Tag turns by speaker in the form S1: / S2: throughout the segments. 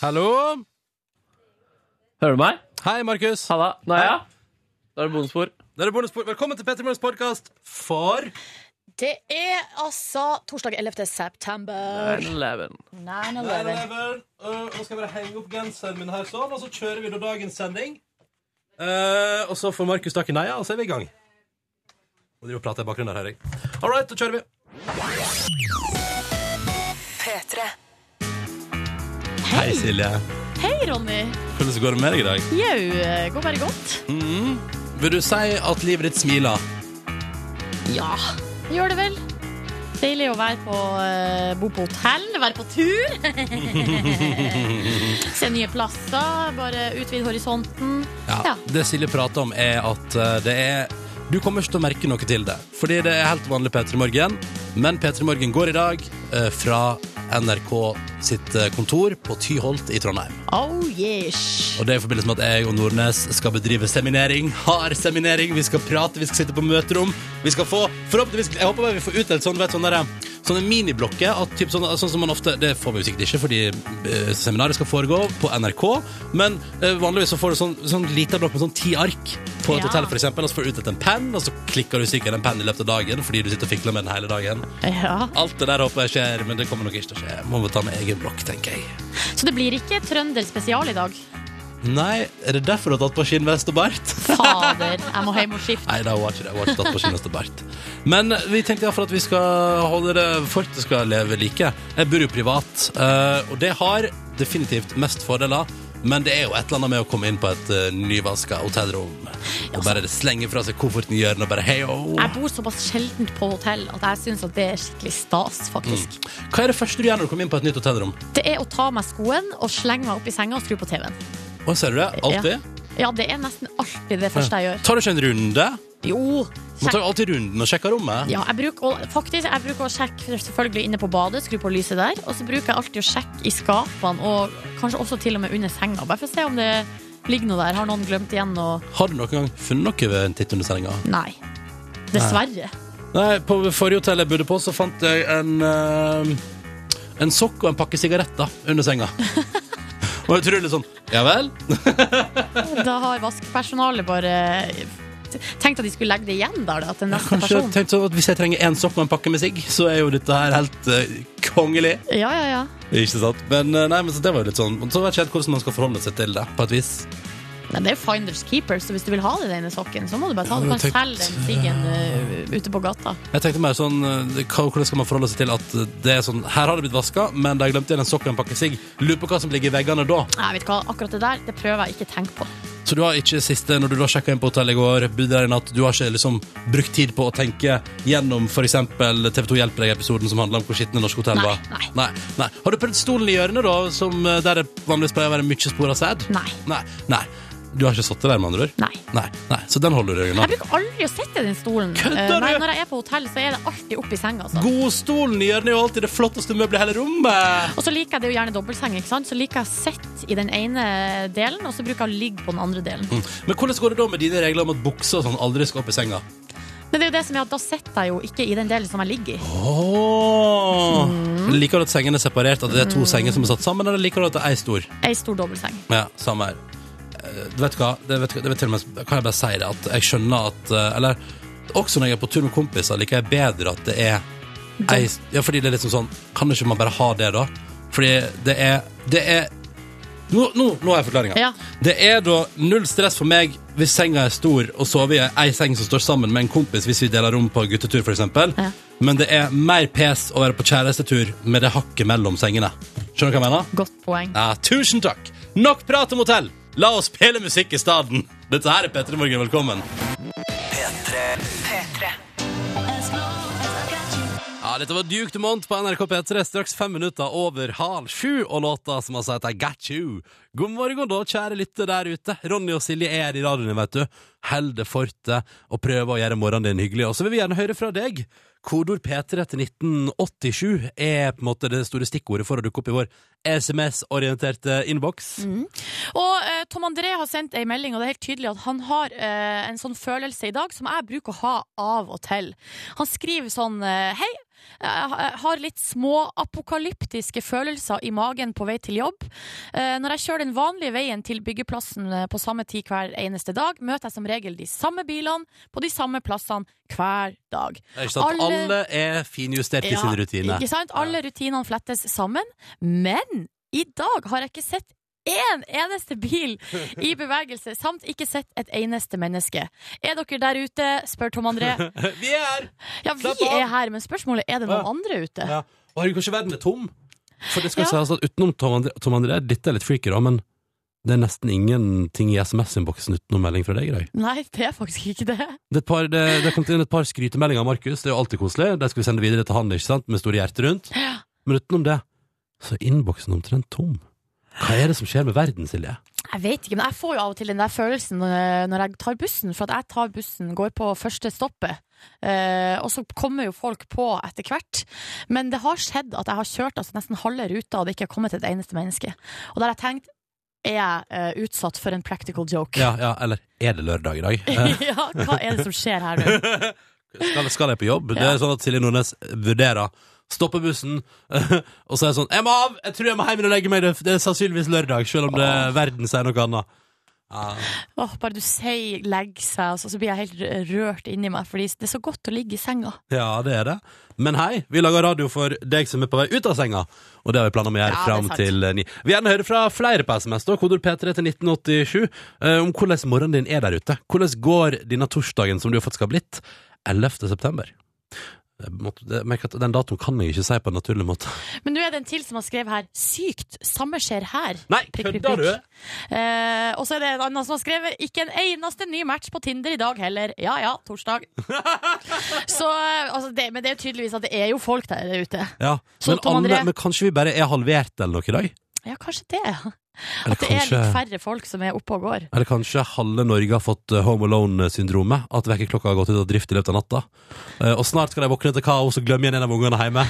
S1: Hallo?
S2: Hører du meg?
S1: Hei, Markus.
S2: Halla. Nå er jeg. Da er det bonusspor.
S1: Det er bonus- Velkommen til Petter Morgens podkast for
S3: Det er altså torsdag 11. september.
S2: 11.
S3: 9-11.
S1: 9-11. Uh, Nå skal jeg bare henge opp genseren min her sånn, og så kjører vi da dagens sending. Uh, og så får Markus tak i neia, og så er vi i gang. Og driver og prater i bakgrunnen her, hører jeg. All right, da kjører vi. Hei, Silje.
S3: Hei, Ronny.
S1: Hvordan går det med deg i dag?
S3: Jau, eh, går bare godt?
S1: Vil du si at livet ditt smiler?
S3: Ja, gjør det vel. Deilig å være på, eh, bo på hotell, være på tur. Se nye plasser, bare utvide horisonten.
S1: Ja.
S3: Ja.
S1: Det Silje prater om, er at eh, det er Du kommer ikke til å merke noe til det. Fordi det er helt vanlig P3 Morgen. Men P3 Morgen går i dag eh, fra NRK sitt eh, kontor på Tyholt i Trondheim.
S3: Oh yes.
S1: Og det er i forbindelse med at jeg og Nordnes skal bedrive seminering. Hard seminering. Vi skal prate, vi skal sitte på møterom. Vi skal få forhåpentligvis, Jeg håper bare vi får utdelt sånn, vet, sånne, der, sånne miniblokker. At, typ, sånn, sånn som man ofte Det får vi jo sikkert ikke, fordi eh, seminaret skal foregå på NRK. Men eh, vanligvis så får du sånn, sånn lita blokk med sånn ti ark på et
S3: Ja.
S1: hotell, for eksempel, Og så får du utdelt en penn, og så klikker du sikkert en penn i løpet av dagen fordi du sitter og fikler med den hele dagen.
S3: Ja.
S1: Alt det der håper jeg skjer, men det kommer nok ikke til å skje. Må vi ta med egen blokk, tenker jeg.
S3: Så det blir ikke trønder spesial i dag.
S1: Nei, er det derfor du har tatt på skinnvest og bart?
S3: Fader, jeg må hjem og skifte.
S1: Nei, da var ikke det. Hun har ikke tatt på sin bart. Men vi tenkte iallfall at vi skal holde det fortet skal leve like. Jeg bor jo privat, eh, og det har definitivt mest fordeler. Men det er jo et eller annet med å komme inn på et uh, nyvaska hotellrom og bare slenge fra seg kofferten i hjørnet og bare hei oh.
S3: Jeg bor såpass sjeldent på hotell at jeg syns det er skikkelig stas, faktisk.
S1: Hva er det første du gjør når du kommer inn på et nytt hotellrom?
S3: Det er å ta av meg skoen og slenge meg opp i senga og skru på TV-en.
S1: Å, ser du det? Alltid?
S3: Ja, det er nesten alltid det første jeg gjør.
S1: Tar du ikke en runde?
S3: Jo,
S1: Man tar
S3: sjekk.
S1: jo alltid runden og sjekker rommet.
S3: Ja, jeg bruker, å- faktisk, jeg bruker å sjekke selvfølgelig inne på badet, skru på lyset der. Og så bruker jeg alltid å sjekke i skapene og kanskje også til og med under senga. Bare for å se om det ligger noe der. Har noen glemt igjen noe?
S1: Har du noen gang funnet noe ved en titt under sendinga?
S3: Nei. Dessverre.
S1: Nei, på forrige hotell jeg bodde på, så fant jeg en eh, En sokk og en pakke sigaretter under senga. Og jeg tror litt sånn Ja vel?
S3: Da har vaskepersonalet bare tenkt at de skulle legge det igjen der, da, til neste
S1: Kanskje
S3: person.
S1: tenkte sånn at Hvis jeg trenger én sokk og en pakke med sigg, så er jo dette her helt eh, kongelig.
S3: Ja, ja, ja.
S1: Ikke sant? Men eh, nei, men så det var jo litt sånn Og Så vet jeg ikke helt hvordan man skal forholde seg til det, på et vis.
S3: Nei, det er jo finders keepers, så hvis du vil ha det i denne sokken, så må du bare ta det. Du
S1: Ja,
S3: kan
S1: men tenk-
S3: selge den siggen eh, ute på gata.
S1: Jeg tenkte mer sånn eh, hva- Hvordan skal man forholde seg til at det er sånn Her har det blitt vaska, men de glemte igjen en sokk og en pakke sigg. Lurer på hva som ligger i veggene da.
S3: Nei, vet du hva, akkurat det der, det prøver jeg ikke å tenke på.
S1: Så du har ikke siste, når du da sjekket inn på hotellet i går, bydde deg inn at du har ikke liksom brukt tid på å tenke gjennom for eksempel TV 2 hjelper deg-episoden som handler om hvor skitne norske hotell
S3: Nei,
S1: var?
S3: nei.
S1: nei. Nei. Har du prøvd stolen i hjørnet, da, som eh, der det vanligvis pleier å være mye spor av sæd?
S3: Nei.
S1: Nei. nei. Du har ikke sittet der, med andre ord?
S3: Nei.
S1: Nei. nei. Så den holder du deg
S3: Jeg
S1: unna.
S3: bruker aldri å sitte i den stolen.
S1: Kødder
S3: Eh, Nei,
S1: du?
S3: når jeg er på hotell, så er det alltid opp i senga. Altså.
S1: Godstolen i hjørnet er jo alltid det flotteste møbelet i hele rommet!
S3: Og så liker jeg det er jo gjerne dobbeltseng, ikke sant? så liker jeg å sitte i den ene delen, og så bruker jeg å ligge på den andre delen.
S1: Mm. Men hvordan går det da med dine regler om at bukser og sånn aldri skal opp i senga?
S3: Men det er jo det som er at da sitter jeg jo ikke i den delen som jeg ligger i.
S1: Åh Liker du at sengene er separert, at det er to senger som er satt sammen, eller liker du at det er ei stor?
S3: Ei stor dobbeltseng.
S1: Ja, samme her. Eh, Du vet hva, det vet, det vet til og med, kan jeg bare si det, at jeg skjønner at eh, Eller også når jeg er på tur med kompiser, liker jeg bedre at det er ei, Ja, fordi det er liksom sånn Kan ikke man bare ha det, da? Fordi det er Det er Nå, nå, nå har jeg forklaringa.
S3: Ja.
S1: Det er da null stress for meg hvis senga er stor og sover i ei seng som står sammen med en kompis hvis vi deler rom på guttetur, f.eks.
S3: Ja.
S1: Men det er mer pes å være på kjærestetur med det hakket mellom sengene. Skjønner du hva jeg mener?
S3: Godt poeng.
S1: Ja, tusen takk. Nok prat om hotell. La oss spille musikk i stedet. Dette her er Petter i Morgen, velkommen. Ja, dette var Duke Dumont på NRK P3, straks fem minutter over halv sju, og låta som altså heter Got You. God morgen, da, kjære lytter der ute. Ronny og Silje er her i radioen, din, vet du. Held det fortet og prøv å gjøre morgenen din hyggelig. Og så vil vi gjerne høre fra deg. Kodord P3 til 1987 er på en måte det store stikkordet for å dukke opp i vår SMS-orienterte innboks.
S3: Mm. Og eh, Tom André har sendt ei melding, og det er helt tydelig at han har eh, en sånn følelse i dag som jeg bruker å ha av og til. Han skriver sånn eh, Hei, Jeg har litt småapokalyptiske følelser i magen på vei til jobb. Eh, Når jeg kjører den vanlige veien til byggeplassen eh, på samme tid hver eneste dag, møter jeg som regel de samme bilene på de samme plassene hver dag.
S1: Det er ikke sant?
S3: Alle-
S1: Alle er finjustert i
S3: Ja,
S1: sin rutine.
S3: Ikke sant? Alle rutinene flettes sammen. Men i dag har jeg ikke sett én eneste bil i bevegelse, samt ikke sett et eneste menneske. Er dere der ute? spør Tom André.
S1: Vi er her!
S3: Ja, vi
S1: Slapp av.
S3: er her, men spørsmålet er det
S1: Ja.
S3: noen andre ute?
S1: Ja. Og herregud, kanskje verden er tom? For det skal
S3: Ja.
S1: sies at utenom Tom André, Tom André Dette er litt freaky, da, men det er nesten ingenting i SMS-innboksen utenom melding fra deg i dag.
S3: Nei, det er faktisk ikke det.
S1: Det er et par- det- det har kommet inn et par skrytemeldinger av Markus, det er jo alltid koselig. Det skal vi sende videre til han, ikke sant, med store hjerter rundt. Men utenom det, så er innboksen omtrent tom. Hva er det som skjer med verden, Silje?
S3: Jeg vet ikke, men jeg får jo av og til den der følelsen eh, når jeg tar bussen, for at jeg tar bussen, går på første stoppet. eh, og så kommer jo folk på etter hvert. Men det har skjedd at jeg har kjørt altså, nesten halve ruta, og det ikke har kommet et eneste menneske. Og der har jeg tenkt er jeg eh, utsatt for en practical joke?
S1: Ja, ja, eller er det lørdag i dag? Eh,
S3: Ja, hva er det som skjer her nå?
S1: Skal, skal jeg på jobb? Det er sånn at Silje Nordnes vurderer. Stopper bussen, og så er det sånn 'Jeg må av! Jeg tror jeg må hjem og legge meg, det det er sannsynligvis lørdag', selv om det verden sier noe annet.
S3: Åh, bare du sier 'legg seg', altså, så blir jeg helt rørt inni meg, fordi det er så godt å ligge i senga.
S1: Ja, det er det. Men hei, vi lager radio for deg som er på vei ut av senga. Og det har vi planer om å gjøre
S3: Ja, det er
S1: fram
S3: sant.
S1: til eh, ni. Vi vil gjerne høre fra flere på SMS, da. Kodord P3 til 1987. eh, om hvordan morgenen din er der ute. Hvordan går denne torsdagen som du faktisk har blitt? 11. september. Jeg måtte- det- jeg merker at Den datoen kan jeg ikke si på en naturlig måte.
S3: Men nå er det en til som har skrevet her 'sykt', samme skjer her.
S1: Nei,
S3: Prikk, prikk,
S1: kødder du?
S3: prikk. Eh, og så er det en annen som har skrevet 'Ikke en eneste ny match på Tinder i dag heller'. Ja ja, torsdag. så, eh, altså det, men det er jo tydeligvis at det er jo folk der ute.
S1: Ja,
S3: Så,
S1: men,
S3: Sånn, Tom
S1: alle,
S3: André.
S1: men kanskje vi bare er halvert eller noe i dag?
S3: Ja, kanskje det.
S1: Eller
S3: At det er litt færre folk som er oppe og går.
S1: Eller kanskje halve Norge har fått eh, Home Alone-syndromet? At vekkerklokka har gått ut av drift i løpet av natta? Eh, Og snart skal de våkne til kaos og glemme igjen en av ungene hjemme.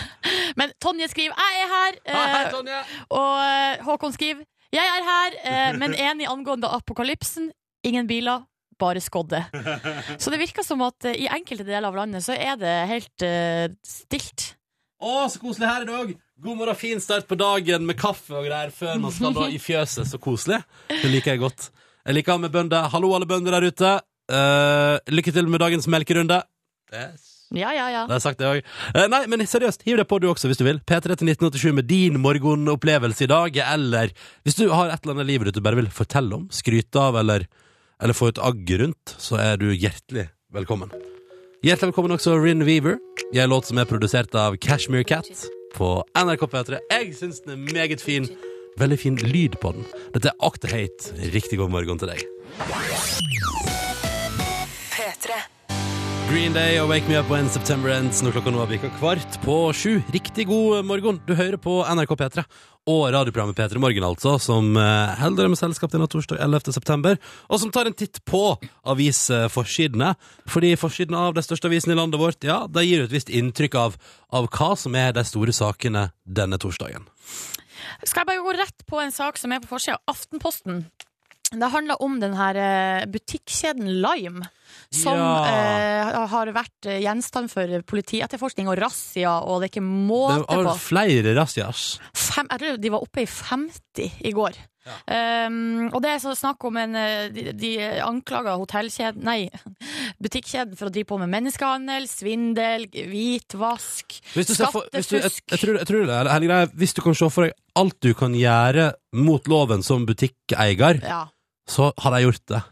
S3: Men Tonje skriver 'Jeg er her',
S1: Ah,
S3: eh, og eh, Håkon skriver 'Jeg er her', eh, men enig angående apokalypsen. Ingen biler. Bare skodde. Så det virker som at eh, i enkelte deler av landet så er det helt eh, stilt.
S1: Å, så koselig her i dag! God morgen, fin start på dagen med kaffe og greier før man skal da i fjøset. Så koselig. Det liker jeg godt. Jeg liker med bønder. Hallo, alle bønder der ute. Eh, lykke til med dagens melkerunde. Yes.
S3: Ja, ja, ja.
S1: Det har jeg sagt det også. Eh, nei, men seriøst, hiv deg på du også hvis du vil. P3 til 1987 med din morgenopplevelse i dag, eller hvis du har et eller annet i livet ditt du bare vil fortelle om, skryte av eller, eller få et agg rundt, så er du hjertelig velkommen. Hjertelig velkommen også Rin Weaver. Jeg er låt som er produsert av Cashmere Cat på NRK P3. Jeg syns den er meget fin. Veldig fin lyd på den. Dette er Act the Hate. Riktig god morgen til deg. Green Day og Wake Me Up When September Ends når klokka nå har bikka kvart på sju. Riktig god morgen. Du hører på NRK P3 og radioprogrammet P3 Morgen, altså, som eh, holder deg med selskap denne torsdag 11. september, og som tar en titt på avisforsidene. Fordi forsiden av de største avisene i landet vårt, ja, de gir et visst inntrykk av, av hva som er de store sakene denne torsdagen.
S3: Skal jeg bare gå rett på en sak som er på forsida av Aftenposten? Det handler om den her eh, butikkjeden Lime, som
S1: Ja.
S3: eh, har vært eh, gjenstand for politietterforskning og razzia, og det er ikke
S1: Det
S3: måte
S1: var
S3: på.
S1: flere razziaer.
S3: Fem, jeg tror de var oppe i 50 i går. Um, og det er så snakk om en eh, De, de anklager hotellkjeden Nei, butikkjeden for å drive på med menneskehandel, svindel, hvitvask,
S1: Hvis du ser for, hvis du, jeg,
S3: skattefusk.
S1: jeg, tror, jeg tror det er hele greia. Hvis du kan se for deg alt du kan gjøre mot loven som butikkeier,
S3: Ja.
S1: så har de gjort det.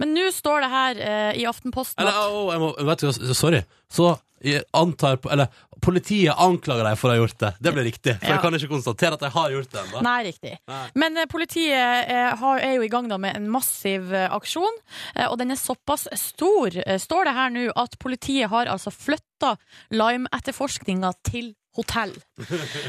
S3: Men nå står det her eh, i Aftenposten
S1: Eller,
S3: at
S1: å, å, jeg må, vet du, hva, sorry. Så jeg antar Eller politiet anklager deg for å ha gjort det. Det blir riktig. For
S3: Ja.
S1: jeg kan ikke konstatere at de har gjort det ennå.
S3: Nei, riktig.
S1: Nei.
S3: Men eh, politiet eh, har, er jo i gang da med en massiv eh, aksjon, eh, og den er såpass stor, eh, står det her nå, at politiet har altså flytta lime-etterforskninga til hotell.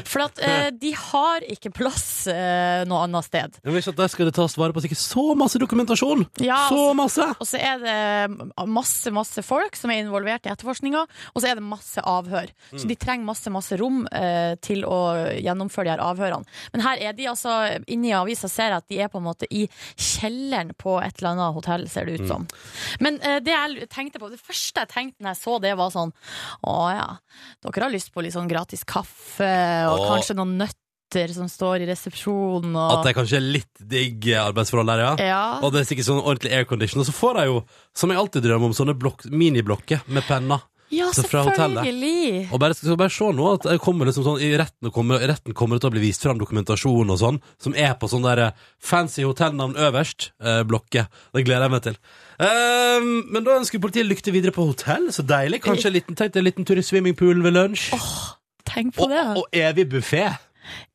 S3: For at eh, de har ikke plass eh, noe annet sted.
S1: Jeg vil ikke at der skal det tas vare på sikkert så masse dokumentasjon!
S3: Ja, altså.
S1: Så
S3: og,
S1: masse!
S3: så, og så er det masse, masse folk som er involvert i etterforskninga, og så er det masse avhør.
S1: Mm.
S3: Så de trenger masse, masse rom eh, til å gjennomføre de her avhørene. Men her er de altså Inni avisa ser jeg at de er på en måte i kjelleren på et eller annet hotell, ser
S1: Mm.
S3: det ut som. Men eh, det jeg tenkte på, det første jeg tenkte når jeg så det, var sånn Å ja, dere har lyst på litt sånn gratis kaffe, og
S1: Å.
S3: kanskje noen nøtter som står i resepsjonen, og
S1: At det er kanskje litt digg arbeidsforhold der, ja.
S3: ja.
S1: Og det er sikkert sånn ordentlig aircondition. Og så får jeg jo, som jeg alltid drømmer om, sånne blokk, miniblokker med penner.
S3: ja,
S1: så altså, fra hotellet.
S3: selvfølgelig!
S1: Og bare, skal bare se nå at det kommer liksom sånn, i retten kommer, i retten kommer det til å bli vist fram dokumentasjon og sånn, som er på sånn der eh, fancy hotellnavn øverst, eh, blokke. Det gleder jeg meg til. Ehm, men da ønsker politiet lykke til videre på hotell, så deilig. Kanskje en liten, tenk deg en liten tur i swimmingpoolen ved lunsj.
S3: Tenk på
S1: og,
S3: det.
S1: og evig buffé.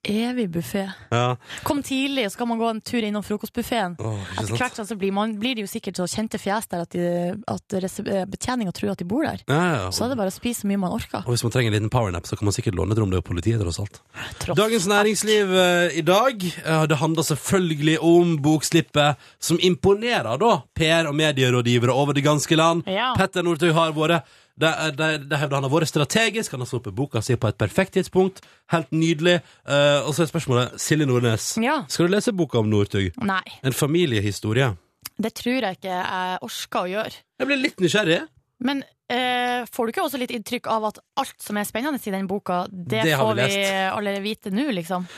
S3: Evig buffé.
S1: Ja.
S3: Kom tidlig, så kan man gå en tur innom frokostbuffeen.
S1: Åh, ikke
S3: Etter
S1: sant?
S3: hvert så blir, man, blir det jo sikkert så kjente fjes der at, de- at rese- eh, betjeninga tror at de bor der.
S1: Ja, ja.
S3: Så er det bare å spise så mye man orker.
S1: Og hvis man trenger en liten powernap, så kan man sikkert låne et rom. Det er jo politiet, tross alt.
S3: Tross.
S1: Dagens Næringsliv eh, i dag eh, Det handler selvfølgelig om bokslippet som imponerer da PR- og medierådgivere over det ganske land.
S3: Ja.
S1: Petter Northug har vært det, det, det hevder han har vært strategisk, han har sluppet boka si på et perfekt tidspunkt. Helt nydelig. Eh, og så er spørsmålet Silje Nordnes,
S3: Ja.
S1: skal du lese boka om Northug?
S3: Nei,
S1: En familiehistorie?
S3: det tror jeg ikke jeg orker å gjøre.
S1: Jeg ble litt nysgjerrig.
S3: Men eh, får du ikke også litt inntrykk av at alt som er spennende i den boka, det,
S1: Det har
S3: får
S1: vi
S3: vi,
S1: lest.
S3: allerede vite nå, liksom?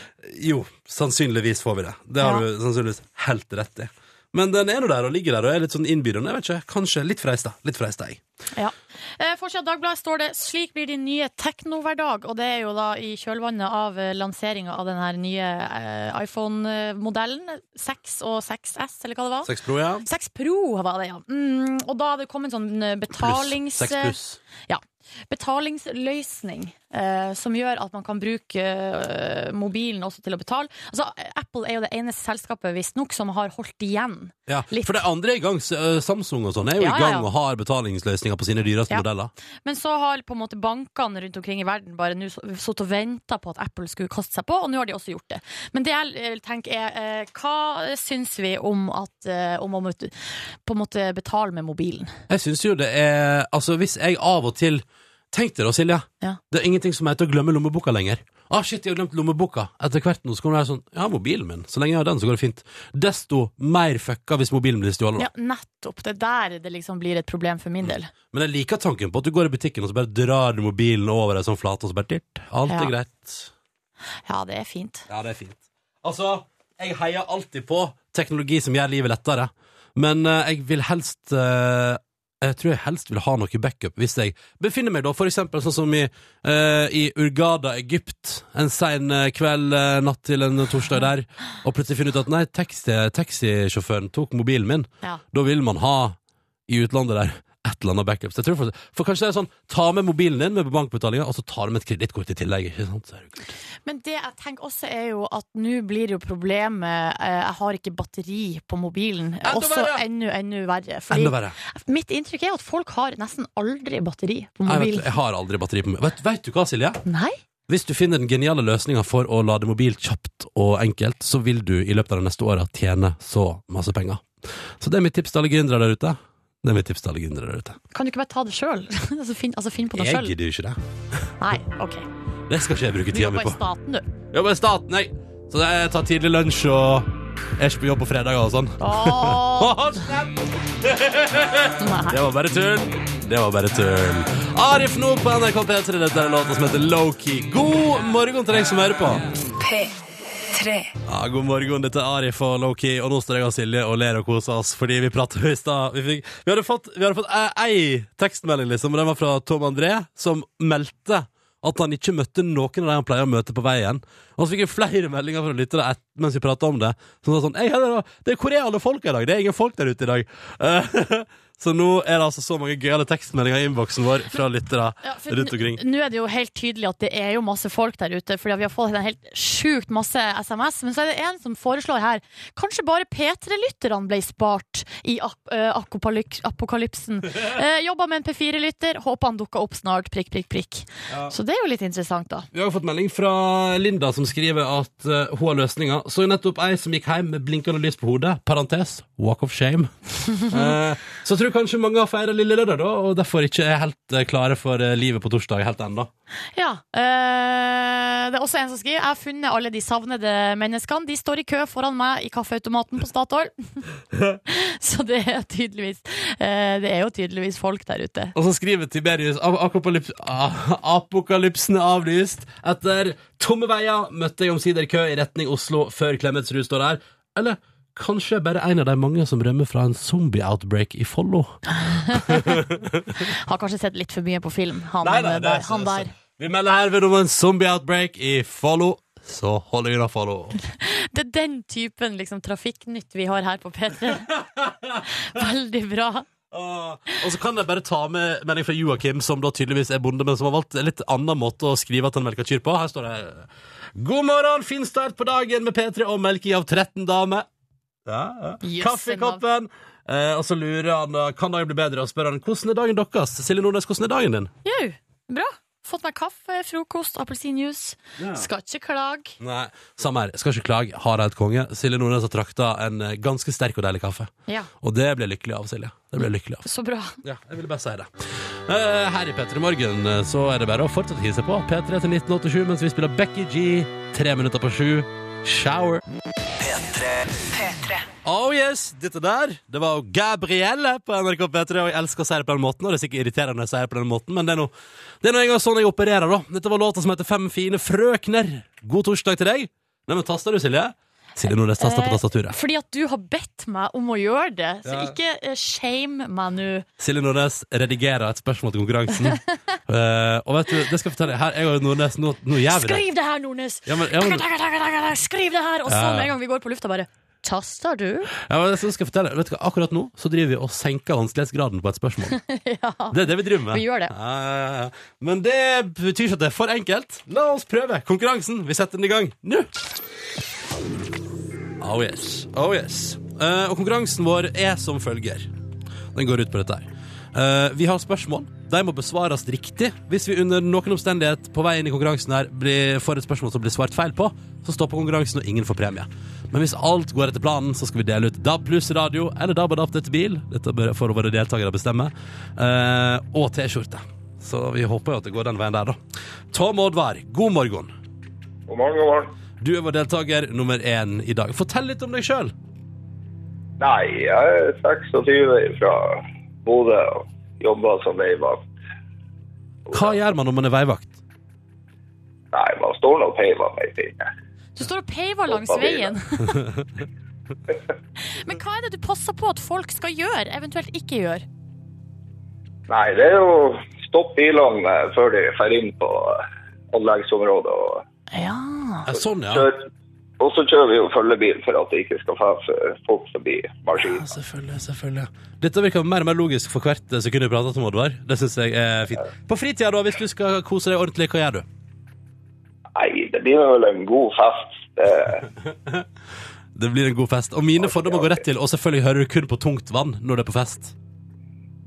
S1: Jo, sannsynligvis får vi det. Det har
S3: Ja.
S1: du sannsynligvis helt rett i. Men den er nå der og ligger der og er litt sånn innbydende. Jeg vet ikke, kanskje litt freista. Litt freista, jeg.
S3: Ja. Eh, Forsida av Dagbladet står det 'Slik blir din nye teknohverdag', og det er jo da i kjølvannet av lanseringa av den her nye eh, iPhone-modellen. 6 og 6S, eller hva det var.
S1: Sex Pro, ja.
S3: 6 Pro var det, ja. Mm, og da hadde det kommet en sånn eh, betalings...
S1: Pluss. Seks pluss.
S3: Ja. Betalingsløsning eh, som gjør at man kan bruke eh, mobilen også til å betale. Altså, Apple er jo det eneste selskapet visstnok som har holdt igjen.
S1: Ja,
S3: Litt.
S1: for det andre er i gang. S- øh, Samsung og sånn er jo
S3: Ja,
S1: i
S3: ja,
S1: gang
S3: ja.
S1: og har betalingsløsninger på sine dyreste
S3: Ja.
S1: modeller.
S3: Men så har på en måte bankene rundt omkring i verden bare nå så- sittet og venta på at Apple skulle kaste seg på, og nå har de også gjort det. Men det jeg eh, tenker er, eh, hva syns vi om at eh, om å måtte- på en måte betale med mobilen?
S1: Jeg syns jo det er Altså, hvis jeg av og til Tenk deg da, Silje.
S3: Ja.
S1: Det er ingenting som heter å glemme lommeboka lenger. Ah, shit, jeg har glemt lommeboka. Etter hvert nå så kommer det være sånn Jeg har mobilen min. Så lenge jeg har den, så går det fint. Desto mer fucka hvis mobilen blir stjålet. da.
S3: Ja, nettopp. Det er der det liksom blir et problem for min del.
S1: Men jeg liker tanken på at du går i butikken og så bare drar du mobilen over ei sånn flate, og så bare dyrt. Alt er
S3: Ja.
S1: greit.
S3: Ja, det er fint.
S1: Ja, det er fint. Altså, jeg heier alltid på teknologi som gjør livet lettere, men eh, jeg vil helst eh, jeg tror jeg helst vil ha noe backup hvis jeg befinner meg da, for eksempel sånn som i, eh, i Urgada, Egypt, en sen eh, kveld, eh, natt til en torsdag der, og plutselig finner ut at nei, taxi, taxisjåføren tok mobilen min.
S3: Ja.
S1: Da vil man ha i utlandet der et eller annet backup. Så jeg tror for, for kanskje det er sånn, ta med mobilen din med bankbetalinga, og så tar du med et kredittkort i tillegg, ikke sant? Så er det jo kult.
S3: Men det jeg tenker også er jo at nå blir jo problemet eh, Jeg har ikke batteri på mobilen. også
S1: verre!
S3: enda, enda verre. Fordi
S1: Enda verre.
S3: mitt inntrykk er jo at folk har nesten aldri batteri på
S1: Nei, vet, du,
S3: mobilen.
S1: jeg har aldri batteri på meg. Vet, vet du hva, Silje?
S3: Nei?
S1: Hvis du finner den geniale løsninga for å lade mobil kjapt og enkelt, så vil du i løpet av de neste åra tjene så masse penger. Så det er mitt tips til alle gründere der ute. Det er mitt tips til alle gründere der ute.
S3: Kan du ikke bare ta det sjøl? altså, finn, altså finn på noe
S1: Jeg
S3: sjøl.
S1: gidder jo ikke det.
S3: Nei, OK.
S1: Det skal ikke jeg bruke
S3: Du
S1: tida mi
S3: jobber i
S1: på.
S3: staten, du.
S1: Jeg Jobber i staten, jeg. Så jeg tar tidlig lunsj og er ikke på jobb på fredager og sånn.
S3: Åh, sånn
S1: Det var bare tull. Det var bare tull. Arif nå på NRK P3. Dette er låta som heter Lowkey. God morgen til deg som hører på.
S4: P3.
S1: Ja, god morgen, dette er Arif og Loki, og nå står jeg og Silje og ler og koser oss fordi vi pratet i stad. Vi, fikk- vi hadde fått, vi hadde fått eh, ei tekstmelding, liksom, og den var fra Tom André, som meldte at han ikke møtte noen av de han pleier å møte på veien. Og så fikk jeg flere meldinger fra lyttere et- mens vi prata om det, som var sånn Ei, hei, det er- det er koreale folk i dag, det er ingen folk der ute i dag. Eh, Så nå er det altså så mange gøyale tekstmeldinger i innboksen vår fra lyttere
S3: Ja, for
S1: rundt
S3: n-
S1: omkring.
S3: Nå er det jo helt tydelig at det er jo masse folk der ute, fordi vi har fått en helt sjukt masse SMS. Men så er det en som foreslår her Kanskje bare P3-lytterne ble spart i ap eh, akopalyk- apokalypsen. Uh, Jobba med en P4-lytter, håper han dukker opp snart, prikk, prikk, prikk. Så det er jo litt interessant, da.
S1: Vi har jo fått melding fra Linda som skriver at eh, hun har løsninga. Så jo nettopp ei som gikk hjem med blinkende lys på hodet. Parentes walk of shame. Eh, så jeg tror kanskje mange har feira lille lørdag, da, og derfor ikke er helt eh, klare for eh, livet på torsdag helt ennå.
S3: Ja. eh, det er også en som skriver Jeg har funnet alle de savnede menneskene. De står i kø foran meg i kaffeautomaten på Statoil. Så det er tydeligvis eh, Det er jo tydeligvis folk der ute.
S1: Og så skriver Tiberius "Ap- apokalyps, a- Apokalypsen er avlyst. Etter tomme veier møtte jeg omsider kø i retning Oslo før Klemetsrud står der. Eller kanskje jeg bare er en av de mange som rømmer fra en zombie-outbreak i Follo.
S3: Har kanskje sett litt for mye på film, han,
S1: det er
S3: eh, der,
S1: så-
S3: han der.
S1: Vi melder herved om en zombie-outbreak i Follo. Så hold unna Follo.
S3: Det er den typen liksom, trafikknytt vi har her på P3. Veldig bra.
S1: Og så kan jeg bare ta med melding fra Joakim, som da tydeligvis er bonde, men som har valgt en litt annen måte å skrive at han melker kyr på. Her står det God morgen, fin start på dagen med P3 og melking av 13 damer.
S3: Jøss,
S1: Kaffekoppen. Eh, og så lurer han eh, kan dagen bli bedre, og spør han hvordan er dagen deres. Silje Nordnes, hvordan er dagen din?
S3: Jau, bra. Fått meg kaffe, frokost, appelsinjuice. Skal ikke klage.
S1: Nei, Samme her. Skal ikke klage. Hareid konge. Silje Nordnes har trakta en eh, ganske sterk og deilig kaffe.
S3: Ja,
S1: Og det ble jeg lykkelig av, Silje. Det ble jeg lykkelig av.
S3: så bra.
S1: Ja, jeg ville bare si det. Eh, her i P3 Morgen eh, så er det bare å fortsette å hisse på. P3 til 1987 mens vi spiller Becky G. Tre minutter på sju. Shower.
S4: P3.
S1: Oh yes, dette der Det var jo Gabrielle på NRK P3 Og jeg elsker å si det på den måten Og det er sikkert irriterende å si det på den måten Men det er noe, det er noe en gang sånn jeg opererer da Dette var låta som heter Fem fine frøkner God torsdag til deg Nei, men taster du Silje? Silje Nordnes taster på
S3: Eh,
S1: tastaturet
S3: Fordi at du har bedt meg om å gjøre det, så
S1: Ja.
S3: ikke eh, shame meg nå.
S1: Silje Nordnes redigerer et spørsmål til konkurransen Eh, Og vet du, det skal jeg fortelle deg. Her, jeg og Nordnes, nå, nå gjør vi det
S3: Skriv det her, Nordnes!
S1: ja, men, ja, men,
S3: Takk, takk, takk, takk, takk, Skriv det her! Og så
S1: Ja.
S3: med en gang vi går på lufta, bare Taster du?
S1: ja, men, så skal jeg fortelle deg. Vet du hva, akkurat nå så driver vi og senker vanskelighetsgraden på et spørsmål
S3: Ja.
S1: Det er det vi driver med.
S3: Vi gjør det.
S1: Ja, ja, ja. Men det betyr ikke at det er for enkelt. La oss prøve konkurransen. Vi setter den i gang nå. Oh yes. Oh yes. Eh, og konkurransen vår er som følger. Den går ut på dette her. Eh, vi har spørsmål. De må besvares riktig. Hvis vi under noen omstendighet på vei inn i konkurransen her blir, får et spørsmål som blir svart feil på, så stopper konkurransen, og ingen får premie. Men hvis alt går etter planen, så skal vi dele ut DAB pluss radio eller DAB adapter til bil. Dette bør- får våre deltakere bestemme. Eh, og T-skjorte. Så vi håper jo at det går den veien der, da. Tom Oddvar, god morgen.
S5: God morgen, god morgen.
S1: Du er vår deltaker nummer én i dag. Fortell litt om deg sjøl.
S5: Nei, jeg er 26 fra Bodø og jobber som veivakt.
S1: Hva gjør man når man er veivakt?
S5: Nei, man står nå og peiver meg ting.
S3: Du står og peiver langs
S5: Hoppa videre.
S3: veien. Men hva er det du passer på at folk skal gjøre, eventuelt ikke gjøre?
S5: Nei, det er jo stopp bilene før de fer inn på eh, anleggsområdet. Og
S3: Ja.
S1: Eh, Sånn, ja.
S5: kjør. Og så kjører vi jo følgebil for at det ikke skal fære folk forbi
S1: Ja,
S5: maskinen.
S1: Selvfølgelig, selvfølgelig. Dette virker mer og mer logisk for hvert eh, sekund vi prater om Oddvar. Det syns jeg er fint. På fritida, da, hvis du skal kose deg ordentlig, hva gjør du?
S5: Nei, det blir vel en god fest. Det-
S1: Det blir en god fest. Og mine fordommer går rett til, og selvfølgelig hører du kun på tungt vann når du er på fest.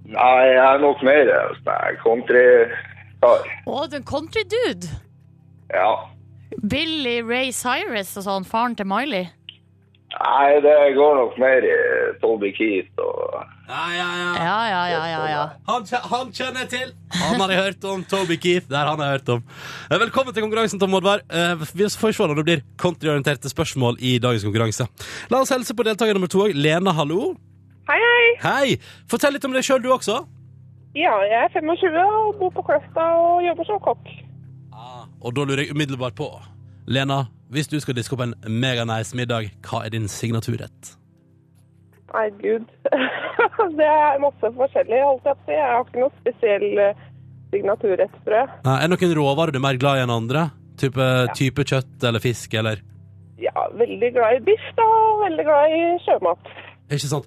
S5: Nei, jeg er nok mer sånn her countrykar.
S3: Å, du er en country dude.
S5: Ja.
S3: Billy Ray Cyrus og sånn, faren til Miley.
S5: Nei, det går nok mer i Toby Keith og
S1: Ja, ja, ja.
S3: Ja, ja, ja, ja. ja.
S1: Han, kje- han kjenner jeg til! Han har jeg hørt om. Toby Keith. Der han har jeg hørt om. Eh, Velkommen til konkurransen, Tom Oddvar. Eh, Vi får se når det blir countryorienterte spørsmål i dagens konkurranse. La oss helse på deltaker nummer to òg. Lena, hallo.
S6: Hei, hei.
S1: Hei! Fortell litt om deg sjøl, du også.
S6: Ja, jeg er 25 og bor på Kløfta og jobber som kokk.
S1: Og da lurer jeg umiddelbart på Lena, hvis du skal diske opp en meganice middag, hva er din signaturrett?
S6: Nei, gud. det er masse forskjellig, holdt jeg på å si. Jeg har ikke noe spesiell eh, signaturrett, tror jeg.
S1: Eh, Er det noen råvarer du er mer glad i enn andre? Type, type kjøtt eller fisk eller
S6: Ja, veldig glad i biff da, og veldig glad i sjømat.
S1: Ikke sant?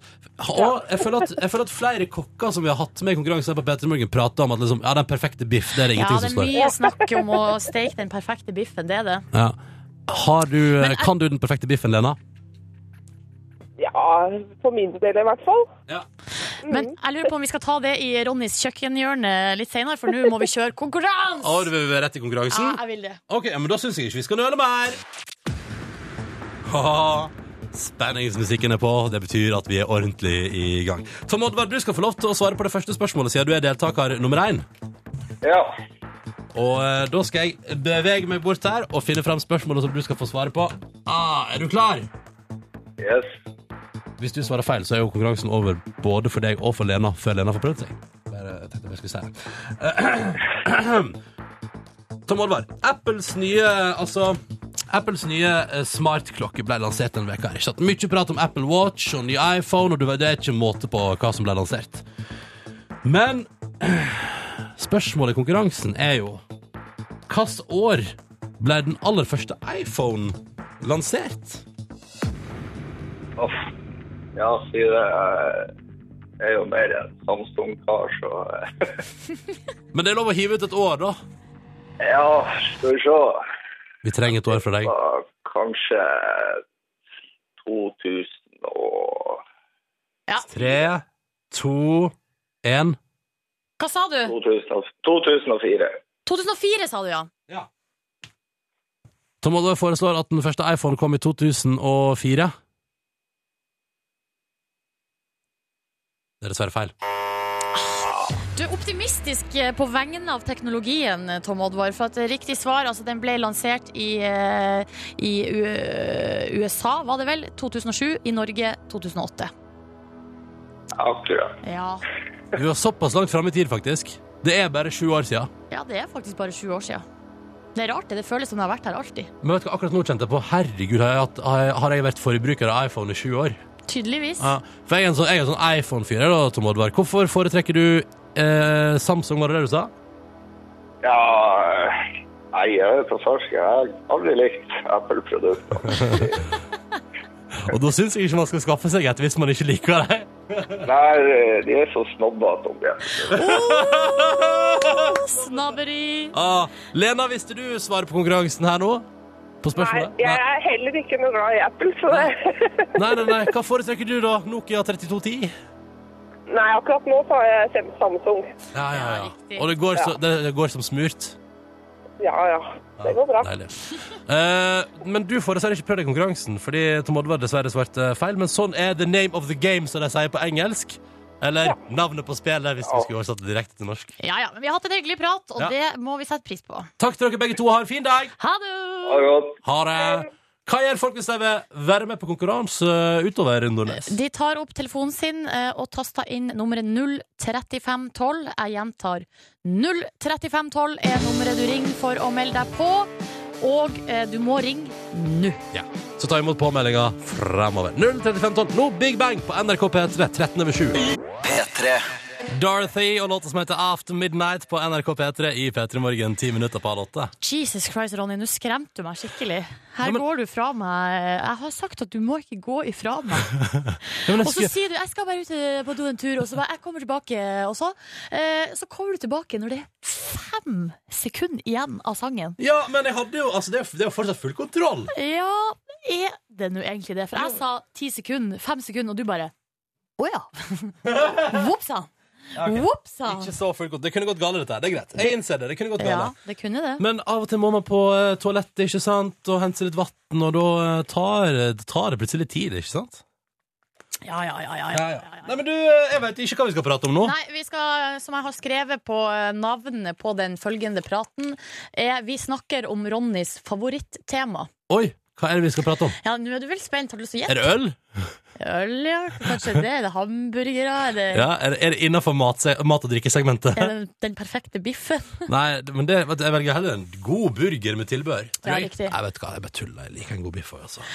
S1: Og jeg føler, at, jeg føler at flere kokker som vi har hatt med i konkurransen her på Peter Morgen, prater om at liksom, ja, den perfekte biff, det er det
S3: Ja,
S1: ingenting
S3: det
S1: som
S3: er
S1: står.
S3: mye snakk om å steke den perfekte biffen, det er det.
S1: Ja. Har du, eh, kan du den perfekte biffen, Lena?
S6: Ja, for min del i hvert fall.
S3: Men jeg lurer på om vi skal ta det i Ronnys kjøkkenhjørne litt senere, for nå må vi kjøre konkurranse!
S1: du vil være rett i
S3: Ja,
S1: konkurransen?
S3: jeg vil det.
S1: Ok, ja, men da syns jeg ikke vi skal nøle mer. Haha, Spenningsmusikken er på. Det betyr at vi er ordentlig i gang. Tom Oddvar, du skal få lov til å svare på det første spørsmålet, siden du er deltaker nummer én.
S5: Ja.
S1: Og eh, da skal jeg bevege meg bort her og finne fram spørsmålet som du skal få svare på. Ah, er du klar?
S5: Yes.
S1: Hvis du svarer feil, så er jo konkurransen over både for deg og for Lena før Lena får prøvd seg. Bare tenkte jeg bare skulle si det. Tom Oddvar, Apples nye Altså Apples nye eh, smartklokke ble lansert denne veka her, ikke sant? Mye prat om Apple Watch og ny iPhone, og du vet, det er ikke måte på hva som ble lansert. Men spørsmålet i konkurransen er jo Hvilket år ble den aller første iPhone lansert?
S5: Uff. Ja, si det. eh, Jeg er jo mer en Samsung-kar, så eh,
S1: Men det er lov å hive ut et år, da.
S5: Ja, skal vi se.
S1: Vi trenger et år fra deg.
S5: Da, kanskje 2000 og
S1: Tre, to, én.
S3: Hva sa du?
S5: 2000 og- 2004.
S3: 2004, sa du, ja.
S1: Tom Oddvar foreslår at den første iPhone kom i 2004. Det er dessverre feil.
S3: Du er optimistisk eh, på vegne av teknologien, eh, Tom Oddvar. For at eh, riktig svar, altså den ble lansert i, eh, i U- USA, var det vel? 2007. I Norge 2008.
S5: Akkurat.
S3: Ja.
S1: Vi var såpass langt framme i tid, faktisk. Det er bare sju år siden.
S3: ja, det er faktisk bare sju år siden. Det er rart, det. Det føles som det har vært her alltid.
S1: Men vet du hva akkurat nå kjente jeg på? Herregud, har jeg, hatt, har jeg- har jeg vært forbruker av iPhone i sju år?
S3: Tydeligvis.
S1: Ja, for jeg er en sånn, jeg er en sånn iPhone-fyr, jeg da, Tom Oddvar. Hvorfor foretrekker du eh, Samsung, var det det du sa?
S5: Ja eh, Nei, jeg er på fersken. Jeg har aldri likt Apple-produkter.
S1: Og da syns jeg ikke man skal skaffe seg et hvis man ikke liker det.
S5: Nei, eh, de er så snobbete om det.
S3: Snabberi.
S1: Ah, Lena, visste du svaret på konkurransen her nå? På
S6: Nei,
S1: spørsmålet?
S6: jeg er heller ikke noe glad i Apple, så det...
S1: nei, nei, nei. Hva foretrekker du, da? Nokia 3210?
S6: Nei, akkurat nå så har jeg sendt Samsung.
S1: Ja, ja,
S3: Ja,
S1: ja.
S3: riktig.
S1: Og det går, så, det, det går som smurt?
S6: Ja, ja. Det går bra.
S1: Deilig. Eh, men du får dessverre ikke prøvd deg i konkurransen, fordi Tom Oddvar dessverre svarte feil. Men sånn er the name of the game, som de sier på engelsk. Eller navnet på spillet, hvis vi skulle oversatt det direkte til norsk.
S3: Ja, ja. Men vi har hatt en hyggelig prat, og
S1: Ja.
S3: det må vi sette pris på.
S1: Takk til dere begge to. Ha en fin dag!
S3: Ha det!
S5: Ha det godt.
S1: Ha det! Hva gjør folk hvis de vil være med på konkurranse eh, utover Nordnes?
S3: De tar opp telefonen sin eh, og taster inn nummeret 03512. Jeg gjentar 03512 er nummeret du ringer for å melde deg på. Og eh, du må ringe nå.
S1: Ja. Så ta imot påmeldinga fremover. 03512, nå Big Bang på NRK P3 13 over 7.
S4: P3.
S1: Dorothy og låta som heter After Midnight på NRK P3 i P3 Morgen ti minutter på halv åtte.
S3: Jesus Christ, Ronny, nå skremte du meg skikkelig. Her
S1: Ja, men-
S3: går du fra meg. Jeg har sagt at du må ikke gå ifra meg. Og så sier du 'jeg skal bare ut eh, på do en tur', og så bare 'jeg kommer tilbake', og så eh, Så kommer du tilbake når det er fem sekunder igjen av sangen.
S1: Ja, men jeg hadde jo altså, det, er jo- det er jo fortsatt full kontroll.
S3: Ja, er det nå egentlig det? For jeg sa ti sekunder, fem sekunder, og du bare Å ja. Vopsa. Vopsa.
S1: Ikke så full kontroll. Det kunne gått galt, dette her. Det er greit. Jeg innser det. Det kunne gått galt.
S3: Ja, det kunne det.
S1: Men av og til må man på eh, toalettet ikke sant? og hente litt vann, og da eh, tar, tar det plutselig tid, ikke sant?
S3: Ja, ja, ja. ja, ja.
S1: Nei, men du, eh, jeg vet ikke hva vi skal prate om nå.
S3: Nei, vi skal, som jeg har skrevet på eh, navnet på den følgende praten, er vi snakker om Ronnys favorittema.
S1: Oi, hva er det vi skal prate om?
S3: Ja, nå er du vel spent? Har du lyst til å
S1: Er
S3: gjette?
S1: det øl?
S3: Øl, ja? Kanskje det? Er det hamburgere? Er det,
S1: Ja, er, er det innenfor mat, mat- og drikkesegmentet?
S3: er det den perfekte biffen?
S1: Nei, det- men det, vet du, jeg velger heller en god burger med tilbør.
S3: Ja,
S1: Tror jeg.
S3: riktig.
S1: Nei, vet du hva, jeg bare tuller. Jeg liker en god biff også. altså.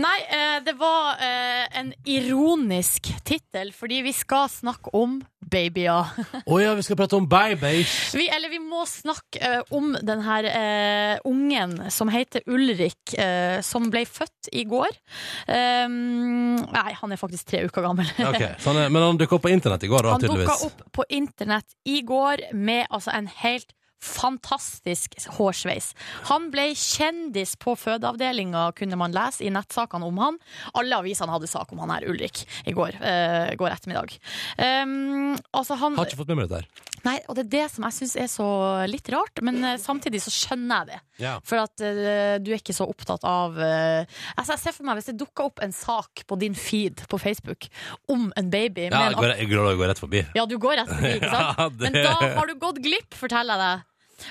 S3: Nei, eh, det var eh, en ironisk tittel, fordi vi skal snakke om babyer.
S1: Å ja, vi skal prate om babies.
S3: Vi, eller vi må snakke eh, om den her eh, ungen som heter Ulrik, eh, som ble født i går. Um, Nei, han er faktisk tre uker gammel.
S1: Ja, ok. Så han er, men han dukka opp på internett i går, da,
S3: Han dukka
S1: tydeligvis.
S3: opp på internett i går med altså en helt fantastisk hårsveis. Han ble kjendis på fødeavdelinga, kunne man lese i nettsakene om han. Alle avisene hadde sak om han her, Ulrik, i går, eh, går ettermiddag. Um, altså han,
S1: Har ikke fått med meg dette her.
S3: nei, og det er det som jeg syns er så litt rart, men eh, samtidig så skjønner jeg det.
S1: Ja.
S3: For at eh, du er ikke så opptatt av eh, altså Jeg ser for meg hvis det dukker opp en sak på din feed på Facebook om en baby
S1: Ja,
S3: med
S1: jeg
S3: en
S1: går, jeg går, jeg går rett forbi.
S3: ja, du går rett forbi, ikke sant?
S1: Ja, det-
S3: Men da har du gått glipp, forteller jeg deg.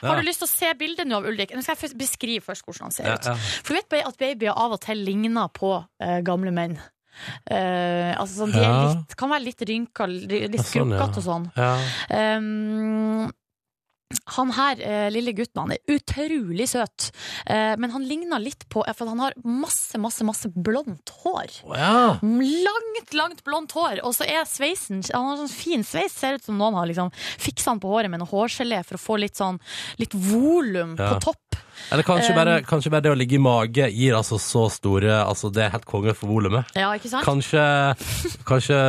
S3: Har
S1: Ja.
S3: du lyst til å se bildet nå av Ulrik? Nå skal jeg først beskrive først hvordan han ser
S1: Ja,
S3: ut.
S1: ja.
S3: For du vet ba- at babyer av og til ligner på eh, gamle menn. Eh, altså sånn, De er
S1: Ja.
S3: litt, kan være litt rynka, li- litt
S1: sånn, ja.
S3: skrukkete og sånn.
S1: Ja.
S3: Um, han her, eh, lille gutten, han er utrolig søt. Eh, men han ligner litt på eh, For han har masse, masse, masse blondt hår.
S1: Å, ja.
S3: Langt, langt blondt hår, og så er sveisen Han har sånn fin sveis, ser ut som noen har liksom fiksa han på håret med noe hårgelé for å få litt sånn Litt volum
S1: Ja.
S3: på topp.
S1: Eller kanskje,
S3: Um,
S1: bare, kanskje bare det å ligge i mage gir altså så store Altså, det er helt konge for volumet.
S3: Ja, ikke sant?
S1: Kanskje, kanskje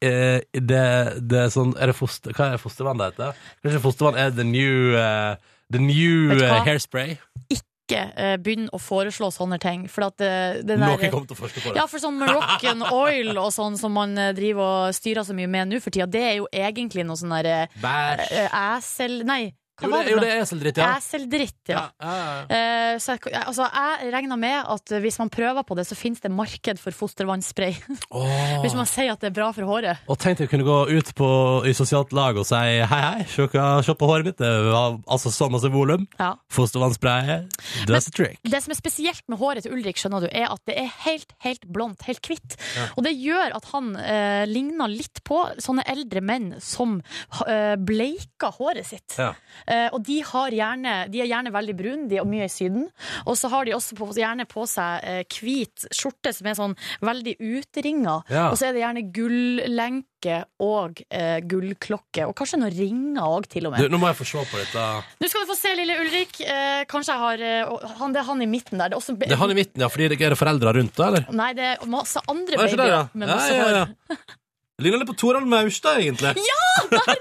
S1: eh, det, det er sånn Er det foster, Hva er det fostervann det heter? Kanskje fostervann er the new eh, The new
S3: Vet du hva?
S1: eh, hairspray?
S3: Ikke eh, begynn å foreslå sånne ting, for at eh, det
S1: Noen
S3: der
S1: kommer til å forske på det.
S3: ja, for sånn Moroccan oil og sånn som man eh, driver og styrer så mye med nå for tida, det er jo egentlig noe sånn derre
S1: Bæsj.
S3: Æsel... Nei,
S1: Jo,
S3: hva
S1: det,
S3: var det?
S1: jo,
S3: for
S1: det
S3: noe?
S1: er eseldritt, ja.
S3: Æseldritt, ja.
S1: Ja, ja, ja.
S3: Eh, så jeg, altså, jeg regner med at hvis man prøver på det, så finnes det marked for fostervannsspray.
S1: Åh.
S3: Hvis man sier at det er bra for håret.
S1: Og tenk deg å kunne gå ut på, i sosialt lag og si hei, hei, se, hva- se på håret mitt. Det har altså så masse volum.
S3: Ja.
S1: Fostervannsspray. That's a trick.
S3: Det som er spesielt med håret til Ulrik, skjønner du, er at det er helt, helt blondt, helt hvitt. Og det gjør at han eh, ligner litt på sånne eldre menn som eh, bleiker håret sitt.
S1: Ja.
S3: Eh, og de, har gjerne, de er gjerne veldig brune, de er mye i Syden. Og så har de også på, gjerne på seg eh, hvit skjorte som er sånn veldig utringa.
S1: Ja.
S3: Og så er det gjerne gullenke og eh, gullklokke. Og kanskje noen ringer òg, til og med.
S1: Du, nå må jeg få se på dette.
S3: Nå skal du få se lille Ulrik. Eh, kanskje jeg har eh, han, Det er han i midten der. Det er også be-
S1: Det er han i midten, ja, fordi det er det foreldre rundt, da, eller?
S3: Nei, det er masse andre
S1: Hva er
S3: babyer
S1: ikke det, ja?
S3: med
S1: Ja,
S3: masse
S1: ja, ja.
S3: hår.
S1: Ligner litt på Torald Maurstad, egentlig. Ja!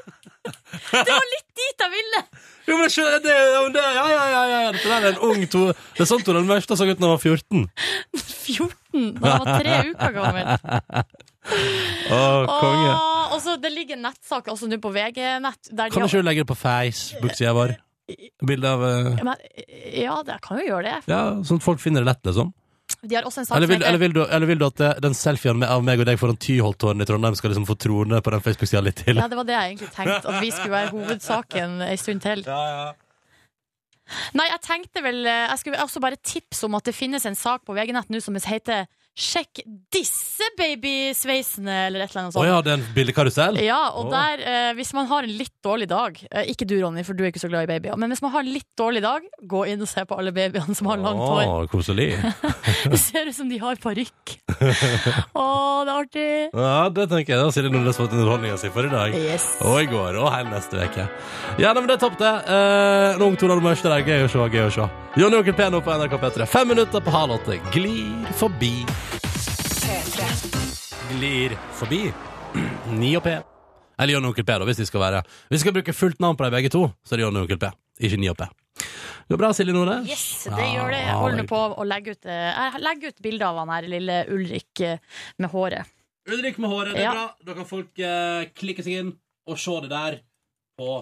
S3: Det var litt dit jeg ville!
S1: Jo, men skjønner jeg det, ja, men det, ja, ja, ja, ja. Dette der er en ung Tor... Det er sånn Torald Maurstad så ut da han var 14.
S3: 14, da jeg var tre uker gammel.
S1: Å, konge.
S3: Åh, og så Det ligger en nettsak også nå på VG-nett. der de
S1: Kan
S3: har-
S1: du ikke legge det på Facebook-sida vår? Bilde av eh,
S3: Men, ja, det jeg kan jo gjøre det.
S1: Ja, sånn at folk finner det lett, liksom.
S3: De har også en sak
S1: Eller vil,
S3: som
S1: eller
S3: heter
S1: vil, du, eller vil du at det- den selfien med- av meg og deg foran Tyholttårnet i Trondheim skal liksom få troende på den Facebook-sida litt til?
S3: ja, det var det jeg egentlig tenkte, at vi skulle være hovedsaken ei stund til. Nei, jeg tenkte vel eh, Jeg skulle også bare tipse om at det finnes en sak på VG-nett nå som heter 'Sjekk disse babysveisene', eller et eller
S1: Å
S3: annet sånt.
S1: ja, det er en bildekarusell?
S3: Sånn. Ja, og
S1: Åh.
S3: der, eh, hvis man har en litt dårlig dag eh, Ikke du, Ronny, for du er ikke så glad i babyer Men hvis man har en litt dårlig dag Gå inn og se på alle babyene som har langt hår
S1: Å, koselig.
S3: Det ser ut som de har parykk Åh, det er artig
S1: Ja, det tenker jeg. Da sier det noe fått underholdninga si for i dag.
S3: Yes
S1: Og i går, og hele neste uke. Ja, nei, men det er topp, det. Eh, Ung Torald Mørstad der. Gøy å se, gøy å se. Jonny Onkel P nå på NRK P3. Fem minutter på halv åtte. Glir forbi. Glir forbi. Ni og P. Eller Jonny Onkel P, da, hvis vi skal være Hvis vi skal bruke fullt navn på dem begge to, så er det Jonny Onkel P, ikke Ni og P. Det går bra, Silje Nordnes.
S3: Yes, det gjør det Jeg holder på å legge ut, eh, jeg legger ut bilder av han her Lille Ulrik eh, med håret
S1: Ulrik med håret, det er
S3: Ja.
S1: bra. Da kan folk eh, klikke seg inn og se det der på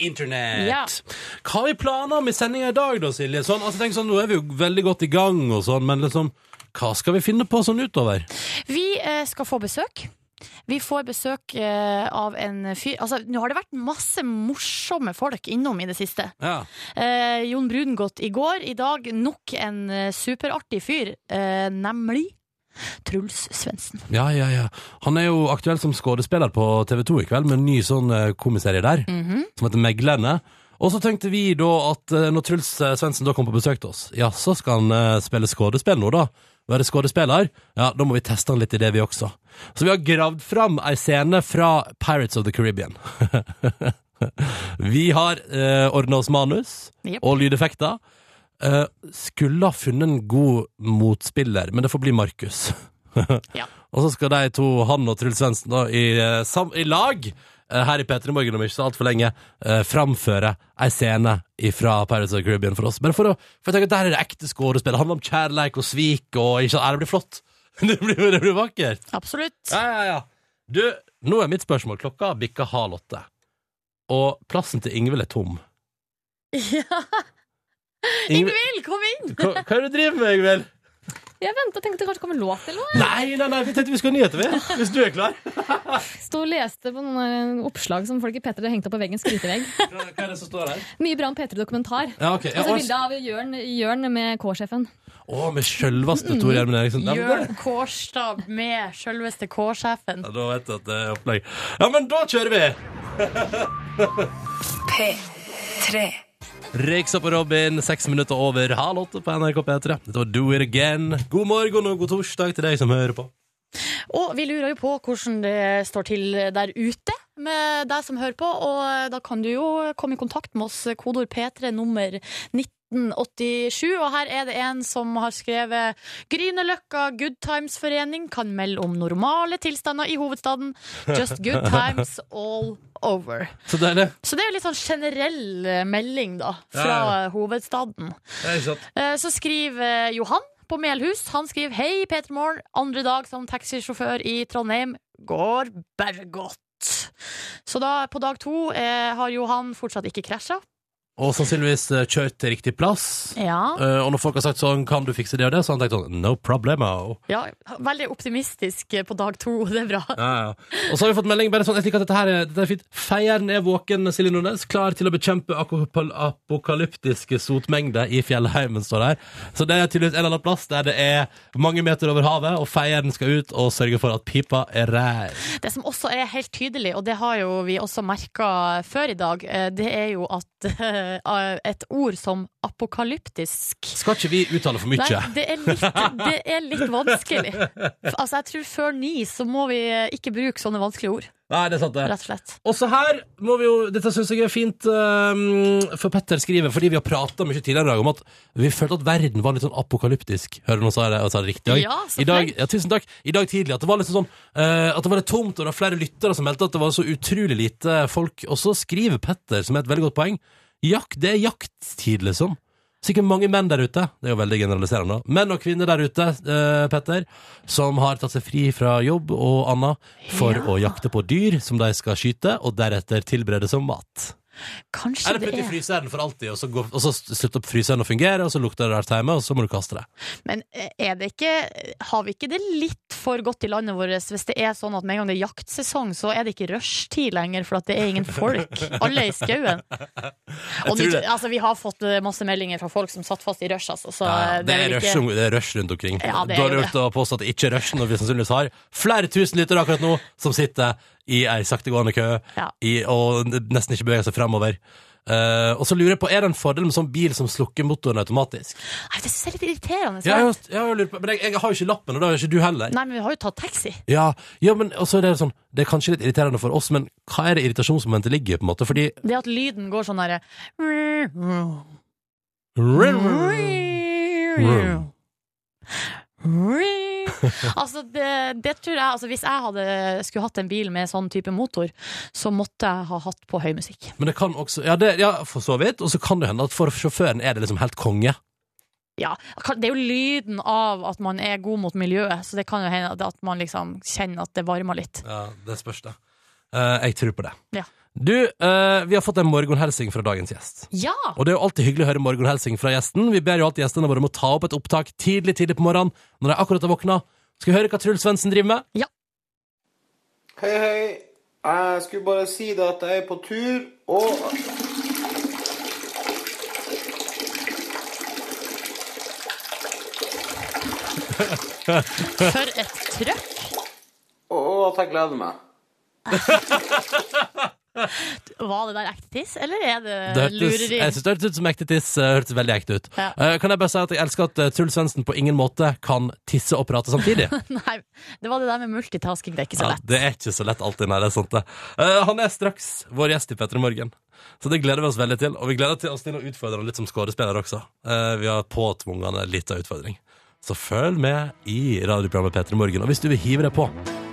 S1: internett.
S3: Ja.
S1: Hva har vi planer om i sendinga i dag, da, Silje? Sånn, altså, tenk sånn, Nå er vi jo veldig godt i gang, og sånn, men liksom, hva skal vi finne på sånn utover?
S3: Vi eh, skal få besøk. Vi får besøk eh, av en fyr Altså, nå har det vært masse morsomme folk innom i det siste.
S1: Ja.
S3: Eh, Jon Brungot i går. I dag nok en eh, superartig fyr, eh, nemlig Truls Svendsen.
S1: ja, ja, Han er jo aktuell som skuespiller på TV 2 i kveld, med en ny sånn eh, komiserie der, som heter Meglerne. Og så tenkte vi da at eh, når Truls eh, Svendsen da kom på besøk til oss, ja, så skal han eh, spille skuespill nå, da. Være skuespiller. Ja, da må vi teste han litt i det, vi også. Så vi har gravd fram ei scene fra Pirates of the Caribbean. vi har eh, ordna oss manus
S3: Jep.
S1: og lydeffekter. Eh, skulle ha funnet en god motspiller, men det får bli Markus.
S3: Ja.
S1: Og så skal de to, han og Truls Svendsen, da, i, eh, sam, i lag eh, her i P3 Morgen om ikke så altfor lenge, eh, framføre ei scene fra Paradise of the Caribbean for oss. Bare for å for jeg tenker at der er det ekte skuespill. Det handler om kjærleik og svik og ikke sant. Nei, Det blir flott. Det blir, det blir vakkert.
S3: Absolutt.
S1: Ja, ja, ja. Du, nå er mitt spørsmål. Klokka bikker halv åtte. Og plassen til Ingvild er tom.
S3: Ja.
S1: Ingvild,
S3: Ingvild, kom inn!
S1: hva, hva er det du driver med, Ingvild?
S7: Jeg venta og tenkte det kanskje kom en låt eller noe.
S1: Nei, nei, nei, vi tenkte vi skulle ha nyheter, vi. Hvis du er klar.
S7: Stå og leste på noen eh, oppslag som folk i P3 hadde hengt opp på veggen. skrytevegg.
S1: Hva er det som står her?
S7: Mye bra om P3-dokumentar.
S1: Ja, ok. Ja,
S7: Og så bilde av Jørn, Jørn med K-sjefen.
S1: Å, med sjølveste
S7: Mm.
S1: Tor Gjermund Eriksen. Ja, men det-
S3: Jørn Kårstad med sjølveste K-sjefen.
S1: Ja, da vet du at det er opplegg. Ja, men da kjører vi! P3 Riksa på Robin, seks minutter over halv åtte på NRK P3. Dette var Do It Again. God morgen og god torsdag til deg som hører på.
S3: Og vi lurer jo på hvordan det står til der ute med deg som hører på, og da kan du jo komme i kontakt med oss, kodord P3 nummer 1987, og her er det en som har skrevet Grünerløkka Good Times Forening kan melde om normale tilstander i hovedstaden. Just good times all over.
S1: Så deilig.
S3: Så det er jo litt sånn generell eh, melding, da, fra
S1: Ja,
S3: hovedstaden.
S1: Ja, ikke sant?
S3: Eh, Så skriver eh, Johan på Melhus. Han skriver Hei, Peter Morn. Andre dag som taxisjåfør i Trondheim går bare godt. Så da, på dag to eh, har Johan fortsatt ikke krasja.
S1: Og sannsynligvis eh, kjørt til riktig plass.
S3: Ja.
S1: Eh, og når folk har sagt sånn, kan du fikse det og det, så har han tenkt sånn, no problemo.
S3: ja. Veldig optimistisk eh, på dag to, det er bra.
S1: Ja, ja. Og så har vi fått melding bare sånn, jeg liker at dette her er, dette er fint. Feieren er våken, Silje Nordnes, klar til å bekjempe akopal- apokalyptiske sotmengder i fjellheimen, står der. Så det er tydeligvis en eller annen plass der det er mange meter over havet, og feieren skal ut og sørge for at pipa er rein.
S3: Det som også er helt tydelig, og det har jo vi også merka før i dag, eh, det er jo at eh, et ord som apokalyptisk
S1: Skal ikke vi uttale for mye?
S3: Nei, det er litt, det er litt vanskelig. Altså, jeg tror før ni så må vi ikke bruke sånne vanskelige ord,
S1: Nei, det er sant det.
S3: rett og slett.
S1: Også her må vi jo Dette syns jeg er fint, ehm, for Petter skriver, fordi vi har prata mye tidligere i dag om at vi følte at verden var litt sånn apokalyptisk. Hører du nå sa jeg det, og sa det riktig? i dag?
S3: Ja, så
S1: I dag, ja, tusen takk. I dag tidlig at det var liksom sånn eh, At det var litt tomt, og det var flere lyttere som meldte at det var så utrolig lite folk. Og så skriver Petter, som er et veldig godt poeng, jakt, det er jakttid, liksom. Sikkert mange menn der ute, det er jo veldig generaliserende, da. menn og kvinner der ute, eh, Petter, som har tatt seg fri fra jobb og anna for
S3: Ja.
S1: å jakte på dyr som de skal skyte, og deretter tilberede som mat.
S3: Kanskje
S1: Eller
S3: det
S1: putte i
S3: er
S1: fryseren for alltid, og så, gå, og så slutter fryseren å fungere, og så lukter det rart hjemme, og så må du kaste det.
S3: Men eh, er det ikke, har vi ikke det litt for godt i landet vårt hvis det er sånn at med en gang det er jaktsesong, så er det ikke rushtid lenger, for at det er ingen folk. Alle er i skauen. Og
S1: tror
S3: nå-
S1: det.
S3: altså, vi har fått masse meldinger fra folk som satt fast i rush, altså. Så
S1: Ja, det,
S3: det
S1: er
S3: er vel
S1: rush,
S3: ikke
S1: det er rush rundt omkring.
S3: Ja, det er
S1: Dårlig
S3: jo
S1: gjort å påstå at det ikke er rush når vi sannsynligvis har flere tusen lyttere akkurat nå som sitter i ei saktegående kø
S3: Ja.
S1: i, og nesten ikke beveger seg framover. Eh, og så lurer jeg på, er det en fordel med sånn bil som slukker motoren automatisk?
S3: Nei, det er litt irriterende.
S1: Ja, jeg, ja, jeg lurer på, men jeg, jeg har jo ikke lappen, og det har jo ikke du heller.
S3: Nei, men vi har jo tatt taxi.
S1: Ja, ja, men også er det sånn, det er kanskje litt irriterende for oss, men hva er det irritasjonsmomentet ligger i, på en måte? Fordi
S3: Det at lyden går sånn derre Altså, det, det tror jeg altså, Hvis jeg hadde, skulle hatt en bil med sånn type motor, så måtte jeg ha hatt på høy musikk.
S1: Men det kan også Ja, det, ja for så vidt. Og så kan det hende at for sjåføren er det liksom helt konge.
S3: Ja, Det er jo lyden av at man er god mot miljøet, så det kan jo hende at- at man liksom kjenner at det varmer litt.
S1: Ja, det spørs det. Eh, jeg tror på det.
S3: Ja.
S1: Du, eh, vi har fått en morgenhelsing fra dagens gjest.
S3: Ja!
S1: Og det er jo alltid hyggelig å høre morgenhelsing fra gjesten. Vi ber jo alltid gjestene våre om å ta opp et opptak tidlig tidlig på morgenen når de akkurat har våkna. Skal vi høre hva Truls Svendsen driver med?
S8: Hei, hei. Jeg skulle bare si det at jeg er på tur, og
S3: For et trøkk!
S8: og at jeg gleder meg.
S3: Var det der ekte tiss, eller er
S1: Det
S3: det
S1: hørtes,
S3: lureri?
S1: jeg synes det hørtes ut som ekte tiss. eh, hørtes veldig ekte ut.
S3: Eh, Ja.
S1: Eh, kan jeg bare si at jeg elsker at eh, Truls Svendsen på ingen måte kan tisse og prate samtidig?
S3: Nei, det var det der med multitasking, det er ikke så
S1: Ja,
S3: lett.
S1: det er ikke så lett alltid, nei, det er sant det. Eh, han er straks vår gjest i Petter i morgen. Så det gleder vi oss veldig til. Og vi gleder til oss til å utfordre han litt som skårespiller også. Eh, vi har påtvunget han en liten utfordring. så følg med i radioprogrammet P3 Morgen. Og hvis du vil hive deg på,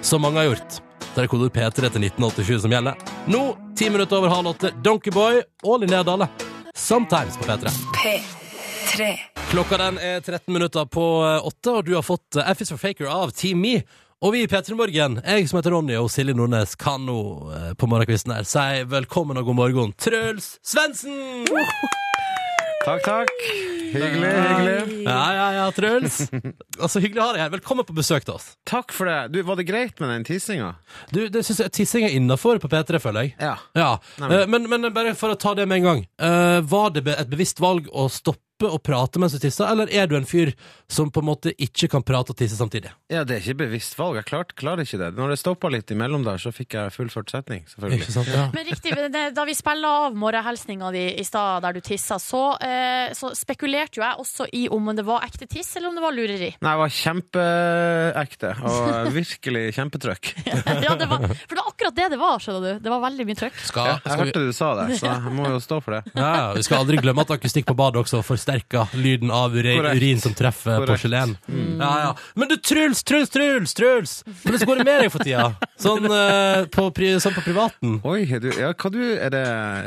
S1: som mange har gjort, så er det kodord P3 til 1987 som gjelder. Nå, ti minutter over halv åtte, Donkeyboy og Linnea Dale. Sometimes på P3.
S9: P3.
S1: Klokka den er 13 minutter på eh, åtte, og du har fått eh, F is for Faker av Team Me. Og vi i P3 Morgen, jeg som heter Ronny og Silje Nordnes, kan nå eh, på morgenkvisten her si velkommen og god morgen, Truls Svendsen!
S10: Takk, takk. Hyggelig, hyggelig.
S1: Ja, ja, ja, Truls. Altså, Hyggelig å ha deg her. Velkommen på besøk til oss.
S10: Takk for det. Du, Var det greit med den tissinga?
S1: Du, det synes jeg Tissing er innafor på P3, føler jeg.
S10: Ja.
S1: Eh, Men, men bare for å ta det med en gang. Eh, Var det be- et bevisst valg å stoppe å prate mens du tisser, eller er du en fyr som på en måte ikke kan prate og tisse samtidig?
S10: Ja, Det er ikke bevisst valg. Jeg klarte klarer ikke det. Når det stoppa litt imellom der, så fikk jeg fullført setning. selvfølgelig.
S1: Ikke sant, ja.
S3: Men riktig, men det- Da vi spilla av morgenhilsninga di i stad, der du tissa, så, eh, så spekulerte jo jeg også i om det var ekte tiss eller om det var lureri.
S10: Nei, jeg var kjempeekte og virkelig kjempetrykk.
S3: ja, det var, for det var akkurat det det var. skjønner du Det var veldig mye trøkk.
S1: Skal,
S10: Ja, jeg
S1: skal vi-
S10: hørte du sa det, så jeg må jo stå for det.
S1: Ja, ja, vi skal aldri glemme at akustikk på badet også forsterker lyden av urin,
S10: Korrekt.
S1: urin som treffer
S10: Korrekt.
S1: porselen. Ja, ja. Men du, Truls, Truls, Truls! Truls Hvordan går det med deg for tida? Sånn, eh, på, pri- sånn på privaten?
S10: Oi, er du, ja, hva du, er det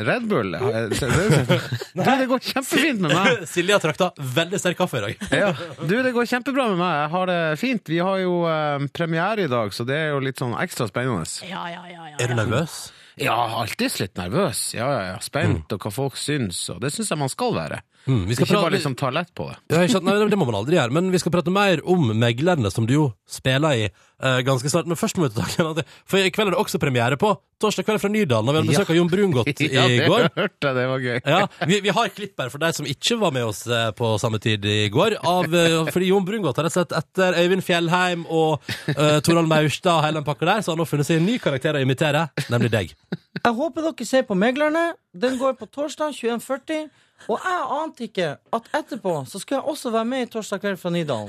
S10: Red Bull? Er det- Du, det går kjempefint med meg!
S1: Silje har trakta veldig sterk kaffe i dag.
S10: Ja. Du, det går kjempebra med meg. Jeg har det fint. Vi har jo eh, premiere i dag, så det er jo litt sånn ekstra spennende.
S3: Ja, ja, ja, ja,
S1: Er du
S3: ja.
S1: nervøs?
S10: Ja, alltid litt nervøs. Ja, ja, ja. Spent, og hva folk syns, og det syns jeg man Mm. skal være.
S1: Mm, vi skal
S10: ikke bare
S1: prate-
S10: liksom ta lett på det.
S1: Ja, ikke sant? Nei, det må man aldri gjøre, men vi skal prate mer om meglerne, som du jo spiller i eh, ganske snart. Men først må vi ta tak i en annen ting, for i kveld er det også premiere på Torsdag kveld fra Nydalen, og vi hadde besøk av Jon Brungot i
S10: Ja, det
S1: går.
S10: hørte jeg, det var gøy.
S1: Ja, vi, vi har klipp her for deg som ikke var med oss eh, på samme tid i går. Av, eh, fordi Jon Brungot har rett og slett etter Øyvind Fjellheim og uh, Torald Maurstad og hele den pakka der, så har han nå funnet seg en ny karakter å imitere, nemlig deg.
S11: Jeg håper dere ser på Meglerne. Den går på torsdag 21.40. Og jeg ante ikke at etterpå så skal jeg også være med i Torsdag kveld fra Nydalen.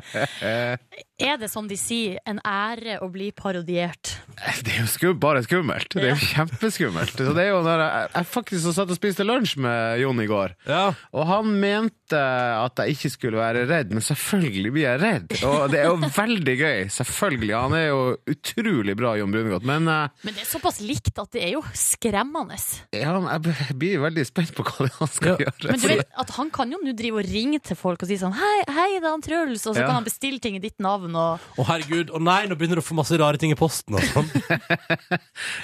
S3: Er det som de sier, en ære å bli parodiert?
S10: Det er jo skum, bare skummelt. Det er jo kjempeskummelt. Så det er jo når jeg, jeg faktisk så satt og spiste lunsj med Jon i går,
S1: Ja.
S10: og han mente at jeg ikke skulle være redd, men selvfølgelig blir jeg redd. Og det er jo veldig gøy. Selvfølgelig. Han er jo utrolig bra, Jon Brungot. Men eh,
S3: Men det er såpass likt at det er jo skremmende.
S10: ja, jeg b- blir veldig spent på hva han skal
S1: Ja.
S10: gjøre.
S3: Men du vet at han kan jo nå drive og ringe til folk og si sånn Hei, hei, det er han Truls. Og så
S10: Ja.
S3: kan han bestille ting i ditt navn og
S1: Å herregud, å nei, nå begynner du å få masse rare ting i posten og sånn.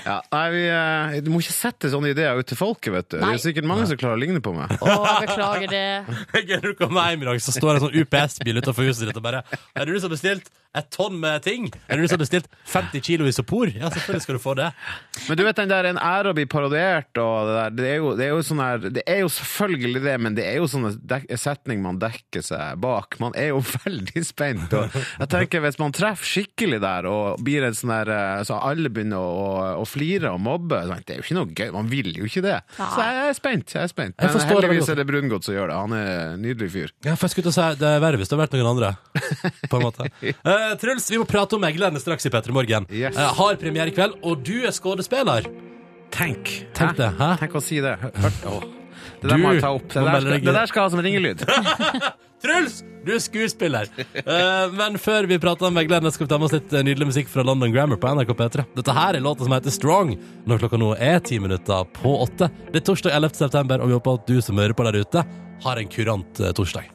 S10: Ja, nei, vi, eh, du må ikke sette sånne ideer ut til folket, vet du.
S3: Nei.
S10: Det er sikkert mange som klarer å ligne på meg.
S3: Å, jeg beklager det.
S1: Jeg du kommer hjem i dag, så står en sånn UPS-bil utenfor huset ditt og bare Er det du som har bestilt et tonn med ting? Er det du som har bestilt 50 kilo isopor? Ja, selvfølgelig skal du få det.
S10: Men du vet den der en ære å bli parodiert og det der, det er jo, det er jo sånn her Det er jo selvfølgelig det, men det er jo sånne dek setning man dekker seg bak. Man er jo veldig spent, og jeg tenker hvis man treffer skikkelig der og blir en sånn der eh, Så alle begynner å, å, å flire og mobbe, så det er jo ikke noe gøy. Man vil jo ikke det. Så jeg er spent. jeg er spent
S1: Jeg
S10: Men
S1: forstår det
S10: heldigvis
S1: veldig
S10: er det Brungot som gjør det. Han er en nydelig fyr.
S1: Ja, for jeg skulle til å si Det er verre hvis det hadde vært noen andre. På en måte Eh, Truls, vi må prate om meglerne straks i P3 Morgen.
S10: Yes.
S1: Eh, har premiere i kveld, og du er skuespiller.
S10: Tenk!
S1: Tenk det, hæ?
S10: Tenk å si det. Hørt, åh. Det der
S1: Du
S10: må jeg ta opp. Det
S1: må
S10: der,
S1: melde
S10: skal,
S1: deg-
S10: det der skal jeg ha som ringelyd.
S1: Truls, du er skuespiller. Eh, men før vi prater om meglerne, skal vi ta med oss litt eh, nydelig musikk fra London Grammar på NRK P3. Dette her er låta som heter Strong, når klokka nå er ti minutter på åtte. Det er torsdag 11. september, og vi håper at du som hører på der ute, har en kurant eh, torsdag.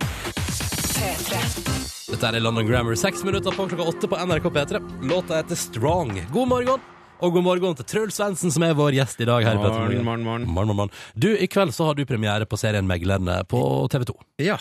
S1: Dette er London Grammar, seks minutter på klokka åtte på NRK P3. Låta heter Strong. God morgen, og god morgen til Truls Svendsen, som er vår gjest i dag her i P3
S10: Morgen,
S1: Morgen.
S10: morgen, morgen.
S1: Morgen, morgen, morgen. Du, i kveld så har du premiere på serien Meglerne på TV 2.
S10: Ja.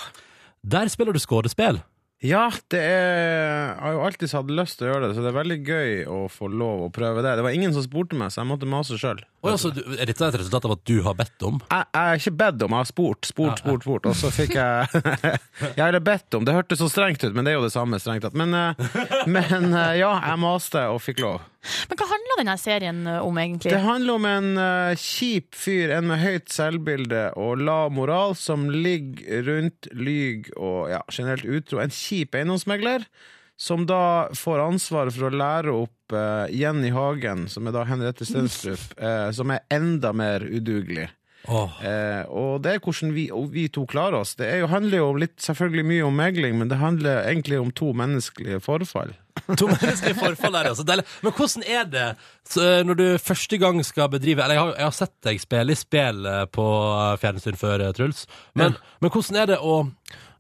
S1: Der spiller du skuespill.
S10: Ja, det er, jeg har jo alltid hatt lyst til å gjøre det, så det er veldig gøy å få lov å prøve det. Det var ingen som spurte meg, så jeg måtte mase sjøl.
S1: Oi, altså, du- er dette et resultat av at du har bedt om?
S10: Jeg jeg har ikke bedt om, jeg har spurt, spurt, spurt, spurt, og så fikk jeg Jeg har bedt om. Det hørtes så strengt ut, men det er jo det samme, strengt tatt. Men, eh, men eh, ja, jeg maste og fikk lov.
S3: Men hva handler denne serien om, egentlig?
S10: Det handler om en eh, kjip fyr, en med høyt selvbilde og lav moral, som ligger rundt lyg og ja, generelt utro. En kjip eiendomsmegler, som da får ansvaret for å lære opp eh, Jenny Hagen, som er da Henriette Stenstrup, eh, som er enda mer udugelig. Eh, og det er hvordan vi, og vi to klarer oss. Det er jo, handler jo litt, selvfølgelig mye om megling, men det handler egentlig om to menneskelige forfall.
S1: To menneskelige forfall der, altså. Deilig. Men hvordan er det så, eh, når du første gang skal bedrive Eller jeg har, jeg har sett deg spille i spill eh, på eh, fjernsyn før, eh, Truls. Men, men hvordan er det å,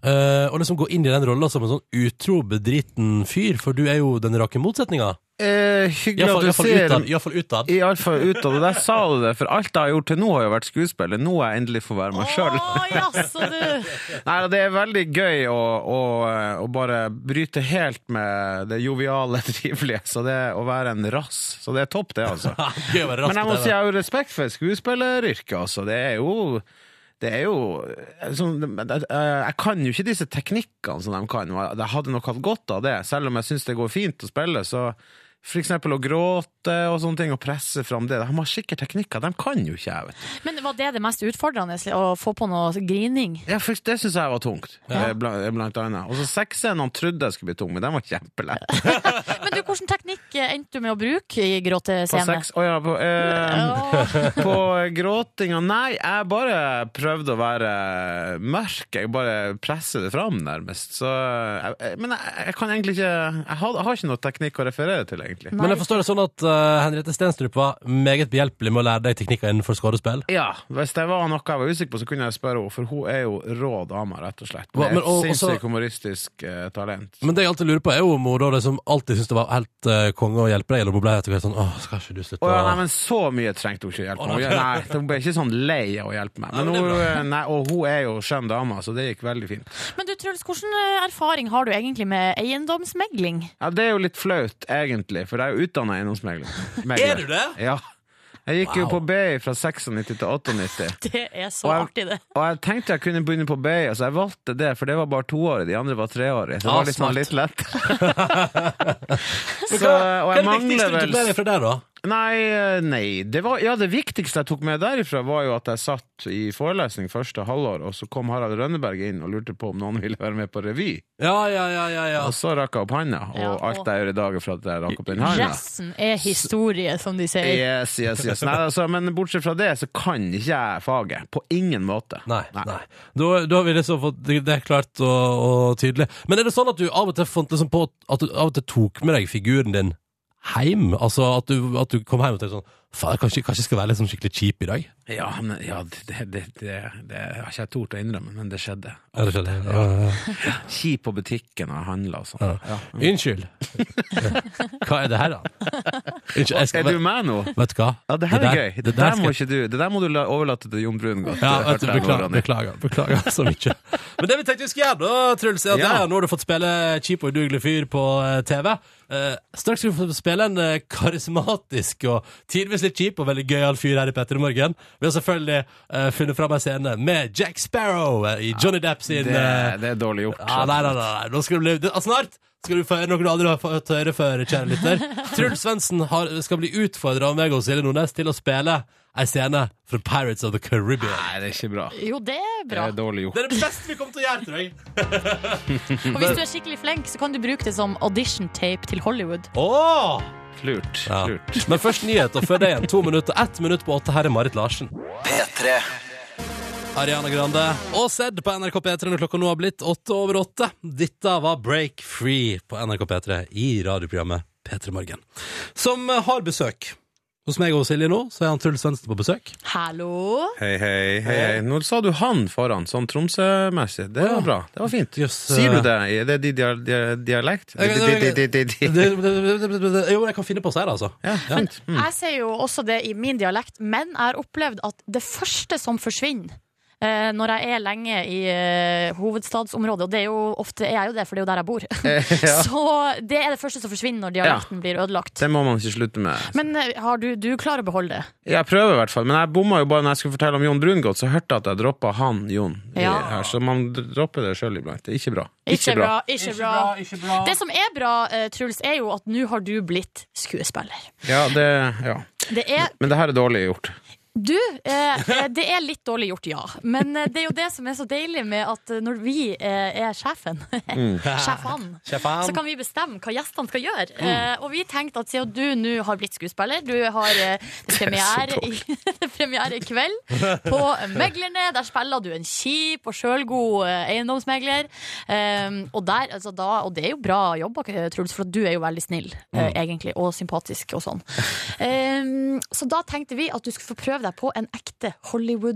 S1: eh, å liksom gå inn i den rolla som en sånn utro, bedriten fyr? For du er jo den rake motsetninga.
S10: Eh, hyggelig at du
S1: Iallfall
S10: ser
S1: utad. i hvert fall utad.
S10: Iallfall utad. Og der sa du det, for alt jeg har gjort til nå, har jo vært skuespiller. Nå er jeg endelig får være meg sjøl. Nei, det er veldig gøy å, å, å bare bryte helt med det joviale, trivelige. Så det å være en rass. Så det er topp, det, altså.
S1: Gøy å være rass
S10: Men jeg
S1: på
S10: må
S1: TV.
S10: si jeg har jo respekt for skuespilleryrket, altså. Det er jo det er jo sånn, jeg, jeg kan jo ikke disse teknikkene som de kan. og Jeg hadde nok hatt godt av det, selv om jeg syns det går fint å spille. Så for eksempel å gråte og sånne ting, og presse fram det. De har sikkert teknikker, de kan jo ikke jeg, vet du.
S3: Men var det det mest utfordrende? Å få på noe grining?
S10: Ja, for det syns jeg var tungt, eh, blant, blant annet. Og så sexscenen han trodde jeg skulle bli tung, men den var kjempelett.
S3: Men du, hvilken teknikk eh, endte du med å bruke i
S10: På
S3: gråtescene?
S10: sex Å ja, på, eh, på gråtinga Nei, jeg bare prøvde å være mørk. Jeg bare presser det fram, nærmest. Så, jeg, men jeg, jeg kan egentlig ikke jeg har, jeg har ikke noe teknikk å referere til, egentlig.
S1: Men jeg forstår det sånn at eh, Henriette Stenstrup var meget behjelpelig med å lære deg teknikker innenfor skuespill.
S10: Ja, Hvis det var noe jeg var usikker på, så kunne jeg spørre henne, for hun er jo rå dame, rett og slett.
S1: Hva-
S10: Med
S1: men og-
S10: et
S1: også-
S10: sinnssykt humoristisk eh, talent.
S1: Men det jeg alltid lurer på, er jo om hun da liksom alltid syntes det var helt eh, konge å hjelpe deg, eller om hun ble etter hvert sånn Åh, skal ikke du slutte
S10: Å ja, nei,
S1: å
S10: men så mye trengte hun ikke hjelp
S1: Å,
S10: med.
S1: nei.
S10: Hun- Nei, hun ble ikke sånn lei av å hjelpe meg. Men
S1: Nei, men det er
S10: hun, eh, nei, og hun er jo skjønn dame, så det gikk veldig fint.
S3: Men du, Truls, hvilken eh, erfaring har du egentlig med eiendomsmegling?
S10: Ja, Det er jo litt flaut, egentlig, for jeg er jo utdanna eiendomsmegler.
S1: Er du det?
S10: Ja. Jeg gikk jo
S1: Wow.
S10: på BI fra 96 til 98.
S3: Det er så
S10: Og jeg-
S3: artig, det.
S10: Og jeg tenkte jeg kunne begynne på BI, så jeg valgte det, for det var bare toårig. De andre var treårig. Så det
S1: Ah,
S10: var litt, sånn
S1: smart.
S10: litt lett.
S1: Men
S10: så, eh,
S1: Hva er
S10: og jeg
S1: det viktigste
S10: mangler
S1: du tok med
S10: vel
S1: deg fra der, da?
S10: Nei, eh, nei. Det var, ja, det viktigste jeg tok med derifra, var jo at jeg satt i forelesning første halvår, og så kom Harald Rønneberg inn og lurte på om noen ville være med på revy.
S1: Ja, ja, ja, ja, ja.
S10: Og så rakk jeg opp handa, og
S3: Ja, og-
S10: alt jeg gjør i dag er for at jeg rakk opp den handa.
S3: Resten er historie, som de sier.
S10: Yes, yes, yes. Nei, altså, men bortsett fra det, så kan ikke jeg faget. På ingen måte.
S1: Nei, nei. Da, da har vi liksom fått det det er klart og, og tydelig. Men er det sånn at du av og til fant liksom på at du av og til tok med deg figuren din hjem? Altså at du, at du kom hjem og tenkte sånn Faen, jeg kanskje, kanskje jeg skal være liksom skikkelig kjip i dag?
S10: Ja, men, ja det, det, det, det har ikke jeg tort å innrømme, men det skjedde.
S1: Er det skjedd? sånn, Ja, ja, ja.
S10: Ski på butikken og handla og sånn. Ja.
S1: Unnskyld. Hva er det her, da? Unnskyld, jeg skal
S10: Er du med nå?
S1: Vet du hva?
S10: Ja, det her
S1: der-
S10: er gøy. Det,
S1: der
S10: der
S1: skal-
S10: må ikke du, det der må du la, overlate til Jon
S1: Ja,
S10: Brungot. Det
S1: vet du,
S10: hørte jeg nå,
S1: beklager,
S10: Ronny.
S1: beklager, beklager så mye. Men det vi tenkte vi skulle gjøre, da, Truls, er at
S10: Ja.
S1: ja. nå har du fått spille kjip og udugelig fyr på eh, TV. Eh, straks skal du få spille en eh, karismatisk og tidvis litt kjip og veldig gøyal fyr her i Petter i morgen. Vi har selvfølgelig eh, funnet fram ei scene med Jack Sparrow eh, i Johnny Depp sin
S10: Det,
S1: eh,
S10: det er dårlig gjort.
S1: ja, nei, nei, nei, nei. Nå skal det bli, det, snart skal du få høre noe du aldri har fått høre før, kjære lytter. Truls Svendsen har- skal bli utfordra av meg og Silje Nordnes til å spille ei scene fra Pirates of the Caribbean.
S10: Nei, det er ikke bra.
S3: Jo, det er
S10: Det
S3: bra.
S10: er dårlig gjort.
S1: Det er det beste vi kommer til å gjøre, tror jeg.
S3: Og hvis du er skikkelig flink, så kan du bruke det som audition tape til Hollywood.
S1: Åh!
S10: Lurt.
S1: Ja.
S10: Lurt.
S1: Men først nyheter før det igjen. To minutter, ett minutt på åtte. Her er Marit Larsen.
S4: P3.
S1: Ariana Grande og Sedd på NRK P3 når klokka nå har blitt åtte over åtte. Dette var Break Free på NRK P3 i radioprogrammet P3 Morgen. Som eh, har besøk. Hos meg og Silje nå, så er han Truls Svendsen på besøk.
S3: Hallo?
S10: Hei, hei, hei, hei. Nå sa du han foran, sånn Tromsø-messig. Det var bra. Det var fint.
S1: Jøss,
S10: Sier
S1: eh.
S10: du det? Er det din dia- dia- dialekt?
S1: Jeg- jeg- jeg-
S10: Di- di- di- di-
S1: Det,
S10: di.
S1: det, det, det, det, jo, jeg kan finne på å si det, altså.
S10: Ja, fint. Mm.
S3: Jeg sier jo også det i min dialekt, men jeg har opplevd at det første som forsvinner eh, når jeg er lenge i eh, hovedstadsområdet, og det er jo ofte er jeg jo det, for det er jo der jeg bor. Så det er det første som forsvinner når dialekten blir ødelagt.
S10: Det må man ikke slutte med.
S3: Men eh, har du, du klarer å beholde det?
S10: Jeg prøver i hvert fall, men jeg bomma jo bare når jeg skulle fortelle om Jon Brungot, så hørte jeg at jeg droppa han Jon. i-
S3: Ja.
S10: Her, så man dropper det sjøl iblant. Det er ikke bra.
S3: Ikke bra, ikke bra. Det som er bra, eh, Truls, er jo at nå har du blitt skuespiller.
S10: Ja, det, ja.
S3: Det er
S10: Men det her er dårlig gjort.
S3: Du, eh, eh, det er litt dårlig gjort, ja. Men eh, det er jo det som er så deilig med at eh, når vi eh, er sjefen,
S1: Mm.
S3: sjefene,
S1: Sjefan.
S3: så kan vi bestemme hva gjestene skal gjøre.
S1: Mm.
S3: Eh, og vi tenkte at siden du nå har blitt skuespiller, du har eh, det er premiere, i, det er premiere i kveld på Meglerne. Der spiller du en kjip og sjølgod eh, eiendomsmegler. Eh, og, der, altså, da, og det er jo bra jobba, eh, Truls, for at du er jo veldig snill, eh,
S9: Mm.
S3: egentlig, og sympatisk og sånn. Eh, så da tenkte vi at du skulle få prøve deg på en ekte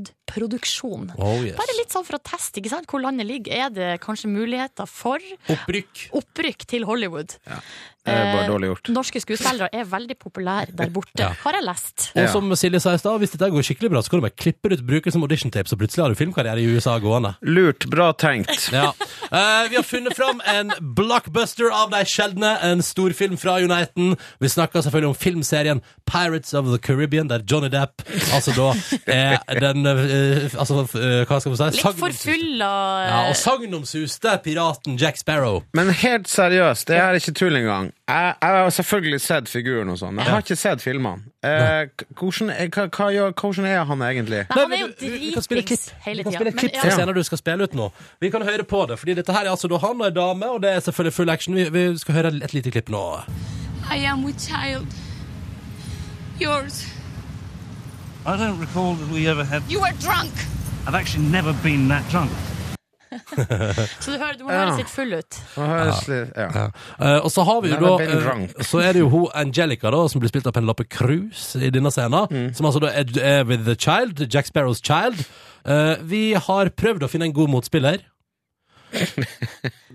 S3: Hollywood-produksjon.
S1: Oh, yes.
S3: Bare litt sånn for å teste ikke sant? hvor landet ligger. Er det kanskje muligheter for
S1: Opprykk.
S3: opprykk til Hollywood?
S1: Det er bare
S3: Eh,
S1: dårlig gjort.
S3: Norske skuespillere er veldig populære der borte,
S1: Ja.
S3: har jeg lest.
S1: Og som Silje sa i stad, hvis dette går skikkelig bra, så kan du bare klippe det ut, bruke det som audition tape, så plutselig har du filmkarriere i USA gående.
S10: Lurt. Bra tenkt.
S1: Ja. Eh, vi har funnet fram en blockbuster av de sjeldne, en storfilm fra Uniten. Vi snakker selvfølgelig om filmserien Pirates of the Caribbean, der Johnny Depp altså da er den eh, Altså, eh, hva skal man si?
S3: Litt
S1: Sagn-
S3: for full eh, av
S1: ja, og sagnomsuste piraten Jack Sparrow.
S10: Men helt seriøst, det her er ikke tull engang. Jeg, jeg har selvfølgelig sett figuren og sånn. Jeg har ikke sett filmene. Eh, k- hvordan, er- hva, hva, gjør- hvordan er han egentlig?
S3: Nei, han er jo dritings hele
S1: Vi kan spille
S3: tida.
S1: et klipp fra scenen du skal spille ut nå. Vi kan høre på det, fordi dette her er altså da han og ei dame, og det er selvfølgelig full action. Vi, vi skal høre et lite klipp nå.
S12: I am with child. Yours.
S13: I don't recall that we ever had.
S12: You were drunk.
S13: I've actually never been that drunk.
S3: Så du, hører, du må høre
S1: Ja.
S3: litt full ut.
S1: Ja. Eh, og så har vi jo
S10: Never
S1: da
S10: been
S1: eh,
S10: drunk.
S1: Så er det jo hun Angelica, da, som blir spilt av Penelope Cruz i denne scenen. Som altså da er, er with the child. Jack Sparrows child. Eh, vi har prøvd å finne en god motspiller.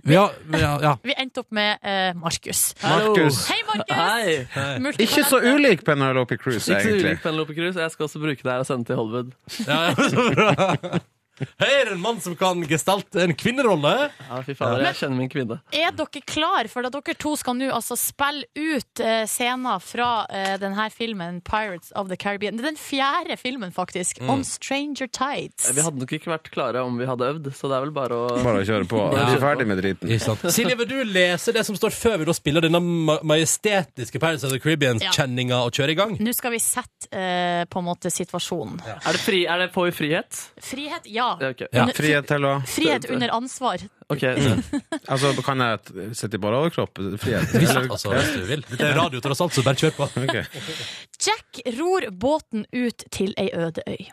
S1: Vi har, vi har, ja.
S3: Vi endte opp med eh, Markus.
S10: Markus.
S3: Hei, Markus! Multitalent.
S10: Ikke så ulik Penelope Cruz,
S2: Ikke så
S10: egentlig.
S2: ulik Penelope Cruz. Jeg skal også bruke det her og sende til Hollywood.
S1: Ja, så bra. Her er en mann som kan gestalte en kvinnerolle.
S2: Ja, fy fader, jeg kjenner min kvinne.
S3: Er dere klar for at dere to skal nå altså spille ut eh, scener fra eh, denne filmen Pirates of the Caribbean? Det er den fjerde filmen, faktisk.
S2: Mm.
S3: On Stranger Tides.
S2: Vi hadde nok ikke vært klare om vi hadde øvd, så det er vel bare å
S10: Bare å kjøre på.
S2: Bare å
S10: Vi
S2: kjøre
S10: er ferdig med driten.
S1: Silje, vil du lese det som står før vi da spiller denne ma- majestetiske Pirates of the Caribbean-kjenninga og kjører i gang?
S3: Nå skal vi sette eh, på en måte situasjonen.
S2: Er det, fri, er det på i frihet?
S3: Frihet, ja.
S2: Ja, ok.
S10: Ja. Frihet til å
S3: Frihet under ansvar.
S2: Ok.
S10: Altså, kan jeg t- sitte i bare overkropp? Frihet?
S1: Hvis, altså, hvis du vil. Dette er radio tross alt, så bare kjør på.
S3: Jack ror båten ut til ei øde øy.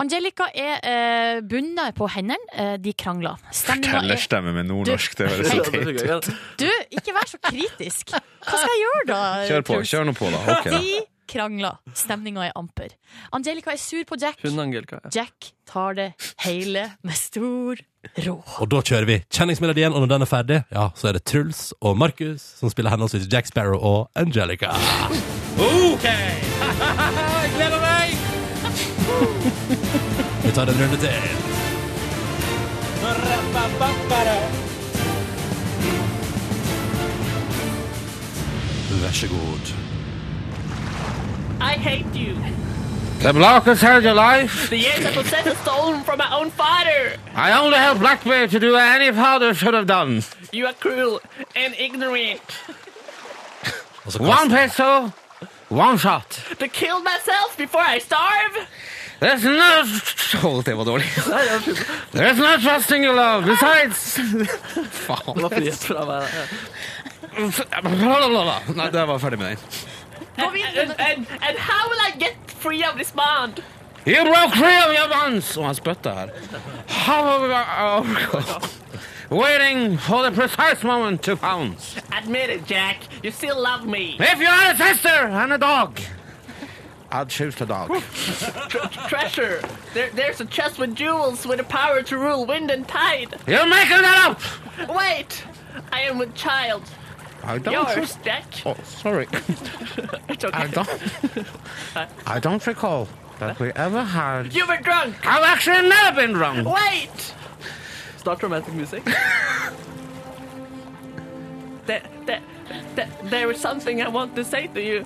S3: Angelica er eh, bundet på hendene. Eh, de krangler. Stemninga er
S10: Tellerstemme med nordnorsk, det høres så teit ut.
S3: Du, ikke vær så kritisk. Hva skal jeg gjøre da?
S10: Kjør på.
S3: Truls?
S10: Kjør nå på, da. Ok, da.
S3: De krangler. Stemninga er amper. Angelica er sur på Jack.
S2: Hun Angelica. Ja.
S3: Jack tar det hele med stor ro.
S1: Og da kjører vi kjenningsmelodien, og når den er ferdig, ja, så er det Truls og Markus som spiller henholdsvis Jack Sparrow og Angelica. OK! Jeg gleder meg! Vi tar en runde til. Vær så god.
S14: I hate you.
S10: The block has held your life.
S14: The years I possess are stolen from my own father.
S10: I only have blackmail to do any father should have done.
S14: You are cruel and ignorant.
S10: One peso, one shot.
S14: To kill myself before I starve.
S10: There's no Å, det var dårlig. There's no trusting your love. Besides Faen.
S2: Det var frihet fra meg.
S10: Nei, da var jeg ferdig med den.
S14: And, and, and, and how will I get free of this bond?
S10: You broke free of your bonds! Og han spytta her. How will we oh, Waiting for the precise moment to pounce.
S14: Admit it, Jack. You still love me.
S10: If you had a sister and a dog, I'd choose the dog.
S14: Tre- treasure. There, there's a chest with jewels with the power to rule wind and tide.
S10: You're making that up!
S14: Wait. I am with child.
S10: I don't
S14: Yours,
S10: trust-
S14: Jack.
S10: Oh, sorry.
S14: It's okay.
S10: I don't. I don't recall that we ever had.
S14: You were drunk.
S10: I've actually never been drunk.
S14: Wait.
S2: Start romantic music.
S14: There, there, there, there is something I want to say to you.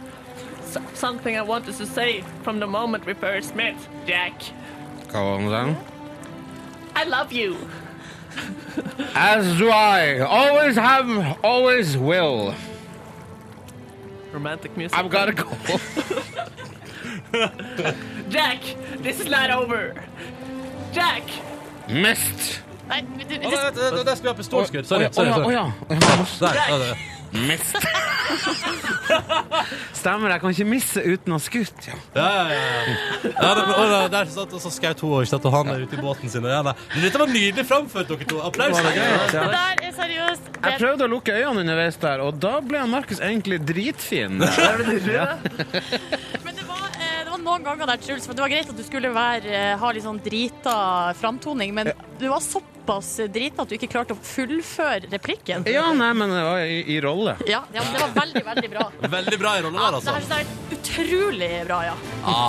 S14: S- something I wanted to say from the moment we first met, Jack.
S10: Come on.
S14: I love you.
S10: As do I. Always have, always will.
S2: Romantic music.
S10: I've got to go.
S14: Jack, this is not over. Jack!
S10: Mist!
S3: Nei, men du,
S1: det, det, det, det skulle vært pistorskudd. Sorry.
S10: Å, å,
S1: sorry,
S10: ja,
S1: sorry.
S10: å, ja.
S1: Der, ja, det-
S10: Mist. Stemmer, jeg kan ikke misse uten å ha skutt. Ja.
S1: Ja, ja, ja. ja det, og det- der satt og så skaut hun og satt og han er ute i båten sin. og Ja, nei. Men dette var nydelig framført, dere to. Applaus.
S10: Det var det greit,
S3: Det der er seriøst
S10: Jeg prøvde å lukke øynene underveis der, og da ble han Markus egentlig dritfin. Ja.
S3: Eh, Det var noen ganger der, Truls, for det var greit at du skulle være, eh, ha litt sånn drita framtoning, men du var såpass drita at du ikke klarte å fullføre replikken.
S10: ja, nei, men det var i, i rolle.
S3: Ja, ja, men det var veldig, veldig bra.
S1: Veldig bra i rolle der,
S3: Det
S1: altså.
S3: her synes jeg er utrolig bra, ja.
S1: Ja.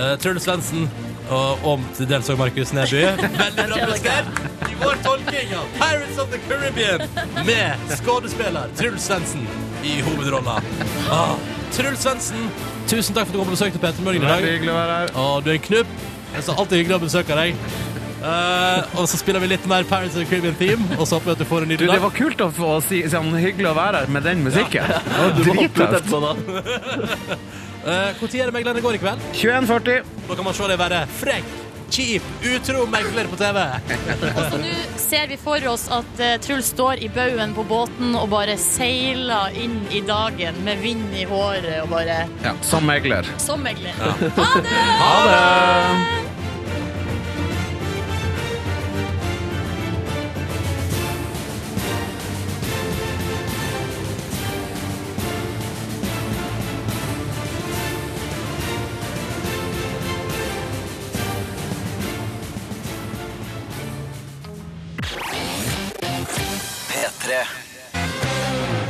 S1: Eh, Truls Svendsen og om til dels også Markus Neby. Veldig bra prestert i vår tolking av Pirates of the Caribbean med skuespiller Truls Svendsen i hovedrolla. Ah, Truls Svendsen, tusen takk for at du kom på besøk til Peter Morgen i dag.
S10: Veldig hyggelig å være her.
S1: Og du er en knupp. Det er så alltid hyggelig å besøke deg. Eh, og så spiller vi litt mer Pirates of the Caribbean Theme, og så håper vi at du får en
S10: Du,
S1: nydelig
S10: det
S1: dag.
S10: var kult å få si sånn hyggelig å være her med den musikken. Det var
S2: Oh,
S1: Du må hoppe ut
S10: drittøft.
S1: etterpå, Eh, Hvor tid er det meglerne går i kveld?
S10: 21.40.
S1: Da kan man se deg være frekk, kjip, utro megler på TV.
S3: Altså, Nå ser vi for oss at eh, Truls står i baugen på båten og bare seiler inn i dagen med vind i håret og bare
S10: Ja, som megler.
S3: Som megler.
S10: Ja.
S3: Ha det!
S10: Ha det!
S4: P3.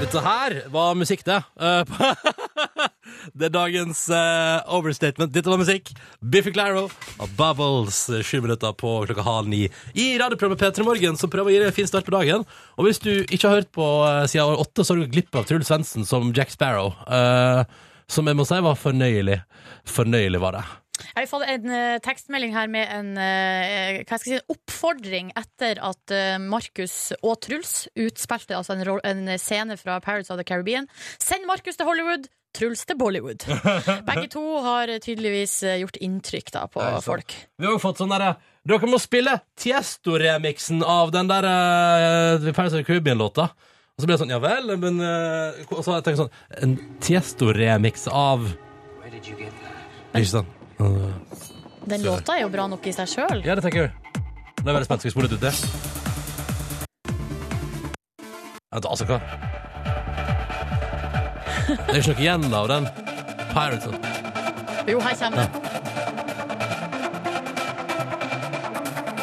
S1: Dette her var musikk, det. Eh, det er dagens eh, overstatement. Dette var musikk. Biffy Claro og Bubbles. eh, Sju minutter på klokka halv ni i radioprogrammet P3 Morgen, som prøver å gi deg en fin start på dagen. Og hvis du ikke har hørt på eh, siden åtte, så har du gått glipp av Truls Svendsen som Jack Sparrow. eh, som jeg må si var fornøyelig. Fornøyelig var det.
S3: Jeg har fått en eh, tekstmelding her med en eh, hva skal jeg si, en oppfordring etter at eh, Markus og Truls utspilte altså en, ro- en scene fra Pirates of the Caribbean. Send Markus til Hollywood, Truls til Bollywood. Begge to har tydeligvis eh, gjort inntrykk da, på
S1: Nei, sant.
S3: folk.
S1: Vi har jo fått sånn derre Dere må spille Tiesto-remiksen av den der uh, Paris of the Caribbean-låta. Og så ble det sånn, ja vel, men eh, Og så har jeg tenkt sånn En Tiesto-remix av Ikke sant?
S3: Den
S1: Se der.
S3: låta er jo bra nok i seg sjøl.
S1: Ja, det tenker jeg. Nå er jeg veldig spent. Skal vi spole litt ut det? Vent, altså, hva Det er ikke noe igjen av den Pirates of
S3: Jo, her kommer den.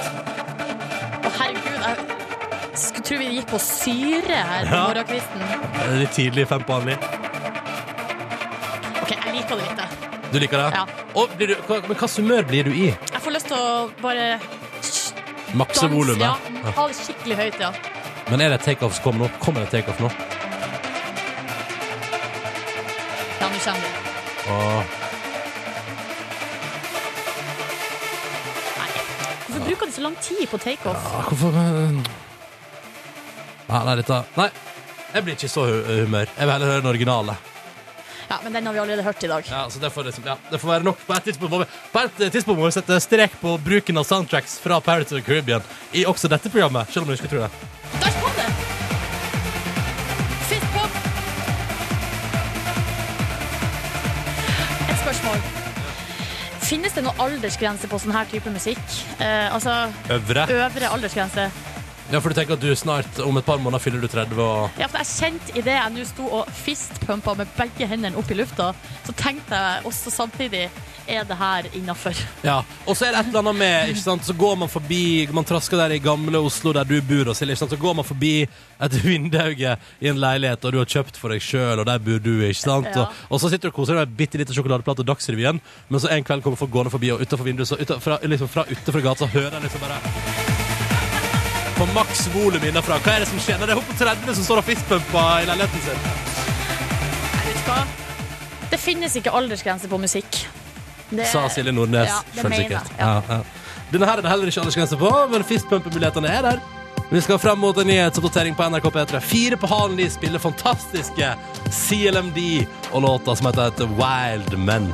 S3: Å, herregud, jeg skulle tro vi gikk på syre her på
S1: Ja.
S3: morgenkvisten.
S1: Det er Litt tidlig fem på halv ni.
S3: OK, jeg liker det litt, jeg.
S1: Du liker det?
S3: Ja.
S1: Og blir du, hva, men hva humør blir du i?
S3: Jeg får lyst til å bare
S1: Makse
S3: danse,
S1: volumet.
S3: Ja.
S1: Ja.
S3: Ha det skikkelig høyt, ja.
S1: Men er det takeoff som kommer nå? Kommer det takeoff nå?
S3: Ja, nå kommer det.
S1: Åh.
S3: Hvorfor bruker de så lang tid på takeoff?
S1: Ah, Hvorfor Nei, nei, dette Nei, jeg blir ikke i så hu- humør. Jeg vil heller høre den originale.
S3: Ja, men den har vi allerede hørt i dag.
S1: Ja, så det får, liksom, ja, det får være nok. På et tidspunkt må vi, på et eh, tidspunkt må vi sette strek på bruken av soundtracks fra Pirates of the Caribbean i også dette programmet, selv om du ikke tror det.
S3: Fist pump! Et spørsmål. Finnes det noen aldersgrense på sånn her type musikk? Eh, altså
S1: Øvre.
S3: øvre aldersgrense.
S1: Ja, for du tenker at du snart, om et par måneder, fyller du 30 og
S3: Ja, for jeg kjente idet jeg nå sto og fistpumpa med begge hendene opp i lufta, så tenkte jeg også samtidig er det her innafor?
S1: Ja, og så er det et eller annet med ikke sant? Så går man forbi Man trasker der i gamle Oslo der du bor og Silje, ikke sant? Så går man forbi et vindauge i en leilighet Og du har kjøpt for deg selv Og der bor du, ikke sant?
S9: Ja.
S1: Og, og så sitter du og koser deg med en bittelite sjokoladeplate og Dagsrevyen Men så en kveld kommer folk gående forbi Og utenfor vinduet så utenfor, fra, liksom fra utenfor gata Så hører jeg liksom bare På maks volum innenfra Hva er det som skjer? Nei, Det er hun på 30 som står og fistpumpa i leiligheten sin
S3: Nei, vet du hva? Det finnes ikke aldersgrense på musikk. Det-
S1: Sa Silje Nordnes
S3: Ja, det mener jeg.
S1: selvsikkert. Ja, ja. Denne her er det heller ikke aldersgrense på, men fistpumpemulighetene er der. Vi skal frem mot en nyhetsoppdatering på NRK P3. Fire på halen de spiller fantastiske CLMD og låta som heter The Wild Men.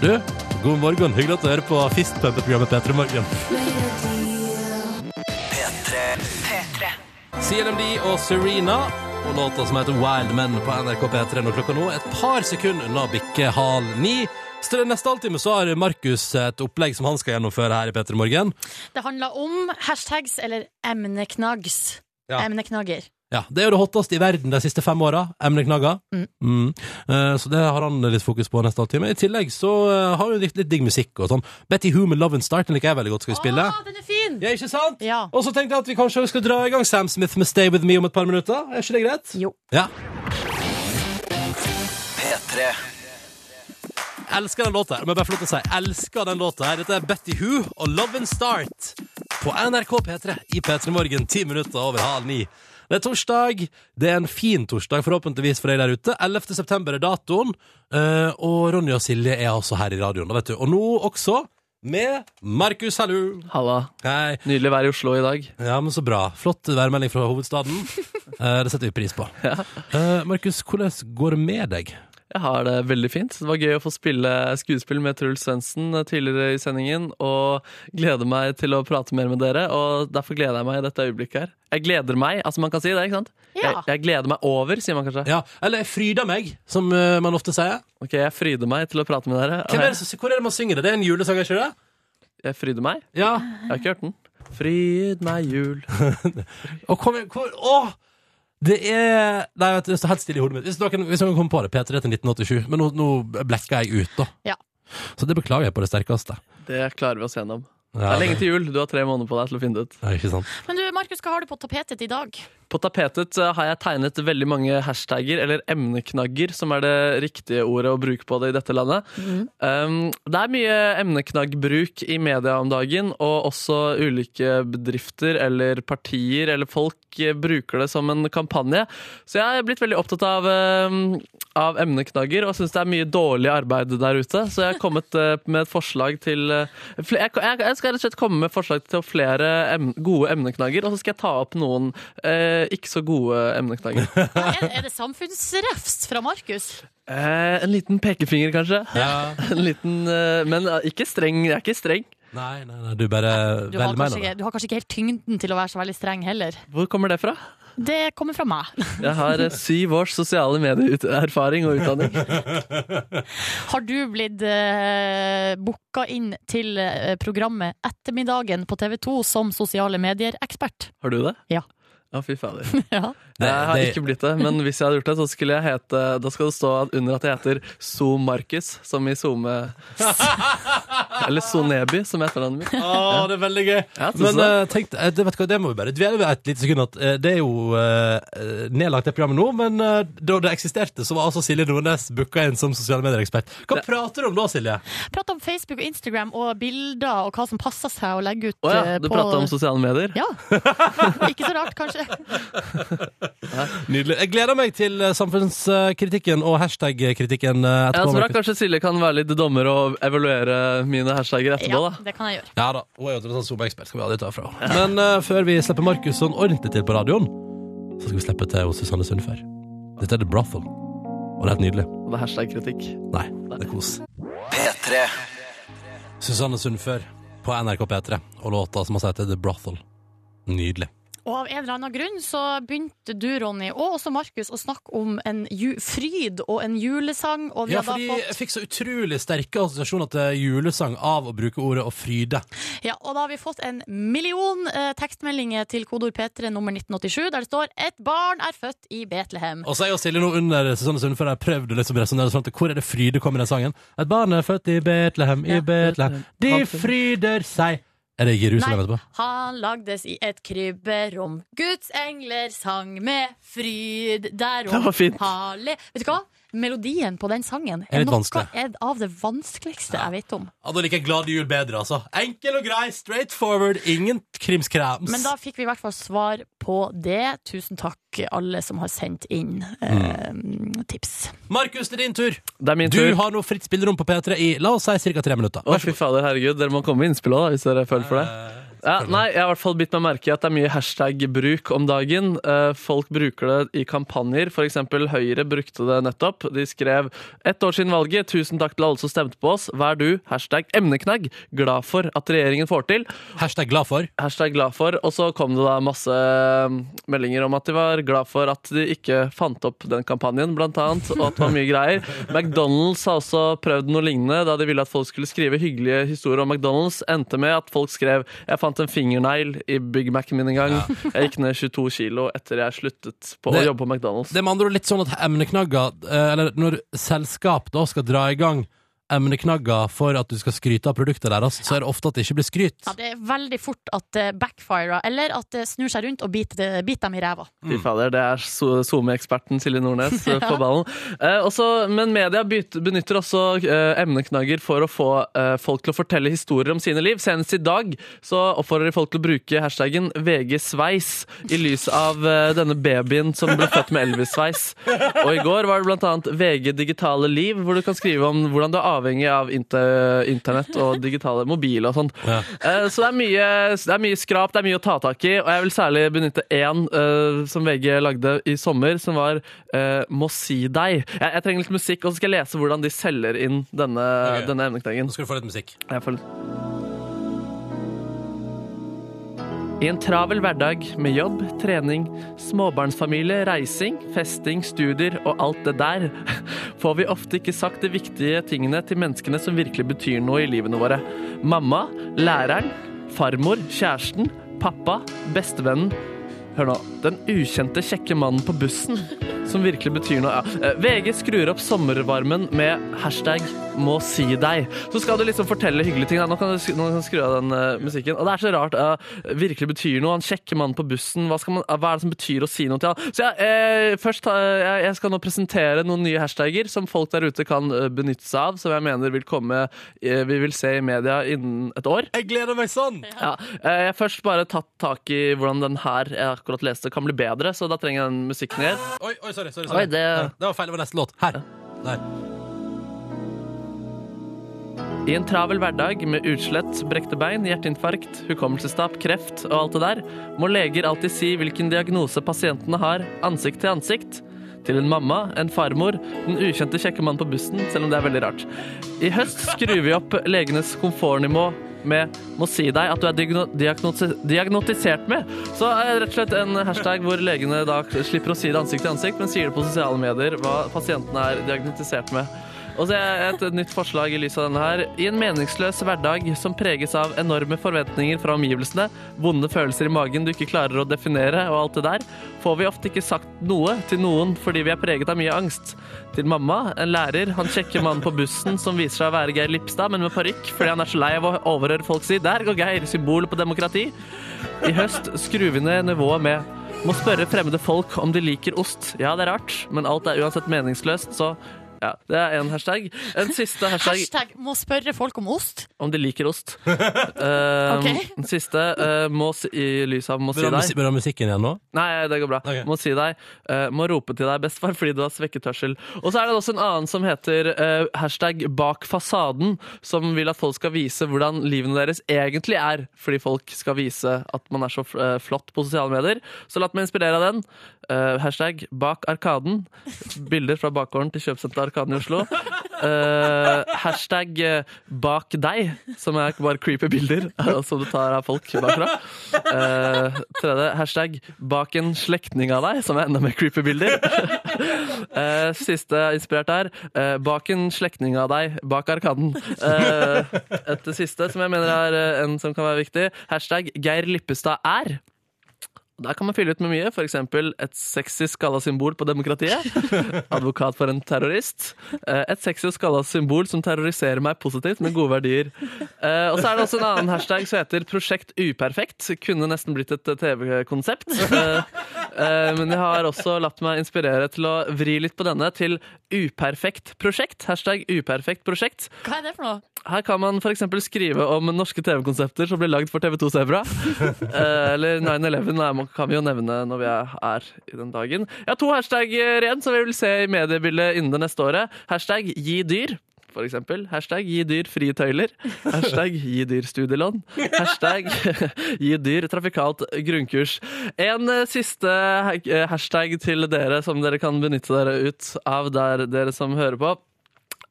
S1: Du, God morgen. Hyggelig at du hører på Fistpumpeprogrammet P3 Morgen. CLMD og Serena og låta som heter Wild Men på NRK P3 når klokka nå er et par sekunder unna å bikke hal ni. Så det er Neste halvtime så har Markus et opplegg som han skal gjennomføre her i P3 Morgen.
S3: Det handler om hashtags eller emneknaggs.
S1: Ja.
S3: Emneknagger.
S1: Ja, Det er jo det hotteste i verden de siste fem åra. Emneknagger.
S3: Mm.
S1: Mm. Eh, Så det har han litt fokus på neste halvtime. I tillegg så eh, har vi litt, litt digg musikk og sånn. Betty Who med Love and Start den liker jeg veldig godt. Skal vi spille?
S3: den er fin!
S1: Ja, ikke sant?
S3: Ja.
S1: Og så tenkte jeg at vi kanskje skal dra i gang Sam Smith med Stay With Me om et par minutter. Er ikke det greit?
S3: Jo.
S1: Ja.
S4: P3.
S1: Elsker den låta her. Må jeg bare få lov til å si. Elsker den låta her. Dette er Betty Who og Love and Start på NRK P3 i P3 Morgen ti minutter over halv ni. Det er torsdag. Det er en fin torsdag, forhåpentligvis, for deg der ute. 11. september er datoen. Eh, og Ronny og Silje er altså her i radioen, da, vet du. Og nå også med Markus, hallo.
S2: Halla.
S1: Hei.
S2: Nydelig å være i Oslo i dag.
S1: Ja, men så bra. Flott værmelding fra hovedstaden. Eh, det setter vi pris på. Eh, Markus, hvordan går det med deg?
S2: Jeg har det veldig fint. Det var gøy å få spille skuespill med Truls Svendsen tidligere i sendingen, og gleder meg til å prate mer med dere, og derfor gleder jeg meg i dette øyeblikket her. Jeg gleder meg, altså man kan si det, ikke sant?
S1: Ja.
S2: Jeg, jeg gleder meg over, sier man kanskje.
S1: Ja, eller jeg fryder meg, som eh, man ofte sier.
S2: Ok, jeg fryder meg til å prate med dere.
S1: Hvem er det som, hvor er det man synger det? Det er en julesang, er ikke det?
S2: Jeg fryder meg?
S1: Ja.
S2: Jeg har ikke hørt den. Fryd meg jul.
S1: Og kom, igjen, kom, åh! Det er Nei, vet du, det står helt stille i hodet mitt. Hvis noen, hvis noen kommer på det, P3 til 1987. Men nå, nå blekka jeg ut, da.
S3: Ja.
S1: Så det beklager jeg på det sterkeste.
S2: Det klarer vi oss gjennom. det
S1: Ja,
S2: er lenge
S1: det-
S2: til jul, du har tre måneder på deg til å finne det ut.
S1: Nei, ikke sant.
S3: Men du, Markus, hva har du på tapetet i dag?
S2: På tapetet eh, har jeg tegnet veldig mange hashtagger, eller emneknagger, som er det riktige ordet å bruke på det i dette landet. Um, det er mye emneknaggbruk i media om dagen, og også ulike bedrifter eller partier eller folk eh, bruker det som en kampanje. Så jeg er blitt veldig opptatt av, um, av emneknagger, og syns det er mye dårlig arbeid der ute. Så jeg har kommet eh, med et forslag til eh, fle- jeg, jeg, jeg skal rett og slett komme med forslag til flere em, gode emneknagger, og så skal jeg ta opp noen eh, ikke så gode emneknagger.
S3: Er, er det samfunnsrefs fra Markus?
S2: Eh, en liten pekefinger, kanskje. en liten, eh, men eh, ikke streng. Jeg er ikke streng.
S1: Nei, nei, nei, du bare
S3: Du har, kanskje,
S2: velmenende.
S3: ikke- du har kanskje ikke helt tyngden til å være så veldig streng heller.
S2: Hvor kommer det fra?
S3: Det kommer fra meg.
S2: Jeg har eh, syv års sosiale medieerfaring og utdanning.
S3: Har du blitt uh, booka inn til eh, programmet Ettermiddagen på TV 2 som sosiale medier-ekspert?
S2: Har du det?
S3: Ja.
S2: Ja, fy fader.
S3: Ja.
S2: Jeg har
S1: det-
S2: ikke blitt det, men hvis jeg hadde gjort det, så skulle jeg hete Da skal det stå at- under at jeg heter Zoom Markus, som i SoMe Eller Soneby, som er etternavnet mitt.
S1: Å, Ah, det er veldig gøy. Men eh, tenk, eh, det, vet du hva, det må vi bare dvele ved et lite sekund. At, eh, det er jo eh, eh, nedlagt, det programmet nå, men eh, da det eksisterte, så var altså Silje Nordnes booka inn som sosiale medier-ekspert. Hva prater du om da, Silje?
S3: Prat om Facebook og Instagram og bilder og hva som passer seg å legge ut.
S2: Å
S3: eh,
S2: ja, du
S3: på-
S2: prata om sosiale medier?
S3: Ja. Ikke så rart, kanskje.
S1: Nydelig. Jeg gleder meg til eh, samfunnskritikken og hashtag-kritikken eh,
S2: Jeg
S1: etterpå.
S2: tror da kanskje Silje kan være litt dommer og evaluere mine hashtagger etterpå, da.
S3: det kan jeg gjøre.
S1: Ja da, hun er jo tross alt zoom-ekspert, skal vi aldri ta fra henne. Men eh, før vi slipper Markus sånn ordentlig til på radioen, så skal vi slippe til hos Susanne Sundfør. Dette er The Brothel, og det er helt nydelig.
S2: Og det er hashtag-kritikk.
S1: Nei, det er kos. Susanne Sundfør på NRK P3, og låta som har sagt The Brothel. Nydelig.
S3: Og av en eller annen grunn så begynte du, Ronny, og også Markus, å snakke om en ju fryd og en julesang. Og vi
S1: Ja,
S3: har da
S1: fordi
S3: fått
S1: jeg fikk så utrolig sterke assosiasjoner til julesang av å bruke ordet å fryde.
S3: Ja, og da har vi fått en million eh, tekstmeldinger til kodord P3 nummer 1987, der det står 'Et barn er født i Betlehem'.
S1: Og så er jo Silje nå under Susanne Sundfør jeg prøvde liksom å resonnere oss fram til hvor er det fryde kommer i den sangen. Et barn er født i Betlehem, i Betlehem. De fryder seg. Er det Jerusalem etterpå?
S3: Han lagdes i et krybberom. Guds engler sang med fryd derom.
S1: Det var fint.
S3: Halle. Vet du hva? Melodien på den sangen
S1: Er litt
S3: noe
S1: vanskelig.
S3: er av det vanskeligste jeg vet om.
S1: Ja, Da liker jeg Glad jul bedre, altså. Enkel og grei, straight forward, ingen krimskrams.
S3: Men da fikk vi i hvert fall svar på det. Tusen takk, alle som har sendt inn eh,
S1: Mm.
S3: tips.
S1: Markus, det er din tur.
S2: Det er min
S1: du
S2: tur.
S1: har nå fritt spillerom på P3 i la oss si ca. tre minutter.
S2: Å, fy fader, herregud. Dere må komme med innspill òg, hvis dere føler for det. Ja, nei, jeg har i hvert fall bitt meg merke i at det er mye hashtag-bruk om dagen. Eh, Folk bruker det i kampanjer. For eksempel Høyre brukte det nettopp. De skrev ett år siden valget. Tusen takk til alle som stemte på oss. Hva er du? Hashtag emneknagg. Glad for at regjeringen får til.
S1: Hashtag glad for.
S2: Hashtag glad for. Og så kom det da masse um, meldinger om at de var glad for at de ikke fant opp den kampanjen, blant annet. Og at det var mye greier. McDonald's har også prøvd noe lignende, da de ville at folk skulle skrive hyggelige historier om McDonald's. Endte med at folk skrev 'Jeg fant en fingernegl i Big Mac-en min en gang'. Jeg gikk ned 22 kilo etter jeg sluttet på å
S1: Det-
S2: jobbe på McDonald's.
S1: Det er med andre ord litt sånn at emneknagger, eh, eller når selskap da skal dra i gang emneknagger for at du skal skryte av produktet deres, så er det ofte at det ikke blir skryt.
S3: Ja, det er veldig fort at det backfirer, eller at det snur seg rundt og biter, biter dem i ræva.
S2: Fy fader, det er SoMe-eksperten Silje Nordnes eh, på ballen. Eh, også, men media byt- benytter også eh, emneknagger for å få eh, folk til å fortelle historier om sine liv. Senest i dag så oppfordrer de folk til å bruke hashtaggen VG-sveis i lys av eh, denne babyen som ble født med Elvis-sveis. Og i går var det blant annet VG digitale liv, hvor du kan skrive om hvordan du er avhengig av inter internett og digitale mobiler og sånt. Eh, Så det er, mye, det er mye skrap, det er mye å ta tak i, og jeg vil særlig benytte én eh, som VG lagde i sommer, som var eh, Må si deg. Jeg, jeg trenger litt musikk, og så skal jeg lese hvordan de selger inn denne, denne emneknaggen.
S1: Nå skal du få litt musikk.
S2: Jeg får litt I en travel hverdag med jobb, trening, småbarnsfamilie, reising, festing, studier og alt det der, får vi ofte ikke sagt de viktige tingene til menneskene som virkelig betyr noe i livene våre. Mamma, læreren, farmor, kjæresten, pappa, bestevennen. Hør nå. Den ukjente, kjekke mannen på bussen, som virkelig betyr noe. Ja. eh, VG skrur opp sommervarmen med hashtag 'må si deg'. Så skal du liksom fortelle hyggelige ting. da. Nå kan du, sk- nå kan du skru av den eh, musikken. Og det er så rart. eh, virkelig betyr noe. Han kjekke mannen på bussen. Hva, skal man, hva er det som betyr å si noe til han? Så jeg, eh, først, eh, jeg, jeg skal nå presentere noen nye hashtagger som folk der ute kan eh, benytte seg av, som jeg mener vil komme eh, Vi vil se i media innen et år.
S1: Jeg gleder meg sånn!
S2: Ja. Eh, Jeg har først bare tatt tak i hvordan den her jeg akkurat leste, kan bli bedre, så da trenger jeg den musikken her.
S1: Oi, oi, sorry, sorry. sorry.
S2: Oi, det-
S1: det var feil. Det var neste låt. Her. Der.
S2: I en travel hverdag med utslett, brekte bein, hjerteinfarkt, hukommelsestap, kreft og alt det der, må leger alltid si hvilken diagnose pasientene har, ansikt til ansikt. Til en mamma, en farmor, den ukjente kjekke mannen på bussen, selv om det er veldig rart. I høst skrur vi opp legenes komfortnivå med 'må si deg at du er diagno diagnose- diagnotisert med'. Så er det rett og slett en hashtag hvor legene da slipper å si det ansikt til ansikt, men sier det på sosiale medier hva pasientene er diagnotisert med. Og så er et nytt forslag i lys av denne her. I en meningsløs hverdag som preges av enorme forventninger fra omgivelsene, vonde følelser i magen du ikke klarer å definere og alt det der, får vi ofte ikke sagt noe til noen fordi vi er preget av mye angst. Til mamma, en lærer, han kjekke mannen på bussen som viser seg å være Geir Lipstad, men med parykk fordi han er så lei av å overhøre folk si 'der går Geir', symbol på demokrati. I høst skrur vi ned nivået med Må spørre fremmede folk om de liker ost. Ja, det er rart, men alt er uansett meningsløst, så ja, det er en hashtag. En siste hashtag,
S3: Hashtag 'må spørre folk om ost'.
S2: om de liker ost. Eh,
S3: Ok.
S2: Den siste eh, må si, i lys av må si
S1: Bør du ha musi-
S2: deg.
S1: bør du ha musikken igjen nå?
S2: Nei, det går bra. Må si deg. eh, må rope til deg, bestefar, fordi du har svekket hørsel. Og så er det også en annen som heter eh, hashtag bak fasaden, som vil at folk skal vise hvordan livene deres egentlig er, fordi folk skal vise at man er så fl- eh, flott på sosiale medier. Så la meg inspirere av den. Eh, hashtag bak arkaden. Bilder fra bakgården til kjøpesenteret Arkaden i Oslo. Eh, hashtag eh, bak deg, som er bare creepy bilder som du tar av folk bakfra. Eh, tredje hashtag bak en slektning av deg, som er enda mer creepy bilder. Eh, siste inspirert er eh, bak en slektning av deg bak arkaden. Eh, et siste som jeg mener er eh, en som kan være viktig. Hashtag Geir Lippestad er. Der kan man fylle ut med mye, f.eks. et sexy skalla symbol på demokratiet. Advokat for en terrorist. Eh, Et sexy og skalla symbol som terroriserer meg positivt med gode verdier. Eh, Og så er det også en annen hashtag som heter Prosjekt uperfekt. Kunne nesten blitt et eh, TV-konsept. Eh, eh, Men jeg har også latt meg inspirere til å vri litt på denne til uperfekt prosjekt. Hashtag uperfekt prosjekt.
S3: Hva er det for noe?
S2: Her kan man f.eks. skrive om norske TV-konsepter som blir lagd for TV2 Sebra. Eh, Eller 9-11 nei, man kan vi jo nevne når vi er her i den eh, dagen. Jeg har to hashtag igjen som vi vil se i mediebildet innen det neste året. Hashtag gi dyr. for eksempel. Hashtag gi dyr frie tøyler. Hashtag gi dyr studielån. Hashtag gi dyr trafikalt grunnkurs. En eh, siste ha- eh, hashtag til dere som dere kan benytte dere ut av der dere som hører på.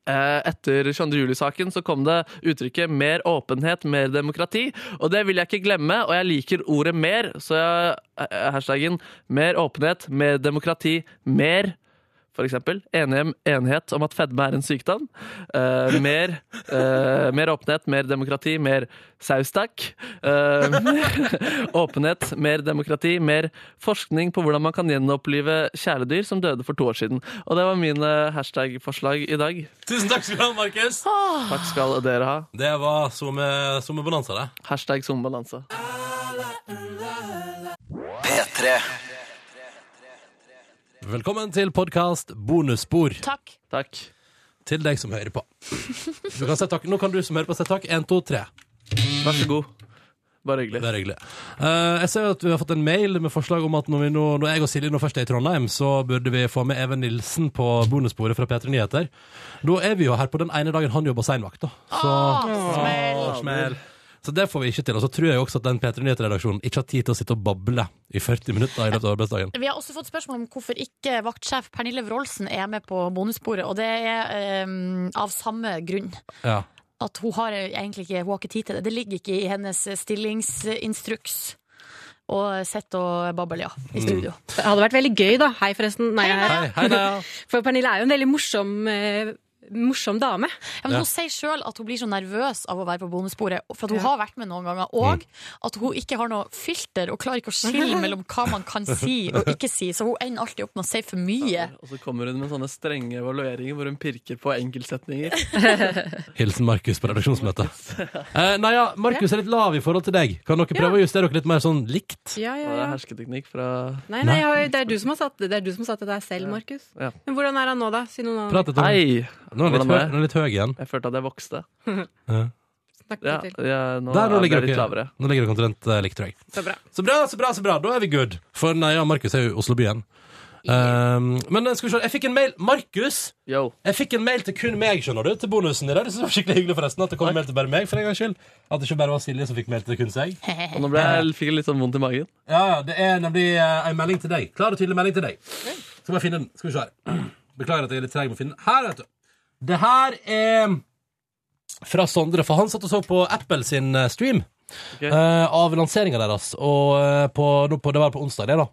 S2: Eh, Etter 22. juli-saken så kom det uttrykket 'mer åpenhet, mer demokrati'. Og det vil jeg ikke glemme, og jeg liker ordet 'mer', så jeg, eh, hashtaggen 'mer åpenhet, mer demokrati, mer' For eksempel enighet, enighet om at fedme er en sykdom. Eh, mer, eh, mer åpenhet, mer demokrati, mer saus, takk. Eh, åpenhet, mer demokrati, mer forskning på hvordan man kan gjenopplive kjæledyr som døde for to år siden. Og det var mine hashtag-forslag i dag.
S1: Tusen takk skal du ha, Markus.
S2: Takk skal dere ha.
S1: Det var sommerbonanza, det.
S2: Hashtag sommerbonanza.
S4: P3
S1: Velkommen til podkast Bonusspor.
S3: Takk.
S1: Til deg som hører på. Du kan sette tak. Nå kan du som hører på, sette tak. Én, to, tre.
S2: Vær så god. Bare hyggelig.
S1: Det er hyggelig. Eh, jeg ser jo at vi har fått en mail med forslag om at når, vi nå, når jeg og Silje nå først er i Trondheim, så burde vi få med Even Nilsen på bonussporet fra P3 Nyheter. Da er vi jo her på den ene dagen han jobber seinvakt, da. Så,
S3: Ah,
S9: smell.
S1: Åh, smell. så det får vi ikke til. Og så tror jeg jo også at den P3 Nyheter-redaksjonen ikke har tid til å sitte og bable i 40 minutter i løpet av arbeidsdagen.
S3: Vi har også fått spørsmål om hvorfor ikke vaktsjef Pernille Wroldsen er med på bonussporet, og det er eh, av samme grunn.
S1: Ja.
S3: At hun har egentlig ikke, hun har ikke tid til det. Det ligger ikke i hennes stillingsinstruks. Og sitte og bable, ja. I studio.
S15: Det hadde vært veldig gøy, da. Hei, forresten. Nei, hei.
S1: Hei, da.
S15: For Pernille er jo en veldig morsom, eh, morsom dame.
S3: Ja, men
S15: Ja.
S3: Hun sier sjøl at hun blir så nervøs av å være på bonussporet, for at hun har vært med noen ganger, og
S1: Mm.
S3: at hun ikke har noe filter og klarer ikke å skille mellom hva man kan si og ikke si, så hun ender alltid opp med å si for mye.
S2: Og så kommer hun med sånne strenge evalueringer hvor hun pirker på enkeltsetninger.
S1: Hilsen Markus på redaksjonsmøtet. Uh, nei ja, Markus er litt lav i forhold til deg. Kan dere prøve å justere dere litt mer sånn likt?
S15: Ja, ja,
S2: Og det
S15: ja.
S2: er hersketeknikk fra
S15: Nei, nei, jeg har- det er du som har satt det, det, er du som har satt det der selv, Markus.
S2: Ja.
S15: Men hvordan er han nå, da? Si noe nå.
S1: Prat litt om
S2: Hei!
S1: Nå er han litt
S2: Hvordan
S1: høy-
S2: er
S1: nå er han litt høy igjen.
S2: Jeg følte at jeg vokste.
S15: Snakk
S2: Ja,
S15: litt til.
S2: ja, nå
S1: Der, nå
S2: er
S1: ligger
S2: jeg litt
S1: dere
S2: lavere.
S1: Nå ligger dere omtrent eh, likt, tror jeg.
S15: Så bra.
S1: Så bra, så bra, så bra. Da er vi good. For nei, ja, Markus er jo i Oslobyen. Um, men eh, skal vi se, jeg fikk en mail Markus! Jeg fikk en mail til kun meg, skjønner du, til bonusen i dag. Det synes jeg var skikkelig hyggelig, forresten, at det kom en mail til bare meg, for en gangs skyld. At det ikke bare var Silje som fikk mail til kun seg.
S2: Og nå ble jeg, fikk jeg litt sånn vondt i magen.
S1: Ja, ja, det er nemlig eh, en melding til deg. Klar og tydelig melding til deg. Skal bare finne den. Skal vi se her. Beklager at jeg er litt treg med å finne den. Her, vet du. Det her er fra Sondre, for han satt og så på Apple sin eh, stream eh, av lanseringa deres. Og eh, på, nå på, det var på onsdag, det, da.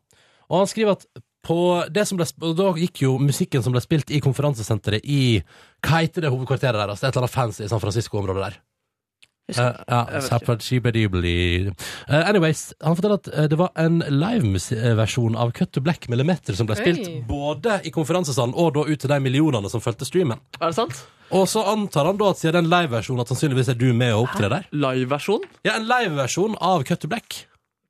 S1: Og han skriver at på det som ble, sp- og da gikk jo musikken som ble spilt i konferansesenteret i Hva heter det hovedkvarteret deres? Det er et eller annet fancy i San Francisco-området der. Eh, ja,
S9: Jeg vet
S1: Zappa-chibba-dibli. Eh, anyways, han forteller at eh, det var en liveversjon av Cut to Black Millimeter som ble spilt
S2: Oi.
S1: både i konferansesalen og da ut til de millionene som fulgte streamen.
S2: Er det sant?
S1: Og så antar han da at siden det er en liveversjon, at sannsynligvis er du med og opptrer der.
S2: Liveversjon?
S1: Ja, en liveversjon av Cut to Black.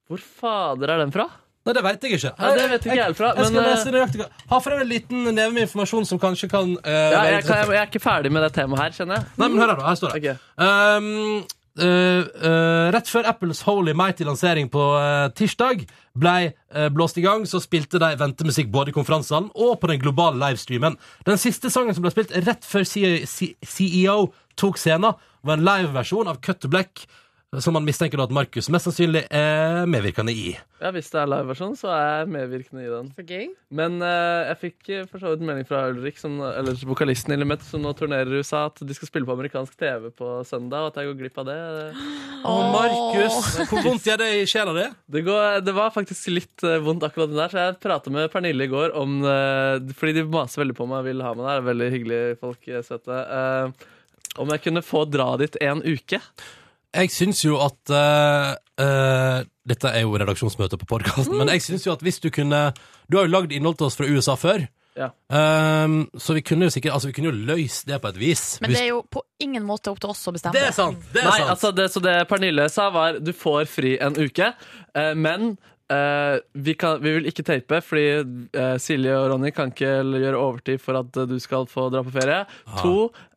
S2: Hvor fader er den fra?
S1: Nei, det veit jeg ikke.
S2: Nei, det vet ikke jeg helt fra,
S1: Jeg skal
S2: men, eh,
S1: lese nøyaktig. Har for øvrig en liten neve med informasjon som kanskje kan eh, være
S2: Ja, jeg, kan, jeg,
S1: interessant.
S2: jeg er ikke ferdig med det temaet her, kjenner jeg.
S1: Nei, men hør her, da. Her står det. Um, eh, eh, rett før Apples Holy Mighty lansering på eh, tirsdag ble eh, blåst i gang, så spilte de ventemusikk både i konferansene og på den globale livestreamen. Den siste sangen som ble spilt rett før C- C- CEO tok scenen, var en liveversjon av Cut to Black, eh, som man mistenker da at Markus mest sannsynlig er medvirkende i.
S2: Ja, Hvis det er liveversjon, så er jeg medvirkende i den.
S15: Så gøy.
S2: Men eh, jeg fikk eh, for så vidt melding fra Ulrik, som, eller vokalisten i Limit, som nå turnerer i USA, at de skal spille på amerikansk TV på søndag, og at jeg går glipp av det.
S1: Å, Markus! Hvor vondt gjør det i sjela di?
S2: Det, går, det var faktisk litt eh, vondt akkurat den der, så jeg prata med Pernille i går om eh, Fordi de maser veldig på meg og vil ha meg der. Veldig hyggelige folk, eh, søte. Eh, om jeg kunne få dra dit en uke?
S1: Jeg syns jo at eh, eh, Dette er jo redaksjonsmøte på podkasten, men jeg syns jo at hvis du kunne Du har jo lagd innhold til oss fra USA før,
S2: Ja.
S1: ehm, så vi kunne jo sikkert Altså, vi kunne jo løst det på et vis.
S3: Men det er jo på ingen måte opp til oss å bestemme.
S1: Det er sant! Det er
S2: Nei,
S1: sant.
S2: altså det, så det Pernille sa var Du får fri en uke, eh, men eh, vi, kan, vi vil ikke tape, fordi eh, Silje og Ronny kan ikke gjøre overtid for at eh, du skal få dra på ferie.
S1: Ah.
S2: To,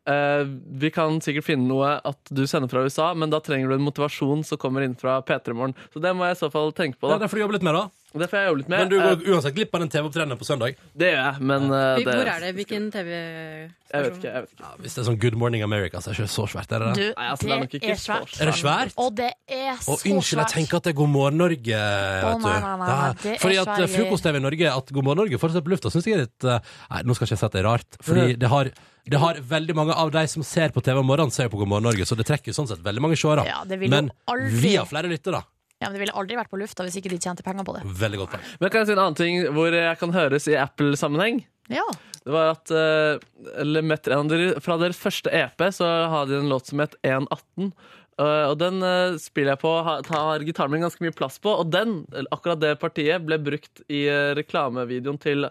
S2: eh, vi kan sikkert finne noe at du sender fra USA, men da trenger du en motivasjon som kommer inn fra P3 Morgen. Så det må jeg i så fall tenke på.
S1: Det
S2: Da.
S1: er derfor du jobber litt mer, da.
S2: Det får jeg jobbe litt med.
S1: Men du går
S2: Eh,
S1: uansett glipp av den TV-opptredenen på søndag.
S2: Det gjør jeg, men eh, det,
S15: Hvor er det? Hvilken TV?
S2: Jeg vet ikke. jeg vet ikke.
S1: Hvis det er sånn Good Morning America, så er det ikke så svært. Er det
S3: Du,
S1: altså, det?
S3: det er svært.
S1: Er det svært?
S3: Og det er så
S1: Og unnskyld, jeg
S3: svært.
S1: tenker at det er God morgen Norge. vet du.
S3: nei, nei, nei,
S1: Ja,
S3: det er
S1: Fordi at
S3: Sverige.
S1: frokost-TV i Norge, at God morgen Norge fortsatt på lufta, syns jeg er litt eh, Nei, nå skal ikke jeg si at det er rart. Fordi
S2: Mhm.
S1: det har, det har veldig mange av de som ser på TV om morgenen, ser jo på God morgen Norge, så det trekker jo sånn sett veldig mange seere.
S3: Ja, det vil jo
S1: Men
S3: aldri-
S1: vi har flere lyttere.
S3: Ja, men Det ville aldri vært på lufta hvis ikke de tjente penger på det.
S1: Veldig godt poeng.
S2: Men kan jeg si en annen ting hvor jeg kan høres i Apple-sammenheng?
S3: Ja.
S2: Det var at eh, eller med- en av dere- Fra deres første EP så har de en låt som het 118. eh, og den eh, spiller jeg på, har, har gitaren min ganske mye plass på. Og den, eller akkurat det partiet, ble brukt i eh, reklamevideoen til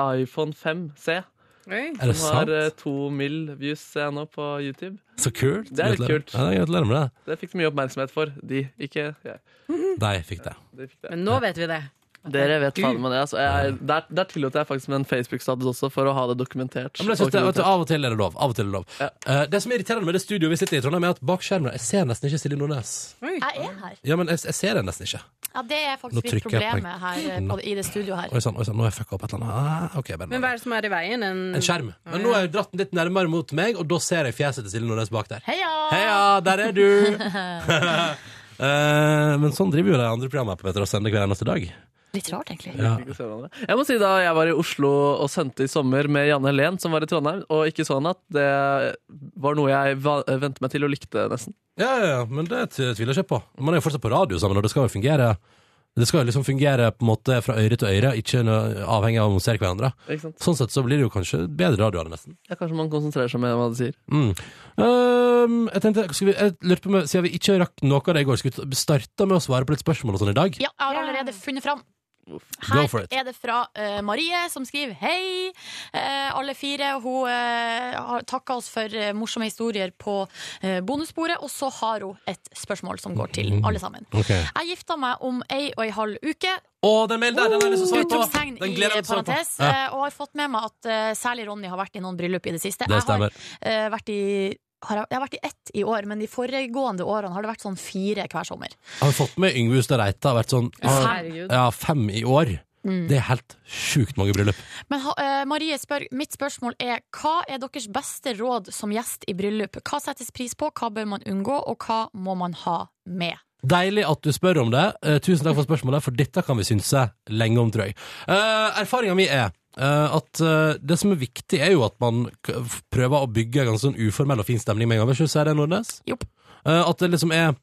S2: iPhone 5C.
S15: Oi.
S1: Er det
S2: som har
S1: sant?
S2: eh, to mill. views ser jeg nå på YouTube.
S1: Så kult.
S2: Det er litt
S1: Gratulerer.
S2: kult.
S1: Ja, gratulerer med det.
S2: Det fikk så mye oppmerksomhet for. De, ikke jeg.
S1: De fikk det.
S2: De fikk det.
S15: Men nå vet vi det.
S2: Dere vet faen meg det. Altså. Jeg, der der tillot jeg faktisk med en Facebook-status også, for å ha det dokumentert.
S1: Ja, Men jeg synes det, vet du, av og til er det lov. Av og til er det lov. Eh, det som er irriterende med det studioet vi sitter i, i Trondheim, er at bak skjermen Jeg ser nesten ikke Silje Nordnes.
S3: Jeg er her.
S1: Ja, men jeg, jeg ser det nesten ikke.
S3: Ja, Det er
S1: Nå
S3: faktisk litt
S1: trykker jeg på en
S3: problemet her eh, på, i det studioet her.
S1: Oi sann, oi sann, nå har jeg fucka opp et eller annet. Ah, ok, bare
S15: Men hva er det som er i veien? En,
S1: En skjerm. Men nå har jeg dratt den litt nærmere mot meg, og da ser jeg fjeset til Silje Nordnes bak der.
S3: Heia!
S1: Heia, der er du! Eh, men sånn driver jo de andre programmene på Petter og Sende hver eneste dag.
S3: Litt rart, egentlig.
S1: Ja.
S2: Jeg må si Da jeg var i Oslo og sendte i sommer med Janne Helen, som var i Trondheim, og ikke så han at det var noe jeg va- ventet meg til og likte, nesten.
S1: Ja, ja, ja, men det t- tviler jeg ikke på. Man er jo fortsatt på radio sammen, og det skal jo fungere Det skal jo liksom fungere på en måte fra øre til øre, ikke nø- avhengig av om man ser hverandre.
S2: Ikke sant?
S1: Sånn sett så blir det jo kanskje bedre radio av det, nesten.
S2: Ja, kanskje man konsentrerer seg mer om hva de sier.
S1: Mm. Ehm, jeg tenkte, skal vi, jeg lurte på, om- Siden vi ikke rakk noe av det i går, skal vi starte med å svare på litt spørsmål og sånn i dag?
S3: Ja, jeg har allerede funnet fram.
S1: Go for
S3: Her
S1: it.
S3: er det fra eh, Marie, som skriver hei, eh, alle fire. Hun eh, har takka oss for eh, morsomme historier på eh, bonusbordet. Og så har hun et spørsmål som går til alle sammen.
S1: Ok.
S3: Jeg gifta meg om ei og ei halv uke.
S1: Å, den mailen der, den har jeg lyst til å svare på.
S3: Utropstegn
S1: Den
S3: i
S1: gleder jeg meg til å svare på.
S3: parentes.
S1: Ja.
S3: eh, Og har fått med meg at eh, særlig Ronny har vært i noen bryllup i det
S1: Det
S3: siste. Jeg har,
S1: stemmer.
S3: eh, vært i, har, jeg har vært i ett i år, men de foregående årene har det vært sånn fire hver sommer.
S1: Har vi fått med Yngve Hustad Reite? Har vært sånn
S3: Herregud.
S1: ja, fem i år.
S3: Mm.
S1: Det er helt sjukt mange bryllup.
S3: Men ha- eh, Marie spør, mitt spørsmål er Hva er deres beste råd som gjest i bryllup? Hva settes pris på, hva bør man unngå, og hva må man ha med?
S1: Deilig at du spør om det. Eh, tusen takk for spørsmålet, for dette kan vi synse lenge om, tror jeg. Uh, Erfaringa mi er eh, at eh, det som er viktig, er jo at man k f- prøver å bygge en ganske sånn uformell og fin stemning med en gang. Vil ikke du si det, Nordnes? Eh, at det liksom er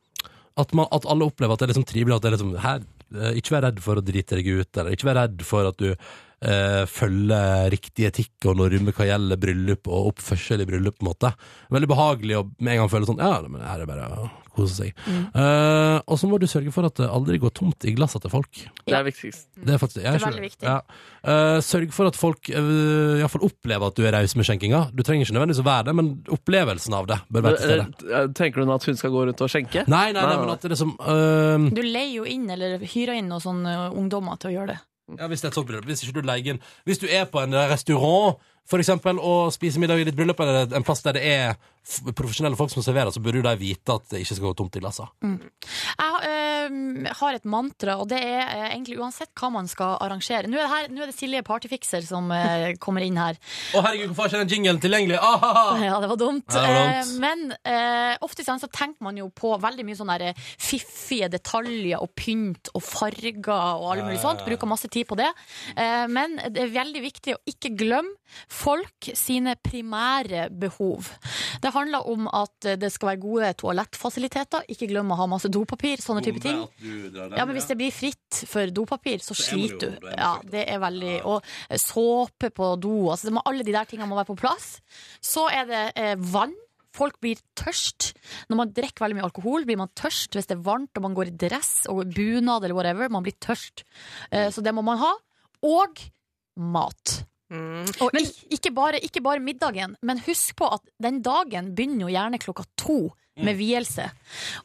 S1: at, man, at alle opplever at det er liksom trivelig, at det er liksom her, eh, Ikke vær redd for å drite deg ut, eller ikke vær redd for at du eh, følger riktig etikk og normer hva gjelder bryllup og oppførsel i bryllup, på en måte. Veldig behagelig å med en gang føle sånn Ja, men her er det bare å kose seg.
S2: Mm.
S1: Eh, og så må du sørge for at det aldri går tomt i glassene til folk.
S2: Det er viktigst.
S1: Det er faktisk jeg
S2: Mm. Det er
S1: skjønner.
S2: veldig viktig.
S1: Ja. Eh, sørg for at folk uh, iallfall opplever at du er raus med skjenkinga. Du trenger ikke nødvendigvis å være det, men opplevelsen av det bør være til stede.
S2: Eller, Eh, Tenker du nå at hun skal gå rundt og skjenke?
S1: Nei, nei, nei, men at det liksom eh,
S3: Du leier jo inn, eller hyrer inn noen sånne eh, ungdommer til å gjøre det.
S1: Ja, hvis det er et sånt bryllup. Hvis ikke du leier inn Hvis du er på en eh, restaurant for eksempel, og spiser middag i ditt bryllup, eller en plass der det er f- profesjonelle folk som serverer, så burde jo de vite at det ikke skal gå tomt i glassene.
S3: Jeg eh, har et mantra, og det er eh, egentlig uansett hva man skal arrangere. Nå er det, her, nå er det Silje Partyfikser som eh, kommer inn her.
S1: Å, herregud, hvorfor er ikke den jinglen tilgjengelig? Ah, Ahaha!
S3: Ja, det var dumt.
S1: Ja, det var
S3: Eh,
S1: dumt.
S3: Men eh, ofte sånn, så tenker man jo på veldig mye sånne der, eh, fiffige detaljer og pynt og farger og alt
S9: Ja,
S3: mulig
S9: ja,
S3: sånt.
S9: ja.
S3: Bruker masse tid på det. Eh, men det er veldig viktig å ikke glemme folk sine primære behov. Det handler om at eh, det skal være gode toalettfasiliteter. Ikke glem å ha masse dopapir, sånne type ting. Ja, men hvis det blir fritt for dopapir,
S9: Så
S3: så
S9: er man jo-
S3: sliter du.
S9: da er man
S3: Ja, det er veldig Og såpe på do. Altså, det må, alle de der tingene må være på plass. Så er det eh, vann. Folk blir tørst. Når man drikker veldig mye alkohol, blir man tørst hvis det er varmt og man går i dress og bunad eller whatever. Man blir tørst. Eh, så det må man ha. Og mat. Og ik- ikke, bare, ikke bare middagen, men husk på at den dagen begynner jo gjerne klokka to med vielse.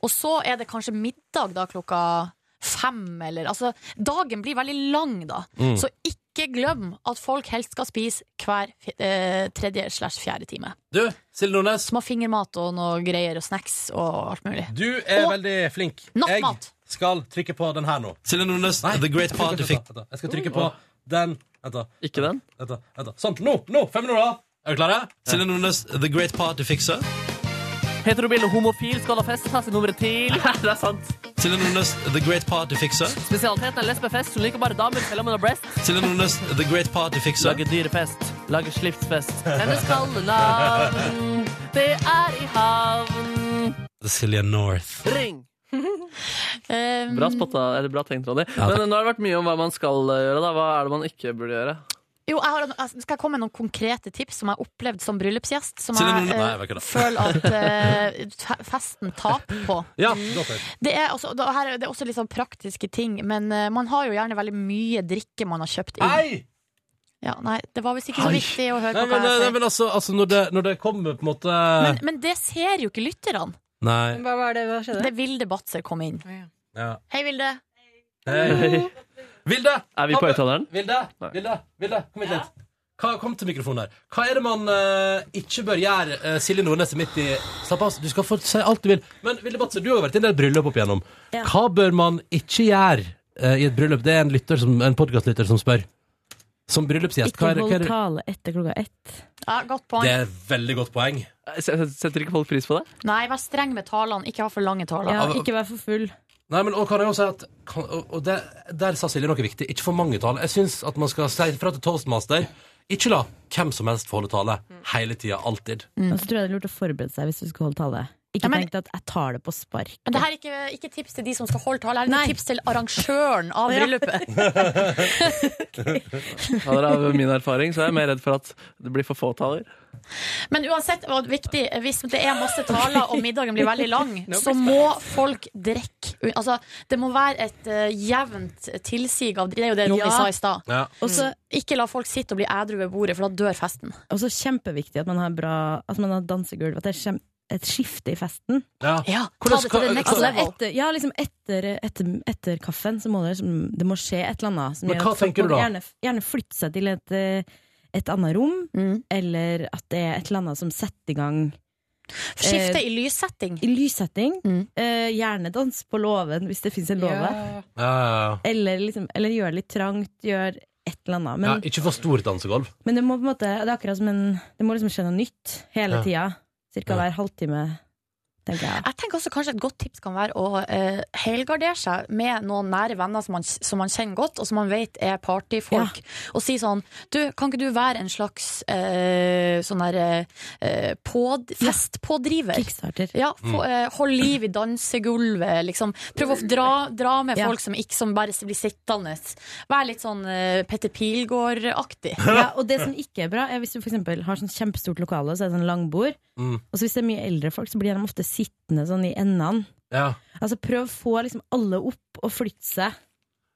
S3: Og så er det kanskje middag da klokka fem, eller altså Dagen blir veldig lang da.
S9: Mm.
S3: Så ikke glem at folk helst skal spise hver fi- eh, tredje slash fjerde time.
S1: Du, Silje Nordnes.
S3: Som har fingermat og noe greier og snacks og alt mulig.
S1: Du er veldig flink.
S3: Nattmat.
S1: Jeg skal trykke på den her nå. Silje Nordnes, The Great
S9: jeg fikk
S1: Party
S9: ikke
S1: fikk
S9: ta- ta- ta.
S1: Jeg skal trykke på
S9: Åh.
S1: den. Vent, da.
S2: Ikke den?
S1: Vent, da. Vent, da. Sånn. Nå! nå, Fem minutter! Er du klare? Silje Nordnes, The Great Party Fixer.
S9: Heterobil og homofil skal ha fest, her sin nummer til. det er sant.
S1: Silje Nordnes, The Great Party Fixer.
S9: Spesialiteten er lesbefest, hun liker bare damer selv om hun har breast.
S1: Silje Nordnes, The Great Party Fixer.
S9: Lage dyrefest. Lage slipsfest. Hennes kallenavn, det er i havn.
S1: Silje North.
S9: Ring!
S3: Ehm, Mhm.
S2: Bra spotta, eller bra tenkt, Ronny. Men nå har det vært mye om hva man skal eh, gjøre. da. Hva er det man ikke burde gjøre?
S3: Jo, jeg har, en- jeg skal komme med noen konkrete tips som jeg har opplevd som bryllupsgjest, som
S2: Silje
S3: jeg
S2: Nordnes-
S3: eh,
S2: Nei, jeg vet ikke det.
S3: føler at eh, fe- festen taper på.
S1: Ja, da får jeg.
S3: Det er, også, da- her, er- det er også litt sånn praktiske ting, men eh, man har jo gjerne veldig mye drikke man har kjøpt inn.
S1: Nei!
S3: Ja, nei, det var visst ikke så
S1: Hei.
S3: viktig å høre
S1: Nei,
S3: på
S1: men,
S3: hva jeg
S1: nei,
S3: sier.
S1: men altså, altså når, det, når det kommer på en måte
S3: Men, men det ser jo ikke lytterne.
S1: Nei.
S3: var det? Hva skjedde? Det er Vilde Batzer kom inn.
S1: Ja.
S3: Hei, Vilde.
S1: Hei. Vilde!
S2: Er vi på høyttaleren?
S1: Vilde, Vilde, Vilde, kom hit litt. Hva, kom til mikrofonen her. Hva er det man eh, ikke bør gjøre? eh, Silje Nordnes er midt i Slapp av, du skal få si alt du vil. Men Vilde Batzer, du har jo vært i en del bryllup opp igjennom.
S16: Ja.
S1: Hva bør man ikke gjøre eh, i et bryllup? Det er en, lytter som- en podkastlytter som spør. Som bryllupsgjest, hva
S16: Ikke
S1: er, hva er
S16: hold tale etter klokka ett.
S3: Ja, godt poeng.
S1: Det er et veldig godt poeng.
S2: Eh, Setter ikke folk pris på det?
S3: Nei, vær streng med talene. Ikke ha for lange taler.
S1: Ja, ikke
S16: vær for full.
S1: Nei, men og kan jeg også si at kan, og, og der, der sa Silje noe viktig. Ikke for mange tale. Jeg syns at man skal si fra til toastmaster. Ikke la hvem som helst få holde tale. Hele tida. Alltid.
S16: Og så tror jeg det er lurt å forberede seg hvis du skal holde tale. Ikke tenk deg at jeg tar det på spark.
S3: Men det her er ikke, ikke tips til de som skal holde tale, det er tips til arrangøren av
S16: Ja.
S3: bryllupet.
S2: Ja, dere, Av min erfaring så er jeg mer redd for at det blir for få taler.
S3: Men uansett hva viktig, hvis det er masse taler og middagen blir veldig lang, så må folk drikke. Altså, det må være et eh, jevnt tilsig av Det er jo det Ronny
S16: Ja.
S3: sa i stad.
S16: Ja. Og så-
S3: Mm. Ikke la folk sitte og bli ædru ved bordet, for da dør festen.
S16: Og så kjempeviktig at man har bra At man har dansegulv. At det er kjem, et skifte i festen.
S1: Ja.
S3: ta det til det next
S16: Altså,
S3: level.
S16: etter, ja, liksom etter, etter, etter kaffen så må det, liksom, det må skje et eller annet. som
S1: Men
S16: gjør
S1: hva
S16: at
S1: tenker
S16: folk
S1: du
S16: må
S1: da?
S16: Gjerne, gjerne flytte seg til et, eh, et annet rom, eller at det er et eller annet som setter i gang
S3: Skifte i lyssetting.
S16: Eh, I lyssetting. Eh, gjerne dans på låven, hvis det fins en låve.
S1: Ja, ja, ja.
S16: Eller, liksom, eller gjør det litt trangt, gjør et eller annet. Men,
S1: ja, ikke for stort dansegulv.
S16: men det må på en måte Det er akkurat som en Det må liksom skje noe nytt hele
S1: Ja.
S16: tida. Cirka hver halvtime, tenker jeg.
S3: Jeg tenker også kanskje Et godt tips kan være å eh, helgardere seg med noen nære venner som man, som man kjenner godt, og som man vet er partyfolk, og si sånn Du, kan ikke du være en slags eh, sånn der eh, påd, festpådriver?
S16: Kickstarter.
S3: Ja, få,
S16: Mm.
S3: eh, hold liv i dansegulvet, liksom. Prøv å dra, dra med
S16: Ja.
S3: folk som ikke som bare blir sittende. Vær litt sånn eh, Petter Pilgaard-aktig.
S16: Ja, og det som ikke er bra, er hvis du for eksempel har sånn kjempestort lokale, og så er det sånn langbord.
S1: Mm.
S16: Og så hvis det er mye eldre folk, så blir de ofte sittende sånn i endene.
S1: Ja.
S16: Altså prøv å få liksom alle opp og flytte seg.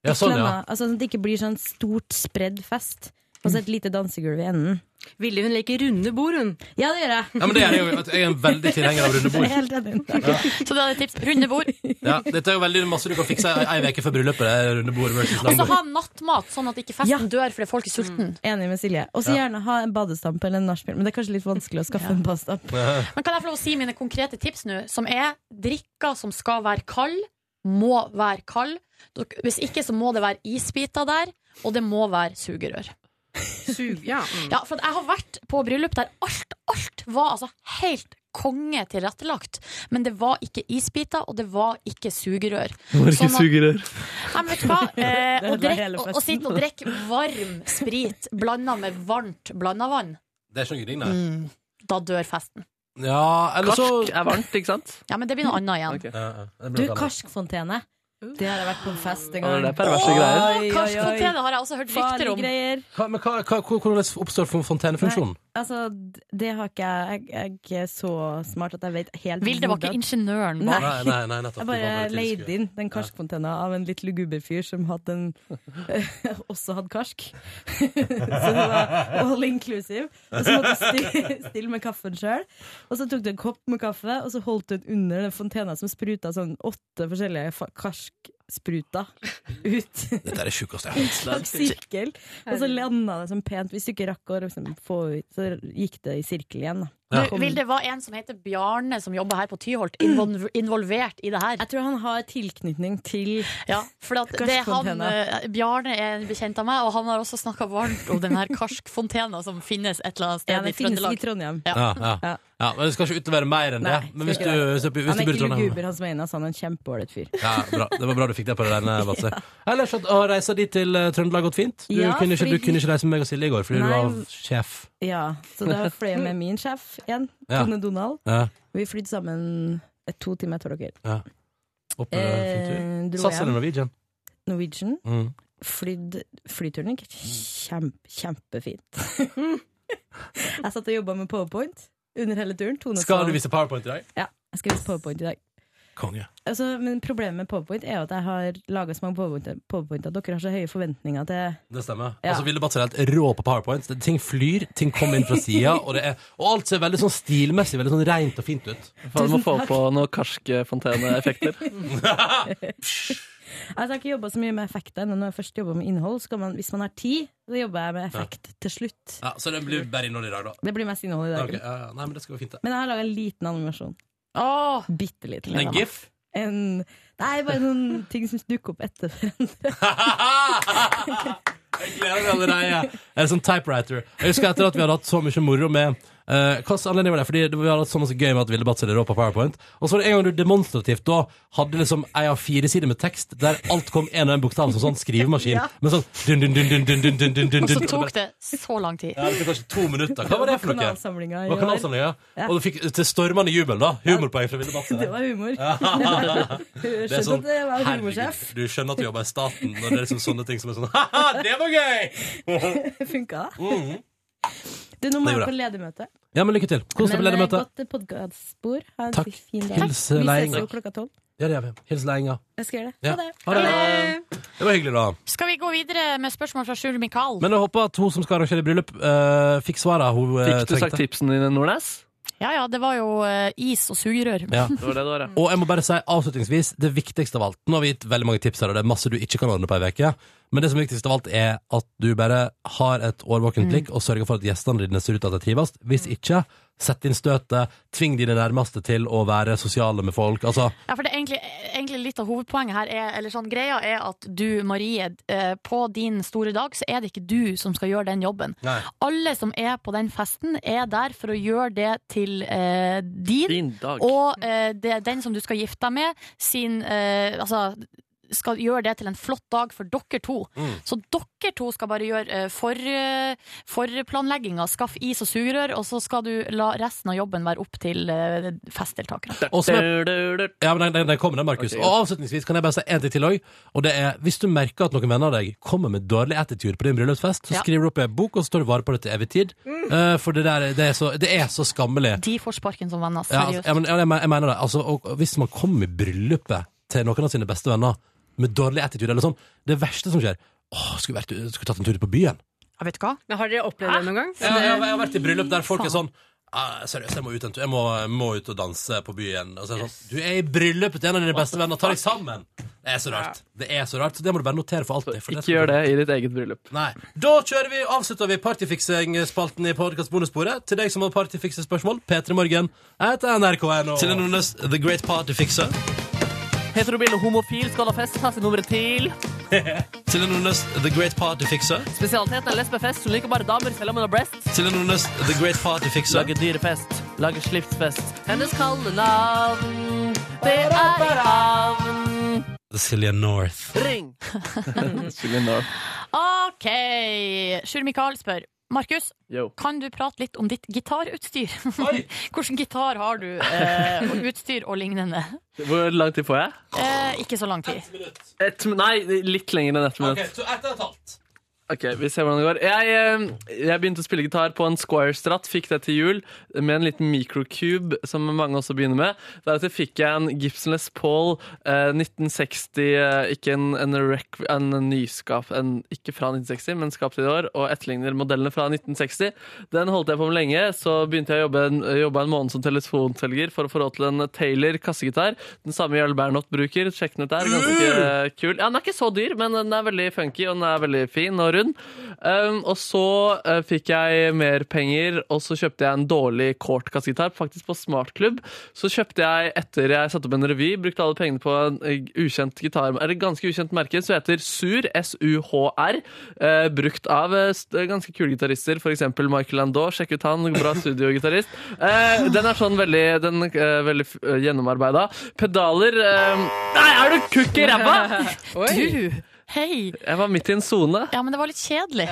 S1: Ja, sånn,
S16: Et eller
S1: ja.
S16: annet. Altså, sånn at det ikke blir sånn stort spredd fest, og så et lite dansegulv i enden. Ville hun leke runde bord, hun? Ja, det gjør jeg.
S1: ja, men det er jo Jeg er en veldig tilhenger av runde bord.
S16: Helt enig.
S3: Så det er et tips. Runde bord.
S1: Ja, dette er jo veldig masse du kan fikse ei ei uke før bryllupet. Det er runde bord versus
S3: Og så
S1: langbord.
S3: ha nattmat, sånn at ikke festen dør fordi folk er sultne.
S16: Enig med Silje. Og så
S1: Ja.
S16: gjerne ha en badestamp eller en nachspiel, men det er kanskje litt vanskelig å skaffe en badestamp.
S3: Men kan jeg få lov å si mine konkrete tips nå, som er drikker som skal være kald, må være kald. Dok- Hvis ikke så må det være isbiter der, og det må være sugerør.
S17: ja.
S3: Ja, for at jeg har vært på bryllup der alt, alt var altså helt konge tilrettelagt, men det var ikke isbiter, og det var ikke sugerør. Sånn at-
S2: sugerør.
S3: Nei, men vet du hva? Eh,
S16: Det
S3: å,
S16: ødela
S3: drikk,
S16: hele
S3: å, å
S16: festen.
S3: sitte og drikke varm sprit blanda med varmt blanda vann,
S1: Det er ikke noe gring, nei.
S3: Mm. da dør festen.
S1: Ja, eller så
S2: Karsk er varmt, ikke sant?
S3: Ja, men det blir noe
S16: Mm.
S3: annet igjen.
S1: Ja, ja, det
S16: Du,
S1: blir noe annet.
S16: karskfontene. Det har jeg vært på en fest en
S1: Ja,
S16: gang.
S1: det er perverse Åh, greier.
S3: karskfontene har jeg også hørt rykter
S16: Farlige
S3: om.
S16: Greier.
S1: Hva, men hva, hva, hvordan oppstår fontenefunksjonen?
S16: Altså, d- det har ikke jeg Jeg er ikke så smart at jeg vet helt
S3: Vilde var ikke
S16: hvordan-
S3: ingeniøren
S16: Nei.
S3: bak.
S1: Nei, nei, nei, nettopp. Det
S16: Jeg
S1: var
S16: bare
S1: bare
S16: leide
S1: typisk,
S16: inn den karskfontena av en litt luguber fyr som hadde en, også hadde karsk. så det var all inclusive. Og så måtte du stille, stille med kaffen sjøl. Og så tok du en kopp med kaffe, og så holdt du den under den fontena som spruta sånn åtte forskjellige fa- karskspruter ut.
S1: Dette er det sjukeste jeg
S16: I en
S1: har hørt.
S16: slags sirkel. Og så landa det sånn pent. Hvis du ikke rakk å liksom få ut, så gikk det i sirkel igjen. Da.
S3: Nå, Vil det være en som heter Bjarne, som jobber her på Tyholt, invol- involvert i det her? Jeg
S16: tror han har tilknytning til
S3: Ja, for at det er han, eh, Bjarne er en bekjent av meg, og han har også snakka varmt om den her karskfontena som finnes et eller annet sted
S16: Ja, den
S3: i
S16: finnes
S3: Trøndelag.
S16: i Trondheim.
S1: Ja, ja. ja. men det skal ikke utlevere mer enn det.
S16: Nei,
S1: Men hvis
S16: skal
S1: du,
S16: ikke
S1: hvis
S16: det.
S1: du, hvis
S16: han
S1: du
S16: er
S1: blir
S16: ikke
S1: Trondheim
S16: luguber, han som er inne, så han er en kjempeålreit fyr.
S1: ja, bra. Det var bra du fikk det på det der, Vadsø. Ellers at å reise dit til eh, Trøndelag gått fint? Du,
S16: Ja,
S1: kunne ikke,
S16: fordi-
S1: du kunne ikke reise med meg og Silje i går fordi du
S16: Nei.
S1: var sjef.
S16: Ja, så da fløy jeg med min sjef igjen,
S1: Ja.
S16: Tone Donald.
S1: Ja.
S16: Vi flydde sammen eh, to timer etter dere.
S1: Ja. Oppe,
S16: Eh,
S1: fin tur.
S16: dro
S1: SAS
S16: hjem.
S1: eller Norwegian?
S16: Norwegian.
S1: Mm.
S16: Flydd, flyturen gikk kjempe, kjempefint. jeg satt og jobba med powerpoint under hele turen. Tone
S1: Skal
S16: sa-
S1: du vise PowerPoint i dag?
S16: Ja, jeg skal vise powerpoint i dag.
S1: Konge.
S16: Altså, men problemet med powerpoint er jo at jeg har laga så mange powerpoint, powerpoint at dere har så høye forventninger til
S1: Det stemmer.
S16: Ja.
S1: Altså, Ville Batzer er helt rå på powerpoint. Det- Ting flyr, ting kommer inn fra sida, og, det er- og alt ser veldig sånn stilmessig veldig sånn rent og fint ut.
S2: Faen, må få på noen karske fonteneeffekter.
S16: Altså, jeg har ikke jobba så mye med effekt ennå. Når jeg først jobber med innhold, så kan man, hvis man har tid, så jobber jeg med effekt til slutt.
S1: Ja, så det blir bare innhold i dag, da.
S16: Det blir mest innhold i dag.
S1: Ok, ja, ja. Nei, men det skal gå fint, det.
S16: Men jeg har laga en liten animasjon.
S3: Oh,
S16: Bitte liten.
S1: En gif?
S16: En, nei, bare noen ting som dukker opp etter hverandre.
S1: Jeg gleder meg allerede. En sånn typewriter. Jeg husker etter at vi hadde hatt så mye moro med eh, hva slags anledning var det? Fordi det- Vi hadde hatt så masse gøy med at Ville Batzer er rå på Powerpoint. Og så var det en gang du demonstrativt da hadde liksom ei av fire sider med tekst der alt kom en og en bokstav som sånn skrivemaskin.
S3: Ja.
S1: Men sånn dun, dun, dun, dun, dun, dun, dun, dun, dun,
S3: Og så
S1: dun.
S3: tok det så lang tid.
S1: Ja, det tok kanskje to minutter. Hva var det for noe?
S16: Kanalsamlinga i
S1: Det var
S16: år.
S1: kanalsamlinga.
S16: Ja.
S1: Og du fikk til stormende jubel, da. Humorpoeng fra Ville Batzer.
S16: Det var humor.
S1: Det er
S16: Skjønte
S1: sånn,
S16: at det var humorsjef.
S1: herregud, du skjønner at du jobber i staten når det er liksom sånne ting som er sånn Ha-ha, det var gøy!
S16: Funka det?
S1: Mhm.
S16: Du, nå må
S1: Det gjorde
S16: jeg på
S1: jeg.
S16: ledermøte.
S1: Ja, men lykke til. Kos deg på
S16: Men, eh,
S1: ledermøtet.
S16: Godt podkastspor. Ha en
S1: Takk.
S16: fin dag.
S1: Hils,
S16: Vi ses
S1: Leina.
S16: jo klokka tolv.
S1: Ja, det gjør vi. Hils Leinga.
S16: Jeg skal gjøre det.
S1: Ja.
S16: Ha det.
S1: Ha det. Det var hyggelig, da.
S3: Skal vi gå videre med spørsmål fra Sjur Mikael?
S1: Men jeg håper at hun som skal arrangere bryllup, eh, fikk svaret hun eh,
S2: Fikk du sagt tipsene dine, Nordnes?
S3: Ja ja, det var jo eh, is og sugerør.
S1: Ja.
S2: det var, ja.
S1: Og jeg må bare si avslutningsvis, det viktigste av alt Nå har vi gitt veldig mange tips her, og det er masse du ikke kan ordne på ei uke. Men det som er viktigst av alt, er at du bare har et årvåkent blikk og sørger for at gjestene dine ser ut til at de trives. Hvis ikke, sett inn støtet, tving dine nærmeste til å være sosiale med folk. Altså,
S3: Ja, for det er egentlig, egentlig litt av hovedpoenget her er, eller sånn, Greia er at du, Marie, eh, på din store dag så er det ikke du som skal gjøre den jobben.
S1: Nei.
S3: Alle som er på den festen, er der for å gjøre det til eh, din,
S2: dag.
S3: og eh, det, er den som du skal gifte deg med, sin eh, Altså skal gjøre det til en flott dag for dere to.
S17: Mm.
S3: Så dere to skal bare gjøre eh, for, eh, forplanlegginga. Skaff is og sugerør, og så skal du la resten av jobben være opp til eh, festdeltakerne.
S1: Og som er- ja, men den, den, den kommer, den, Markus. og avslutningsvis kan jeg bare si en ting til òg. Og det er hvis du merker at noen venner av deg kommer med dårlig attitude på din bryllupsfest, så
S3: Ja.
S1: skriver du opp i en bok, og så står du vare på det til evig tid. Eh, for det der det er, så, det er så skammelig.
S3: De får sparken som venner,
S1: Ja, altså,
S3: seriøst.
S1: ja, men, ja, jeg me- jeg mener det. Altså, og, og hvis man kommer i bryllupet til noen av sine beste venner med dårlig attitude eller sånn, det verste som skjer Åh, skulle, vært, skulle tatt en tur på byen.
S3: Jeg vet hva.
S17: Men har dere opplevd det noen gang?
S1: Jeg, jeg, jeg har vært i bryllup der folk er sånn «Ah, Seriøst, jeg må ut en tur. Jeg må, jeg må ut og danse på byen. Og så er det sånn, du er i bryllupet til en av dine beste venner. Ta deg sammen! Det er så rart. Det er så rart, så det må du bare notere for alltid. For
S2: Ikke gjør det i ditt eget bryllup.
S1: Nei. Da kjører vi, avslutter vi partyfiksing-spalten i Podcast bonussporet Til deg som har partyfiksespørsmål, P3 Morgen etter nrk.no.
S2: Silje
S1: Nordnes, The Great Partyfixer.
S2: Heterobile homofil skal ha fest, tasse nummeret til.
S1: Silje Nordnes, The Great Partyfixer.
S2: Spesialiteten er lesbefest. Hun liker bare damer, selv om hun har breast.
S1: Silje Nordnes, The Great Partyfixer.
S2: Lager dyrefest. Lager slipsfest.
S9: Hennes kallenavn, det er i havn.
S1: Silje North.
S9: Ring!
S2: Silje North.
S3: OK. Sjur Mikael spør. Markus,
S2: Yo.
S3: kan du prate litt om ditt gitarutstyr?
S2: Oi.
S3: Hvordan gitar har du, eh, og utstyr og lignende?
S2: Hvor lang tid får jeg?
S3: Eh, ikke så lang tid.
S2: Et, nei, litt lenger enn ett minutt.
S1: så ett og et halvt.
S2: Ok, Vi ser hvordan det går. Jeg, eh, jeg begynte å spille gitar på en Squire Strat. Fikk det til jul med en liten microcube, som mange også begynner med. Deretter fikk jeg en Gibsonless Paul eh, 1960, eh, ikke en, en, rec, en nyskap en, Ikke fra 1960, men skapt i år, og etterligner modellene fra 1960. Den holdt jeg på med lenge, så begynte jeg å jobbe en, jobbe en måned som telefonselger for å få råd til en Taylor kassegitar. Den samme Jarl Bernhoft bruker. Sjekk den ut der. Ganske eh, kul. Ja, den er ikke så dyr, men den er veldig funky, og den er veldig fin og rund. hun. Um, og så eh, fikk jeg mer penger, og så kjøpte jeg en dårlig kort kassegitar, faktisk på smartklubb. Så kjøpte jeg, etter jeg satte opp en revy, brukte alle pengene på en eh, ukjent gitar, eller ganske ukjent merke, som heter Sur, S-U-H-R, eh, brukt av eh, st- ganske kule gitarister, for eksempel Michael Landau, sjekk ut han, bra studiogitarist. Eh, den er sånn veldig, den, eh, veldig f- eh, gjennomarbeida. Pedaler eh, Nei, er du kukk i ræva?!
S3: Du, hei!
S2: Jeg var midt i en sone.
S3: Ja, men det var litt kjedelig.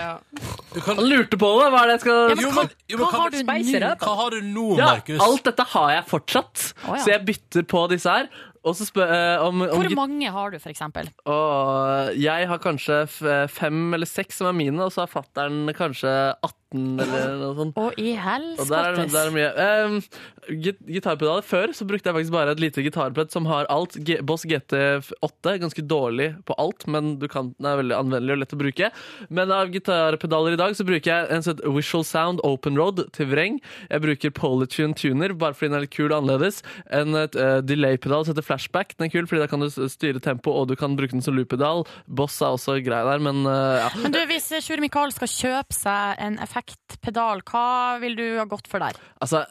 S2: Han lurte på det! Hva er det jeg skal
S3: Ja, men Jo, men- hva- jo, men hva hva har du spiser nå? det, da? Hva
S1: har du nå,
S2: ja,
S1: Markus?
S2: Alt dette har jeg fortsatt,
S3: Å, ja.
S2: så jeg bytter på disse her. Og så spør eh, om, om
S3: Hvor
S2: git-
S3: mange har du, for eksempel?
S2: Åh, jeg har kanskje f fem eller seks som er mine, og så har fattern kanskje 18 eller noe sånt.
S3: Og i
S2: Og der er, det- der er
S3: helskottes.
S2: det mye. Ehm, git gitarpedaler. Før så brukte jeg faktisk bare et lite gitarbrett som har alt. G Boss GT8. Ganske dårlig på alt, men du kan, den er veldig anvendelig og lett å bruke. Men av gitarpedaler i dag så bruker jeg en sånn Visual Sound Open Road til vreng. Jeg bruker Polytune Tuner bare fordi den er litt kul og annerledes. En et, eh, delay-pedal som heter Flashback. Den er kul fordi da kan du s- styre tempo, og du kan bruke den som loop-pedal. Boss er også grei der, men eh, ja.
S3: Men du, hvis Sjur Mikael skal kjøpe seg en effektpedal, hva vil du ha gått for der?
S2: Altså,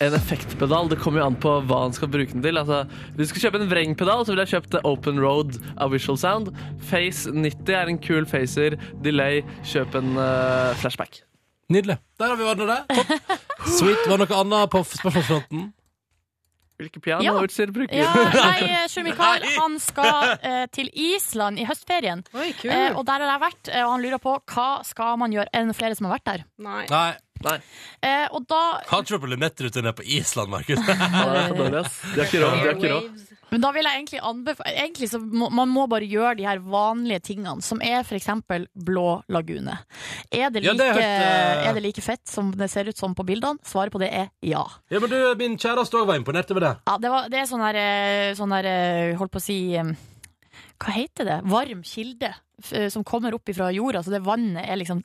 S2: En effektpedal det kommer jo an på hva han skal bruke den til. Altså, hvis du skal kjøpe en vrengpedal, så ville jeg kjøpt Open Road av Visual Sound. Face 90 er en kul facer. Delay, kjøp en eh, flashback.
S1: Nydelig. Der har vi ordna det. Topp. Sweet. Var det noe annet på f- spørsmålsfronten?
S2: Hvilke piano
S3: Ja.
S2: utstyr bruker
S3: Ja,
S2: du?
S3: nei, eh, Sjur Mikael han skal eh, til Island i høstferien.
S2: kult.
S3: Eh, og der har jeg vært, eh, og han lurer på hva skal man gjøre. Er det noen flere som har vært der?
S15: Nei.
S1: Nei.
S3: Eh, og da
S1: Kan ikke være på Lumetteruten på Island, Markus.
S2: det er for dårlig, ass. De har ikke råd, de har ikke råd.
S3: Men da vil jeg egentlig anbefale Egentlig så må man må bare gjøre de her vanlige tingene, som er f.eks. Blå lagune. Er det,
S1: Ja,
S3: like,
S1: det har jeg hørt, eh.
S3: er det like fett som det ser ut som på bildene? Svaret på det er ja.
S1: Ja, men du, Min kjæreste òg var imponert over det.
S3: ja det, var, det er sånn her, eh, sånn her eh, Holdt på å si eh, Hva heter det? Varm kilde f- eh, som kommer opp ifra jorda, så det vannet er liksom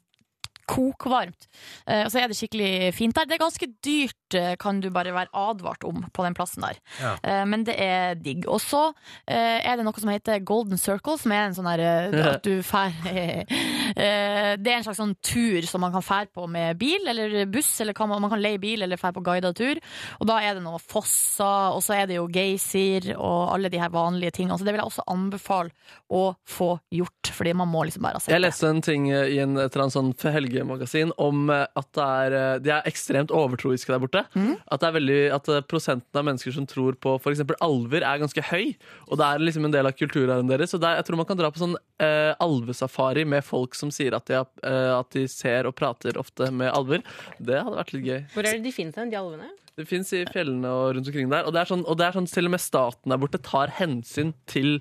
S3: kokvarmt. Eh, Og så er det skikkelig fint der. Det er ganske dyrt, eh, kan du bare være advart om på den plassen der.
S1: Ja.
S3: Eh, Men det er digg. Og så eh, er det noe som heter Golden Circle, som er en sånn her eh, at du fær eh, Det er en slags sånn tur som man kan fære på med bil eller buss, eller kan man, man kan leie bil eller fære på guidet tur. Og da er det noe fosser, og så er det jo geysir og alle de her vanlige tingene. Så det vil jeg også anbefale å få gjort, fordi man må liksom bare ha sett
S2: Jeg leste en ting eh, i en, et eller annet sånn helgemagasin om eh, at det er, eh, de er ekstremt overtroiske der borte. At, det er veldig, at eh, prosenten av mennesker som tror på f.eks. alver, er ganske høy. Og det er liksom en del av kulturarven deres. Så det er- jeg tror man kan dra på sånn eh, alvesafari med folk som sier at de, har, eh, at de ser og prater ofte med alver. Det hadde vært litt gøy.
S17: Hvor er det de finnes hen, de alvene?
S2: Det fins i fjellene og rundt omkring der. Og det er sånn, og det er sånn Til og med staten der borte tar hensyn til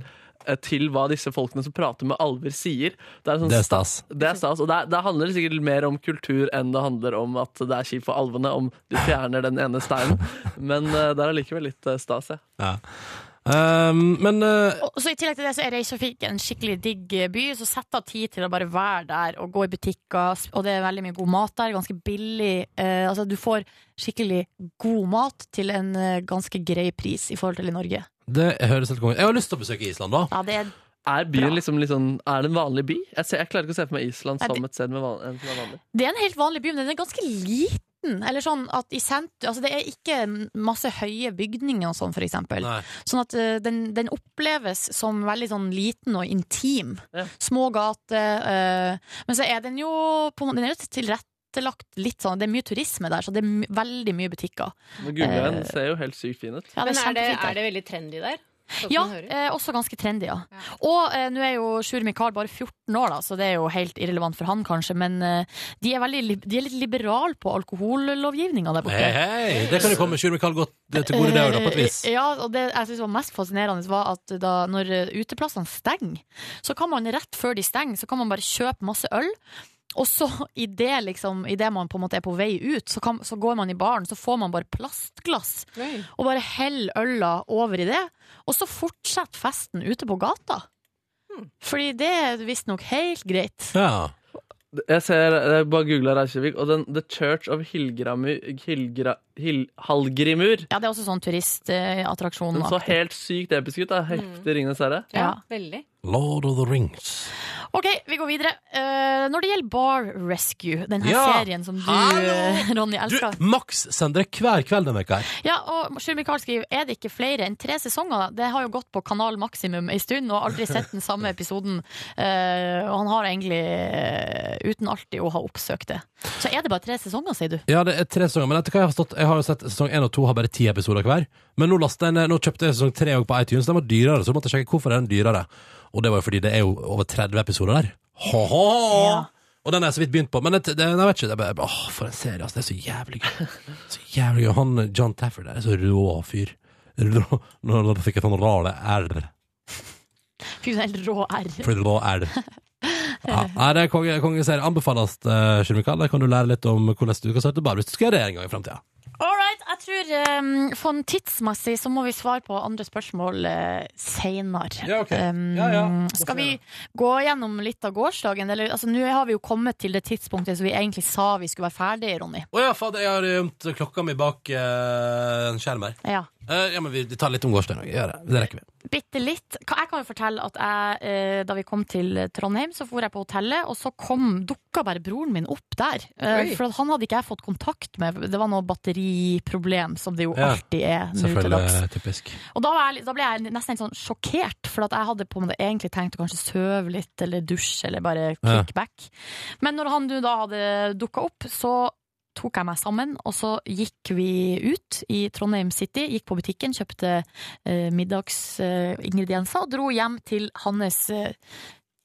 S2: eh, til hva disse folkene som prater med alver, sier. Det er, sånn
S1: Det er stas.
S2: sta- Det er stas, Og det, er- det handler sikkert mer om kultur enn det handler om at det er kjipt for alvene om de fjerner den ene steinen. Men eh, det er allikevel litt eh, stas, ja.
S1: Ja. Um, men eh,
S3: Og så I tillegg til det så er Reykjavik en skikkelig digg by, så sett av tid til å bare være der og gå i butikker. s- Og det er veldig mye god mat der, ganske billig. Eh, altså Du får skikkelig god mat til en eh, ganske grei pris i forhold til i Norge.
S1: det høres helt konge ut. Jeg har lyst til å besøke Island, da.
S3: Ja, det er
S2: Er byen liksom litt sånn Er det en vanlig by? Jeg, ser, jeg klarer ikke å se for meg Island
S3: Nei, det-
S2: som et sted med van, en som er vanlig.
S3: Det er en helt vanlig by, men den er ganske liten. Eller sånn at i sent, altså Det er ikke masse høye bygninger og sånn, for eksempel. Sånn at eh, den, den oppleves som veldig sånn liten og intim. Små gater. eh, men så er den jo på, en måte- Den er jo tilrettelagt litt sånn Det er mye turisme der, så det er my veldig mye butikker.
S2: Nå googler jeg,
S3: Eh,
S2: den ser jo helt sykt fin ut.
S3: ja, det
S17: Men
S3: er
S17: er det,
S3: kjempefint der.
S17: er det veldig trendy der? Sånn
S3: Ja,
S17: som man hører?
S3: eh, også ganske trendy, ja. Og eh, nå er jo Sjur Mikael bare 14 år, da, så det er jo helt irrelevant for han, kanskje. Men eh, de, er veldig, lib- de er litt liberale på alkohollovgivninga der borte.
S1: Hei, hei! Det kan jo komme Sjur Mikael godt eh, til gode, det òg, da, på et vis.
S3: Eh, Ja, og det jeg synes var mest fascinerende var at da, når eh, uteplassene stenger, så kan man rett før de stenger, så kan man bare kjøpe masse øl. Og så i det, liksom, i det man på en måte er på vei ut, så, kan, så går man i baren, så får man bare plastglass.
S17: Oi.
S3: Og bare heller øla over i det. Og så fortsetter festen ute på gata. Fordi det er visstnok helt greit.
S2: Jeg ser, jeg bare googla Reykjavik, og den, The Church of Hilgramu, Hilgra, Hil, Halgrimur
S3: Ja, det er også sånn turistattraksjon.
S2: Den
S3: Mm.
S2: så helt sykt episk ut. da Heftig Ringenes herre.
S3: Ja,
S17: veldig.
S1: Lord of the Rings.
S3: Og OK, vi går videre. Eh, når det gjelder Bar Rescue, denne
S1: Ja,
S3: serien som du, eh,
S1: hallo!
S3: Ronny,
S1: Du,
S3: elsker
S1: Max sender det hver kveld denne uka her.
S3: Ja, og Sjur Mikael skriver Er det ikke flere enn tre sesonger? Det har jo gått på Kanal Maximum en stund Og har aldri sett den samme episoden Eh, Og han har egentlig eh, Uten alltid å ha oppsøkt det Så er det bare tre sesonger, sier du?
S1: Ja, det er tre sesonger, men etter hva jeg har forstått Jeg har jo sett sesong 1 og 2 har bare 10 episoder hver Men nå, lastet jeg ned- nå kjøpte jeg sesong 3 også på iTunes Den var dyrere, så måtte jeg sjekke hvorfor er den dyrere Og det var jo fordi det er jo over 30 episoder der Ho, ho, ho. Og den er så vidt begynt på Men det, det, jeg vet ikke, det er bare, åh, for en serie altså, Det er så jævlig gøy Så jævlig gøy, han John Tafford der er så rå fyr rå, Nå nå fikk jeg sånn rare R
S3: Fy, det er helt rå R
S1: Fordi det var R ja, nei, det er konge, kongeserie anbefales, uh, Mikael Der kan du lære litt om hvordan du kan starte bare Hvis du skal gjøre det en gang i fremtiden
S3: Alright, jeg tror eh, Sånn tidsmessig så må vi svare på andre spørsmål eh, Senere
S1: Ja, ok.
S3: Eh,
S1: Ja, ja.
S3: Skal vi gå gjennom litt av gårsdagen? Eller, altså, nå har vi jo kommet til det tidspunktet Som vi egentlig sa vi skulle være ferdige, Ronny
S1: Å ja, fader, jeg har gjemt klokka mi bak eh, en skjerm her.
S3: Ja.
S1: Eh, ja, men vi tar litt om gårsdagen. og gjør Det Det rekker vi.
S3: Bitte litt. Ka- Jeg kan jo fortelle at jeg, eh, da vi kom til Trondheim, så for jeg på hotellet, og så kom, dukka bare broren min opp der. Eh,
S18: Oi.
S3: For at han hadde ikke jeg fått kontakt med. Det var noe batteriproblem, som det jo
S1: Ja,
S3: alltid er nå til dags.
S1: Selvfølgelig typisk.
S3: Og da, var jeg, litt- da ble jeg nesten litt sånn sjokkert, for at jeg hadde på en måte egentlig tenkt å kanskje søve litt, eller dusje, eller bare
S1: Ja.
S3: kick back. Men når han nå da hadde dukka opp, så tok jeg meg sammen, og så gikk vi ut i Trondheim City, gikk på butikken, kjøpte eh, middagsingredienser, og dro hjem til hans eh,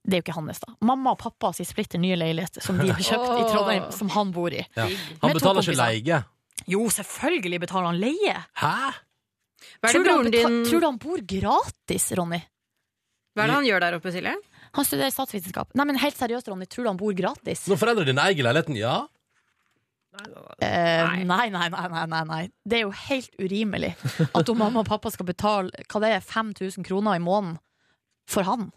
S3: det er jo ikke hans, da. Mamma og pappa sin splitter nye leilighet som de har kjøpt i Trondheim, som han bor i.
S1: Ja.
S3: Med
S1: Han
S3: to
S1: betaler ikke
S3: kompiser.
S1: leie.
S3: Jo, selvfølgelig betaler han leie.
S1: Hæ?
S15: Hva er det
S3: tror, du han
S15: broren
S3: beta-
S15: din-
S3: tror du han bor gratis, Ronny?
S15: Hva er det han gjør der oppe, Silje?
S3: Han studerer statsvitenskap. Nei, men helt seriøst, Ronny, tror du han bor gratis?
S1: Når foreldrene dine eier leiligheten, ja.
S3: Eh, nei, nei, nei, nei, nei, nei. Det er jo helt urimelig at om mamma og pappa skal betale hva det er, 5000 kroner i måneden for han.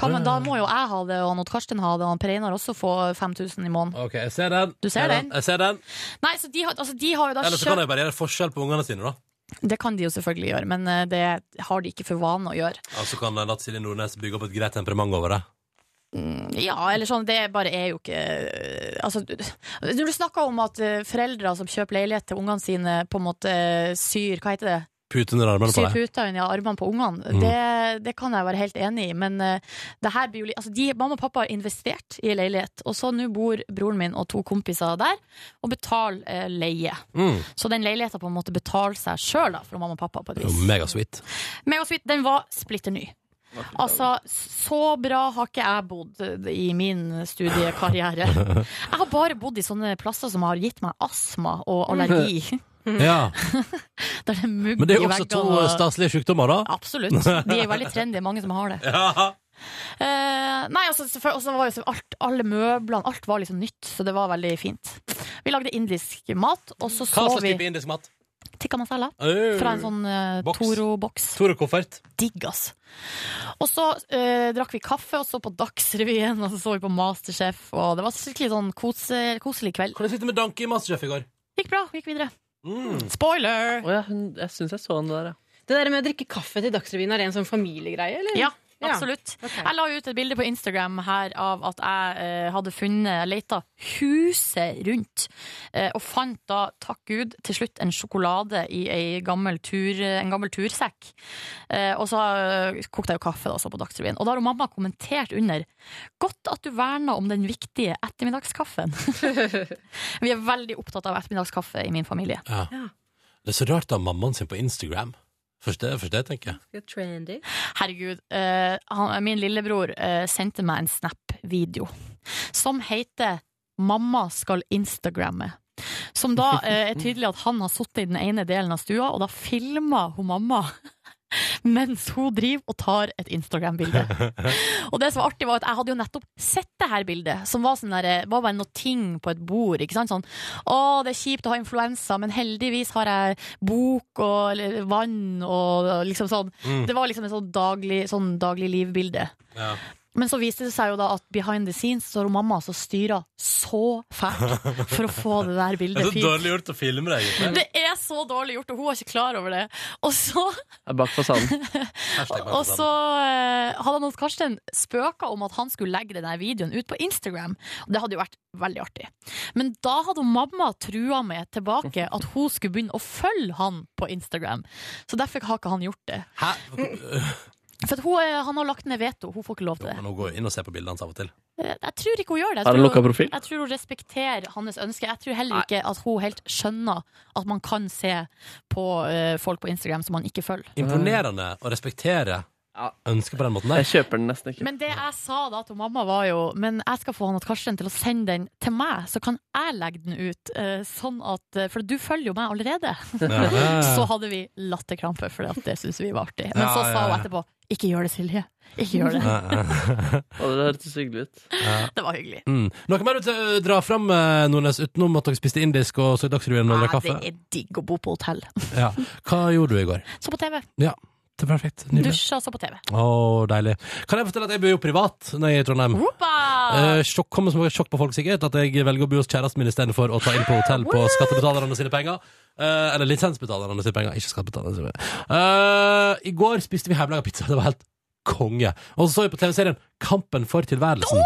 S3: Hva, men da må jo jeg ha det, og han Odd Karsten ha det, og han Per Einar også få 5000 i måneden.
S1: OK, jeg ser den.
S3: Du
S1: Jeg
S3: ser den.
S1: Jeg ser den.
S3: Nei, så de har, altså, de har jo da
S1: Eller så kan
S3: kjøpt
S1: jeg bare gjøre forskjell på ungene sine, da.
S3: Det kan de jo selvfølgelig gjøre, men eh, det har de ikke for vane å gjøre.
S1: Ja, så kan eh, Latt Silje Nordnes bygge opp et greit temperament over det.
S3: Ja, eller sånn, det bare er jo ikke Altså, du- når du snakker om at eh, foreldre som kjøper leilighet til ungene sine, på en måte eh, syr Hva heter det?
S1: Pute under armene på
S3: Syr
S1: deg.
S3: puta under armene på ungene.
S1: Mm.
S3: Det, det kan jeg være helt enig i, men eh, det her blir jo li- altså, de, Mamma og pappa har investert i en leilighet, og så nå bor broren min og to kompiser der og betaler eh, leie.
S1: Mm.
S3: Så den leiligheten på en måte betaler seg sjøl for mamma og pappa. på et
S1: Det er
S3: vis
S1: jo megasweet.
S3: Meg og Sweet, den var splitter ny. Altså, så bra har ikke jeg bodd eh, i min studiekarriere. Jeg har bare bodd i sånne plasser som har gitt meg astma og allergi.
S1: Ja.
S3: Der det er mugg
S1: Men det er
S3: i
S1: jo også to
S3: veggene og-
S1: staselige sykdommer, da.
S3: Absolutt. De er veldig trendy, mange som har det.
S1: Ja.
S3: Eh, nei, altså, selvfø- og så var jo så alt, alle møblene, alt var liksom nytt, så det var veldig fint. Vi lagde indisk mat, og så
S1: Hva
S3: så
S1: slags type
S3: vi
S1: indisk mat?
S3: tikka masala
S1: Øh.
S3: fra en sånn eh,
S1: Boks.
S3: Toro-boks.
S1: Toro-koffert.
S3: Digg, ass. Og så eh, drakk vi kaffe, og så på Dagsrevyen, og så så vi på Masterchef, og det var skikkelig sånn kose, koselig kveld.
S1: Hvordan gikk det med Danke i Masterchef i går?
S3: Gikk bra, gikk videre.
S1: Mm.
S3: Spoiler!
S2: ja, hun, jeg syns jeg så henne der, ja.
S17: Det der med å drikke kaffe til Dagsrevyen er en sånn familiegreie, eller?
S3: Ja, absolutt. Jeg la jo ut et bilde på Instagram her av at jeg eh, hadde funnet, jeg leita huset rundt, eh, og fant da, takk Gud, til slutt en sjokolade i ei gammel tur, en gammel tursekk. Eh, og så eh, kokte jeg jo kaffe da, så på Dagsrevyen. Og da har jo mamma kommentert under Godt at du verna om den viktige ettermiddagskaffen. Vi er veldig opptatt av ettermiddagskaffe i min familie.
S1: Ja. Det er så rart å ha mammaen sin på Instagram. Først det, først det tenker jeg.
S17: Trendy.
S3: Herregud, eh, han, min lillebror eh, sendte meg en Snap-video som heter 'Mamma skal Instagramme'. Som da eh, er tydelig at han har sittet i den ene delen av stua, og da filmer hun mamma mens hun driver og tar et Instagram-bilde. Og det som var artig var at jeg hadde jo nettopp sett det her bildet, som var, sånn der, var bare noe ting på et bord. ikke sant? Sånn, å, det er kjipt å ha influensa, men heldigvis har jeg bok og eller, vann og, og liksom sånn.
S1: Mm.
S3: Det var liksom et sånn daglig, sånn daglig liv-bilde.
S1: Ja.
S3: Men så viste det seg jo da at behind the scenes så har hun mamma altså styra så fælt for å få det der
S1: Det er
S3: bildet
S1: så
S3: fint.
S1: dårlig gjort å filme det, egentlig.
S3: Det er så dårlig gjort, og hun var ikke klar over det. Og så,
S2: Bak fasaden.
S1: Hashtag bare
S3: og
S1: for
S3: så eh, hadde han hos Karsten spøka om at han skulle legge den der videoen ut på Instagram. Og det hadde jo vært veldig artig. Men da hadde hun mamma trua med tilbake at hun skulle begynne å følge han på Instagram. Så derfor har ikke han gjort det. For at hun, eh, han har lagt ned veto. Hun får ikke lov til det.
S1: Men hun går inn og ser på bildene hans av og til.
S3: Eh, Jeg tror ikke hun gjør det. Jeg
S1: Har hun
S3: tror-
S1: lukka profil?
S3: Jeg tror hun respekterer hans ønske. Jeg tror heller ikke at hun helt skjønner at man kan se på eh, folk på Instagram som man ikke følger.
S1: Imponerende å respektere ønsket på den måten der.
S2: Jeg kjøper den nesten ikke.
S3: Men det jeg sa da til mamma, var jo Men jeg skal få han og Karsten til å sende den til meg, så kan jeg legge den ut. eh, Sånn at eh, For du følger jo meg allerede.
S1: Ja.
S3: Så hadde vi latterkrampe, for det syntes vi var artig. Men så
S1: Ja, ja,
S3: sa hun
S1: ja.
S3: etterpå ikke gjør det, Silje. Ikke gjør det.
S2: Og det hørtes hyggelig ut.
S3: Det var hyggelig.
S1: Mm. Noe mer du eh, drar fram, eh, Nordnes, utenom at dere spiste indisk og så Dagsrevyen og drakk
S3: Ja,
S1: kaffe?
S3: det er digg å bo på hotell.
S1: Ja. Hva gjorde du i går?
S3: Så på TV.
S1: Ja, det er perfekt. Nydelig.
S3: Dusja, så på TV.
S1: Å, deilig. Kan jeg fortelle at jeg bor jo privat når jeg er i Trondheim? Uh. Eh, sjokk kommer som et sjokk på folk sikkert at jeg velger å bo hos kjæresten min istedenfor å ta inn på hotell på skattebetalerne sine penger. Eh, eller lisensbetalerne sine penger, ikke skattebetalerne sine. penger. Eh, I går spiste vi hjemmelaga pizza. Det var helt konge. Og så så vi på TV-serien Kampen for tilværelsen.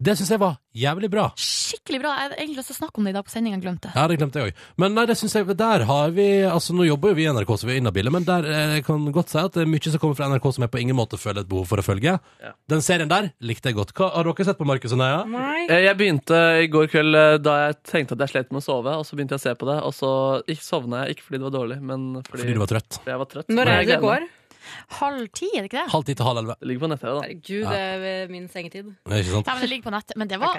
S1: Det syns jeg var jævlig bra.
S3: Skikkelig bra. Jeg hadde egentlig lyst til å snakke om det i dag på sendinga, glemte det.
S1: Ja, det glemte jeg òg. Men nei, det synes jeg, der har vi Altså, Nå jobber jo vi i NRK, så vi er inhabile, men der eh, jeg kan godt si at det er mye som kommer fra NRK som jeg på ingen måte føler et behov for å følge. Den serien der likte jeg godt. Hva har dere sett på Markus og
S17: Mm.
S1: Neia?
S2: Eh, Jeg begynte i går kveld eh, da jeg tenkte at jeg slet med å sove, og så begynte jeg å se på det, og så ikke sovna jeg, ikke fordi det var dårlig, men fordi,
S1: Fordi du var trøtt.
S2: Fordi jeg var trøtt.
S17: Når
S2: Men
S17: er
S2: jeg
S17: det det
S2: gleder meg.
S17: går?
S3: Halv ti, er det ikke det?
S1: Halv ti til halv elleve.
S2: Det ligger på nettet, da.
S17: Gud, det er ved min sengetid.
S1: Det er ikke sant.
S3: Nei, men det ligger på nettet. Men det var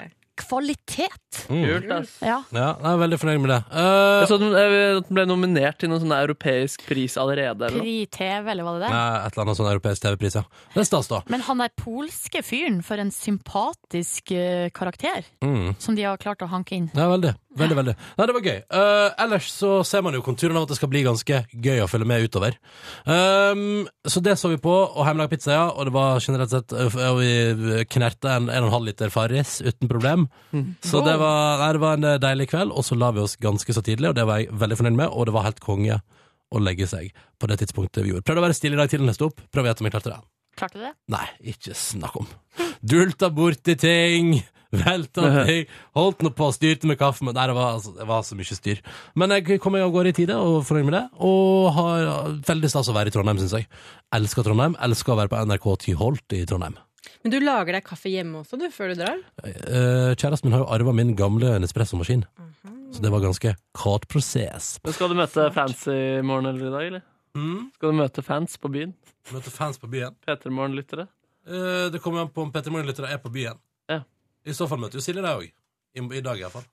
S3: kvalitet.
S1: Mm. Kult,
S2: ass.
S3: Ja.
S1: Ja, jeg er veldig fornøyd med det.
S2: Jeg så den, eh, at den ble nominert til noen sånn europeisk pris allerede. Eller noe.
S3: Pri TV, eller hva det
S1: Nei,
S3: der?
S1: et eller annet sånn europeisk TV-pris, ja. Det er stas, da.
S3: Men han der polske fyren, for en sympatisk eh, karakter
S1: Mm.
S3: som de har klart å hanke inn.
S1: Ja, veldig. Veldig, veldig. Nei, det var gøy. Eh, ellers så ser man jo konturene av at det skal bli ganske gøy å følge med utover. Ehm, så det så vi på, og hjemmelaga pizza, ja. Og det var generelt sett eh, Og vi knerte en 1,5 liter Farris uten problem. Så det var, nei, det var en eh, deilig kveld, og så la vi oss ganske så tidlig, og det var jeg veldig fornøyd med, og det var helt konge å legge seg på det tidspunktet vi gjorde. Prøvde å være stille i dag til den neste opp. Prøv å gjette om jeg klarte det.
S3: Klarte du det?
S1: Nei, ikke snakk om. Dulta borti ting, velta ting, holdt nå på, styrte med kaffe, men nei, det var, altså, det var så mye styr. Men jeg kom meg av gårde i tide og fornøyd med det, og har ja, veldig stas å være i Trondheim, syns jeg. Elsker Trondheim, elsker å være på NRK Tyholt i Trondheim.
S17: Men du lager deg kaffe hjemme også, du, før du drar?
S1: Eh, Kjæresten min har jo arva min gamle Nespresso-maskin, så det var ganske kort prosess.
S2: Men skal du møte fans i morgen eller i dag, eller? Skal du møte fans på byen?
S1: Møte Mm. fans på byen?
S2: P3morgen-lyttere?
S1: Eh, det kommer an på om Petter Morgen lytter er på byen. I så fall møter jo Silje deg òg. I, I dag, iallfall.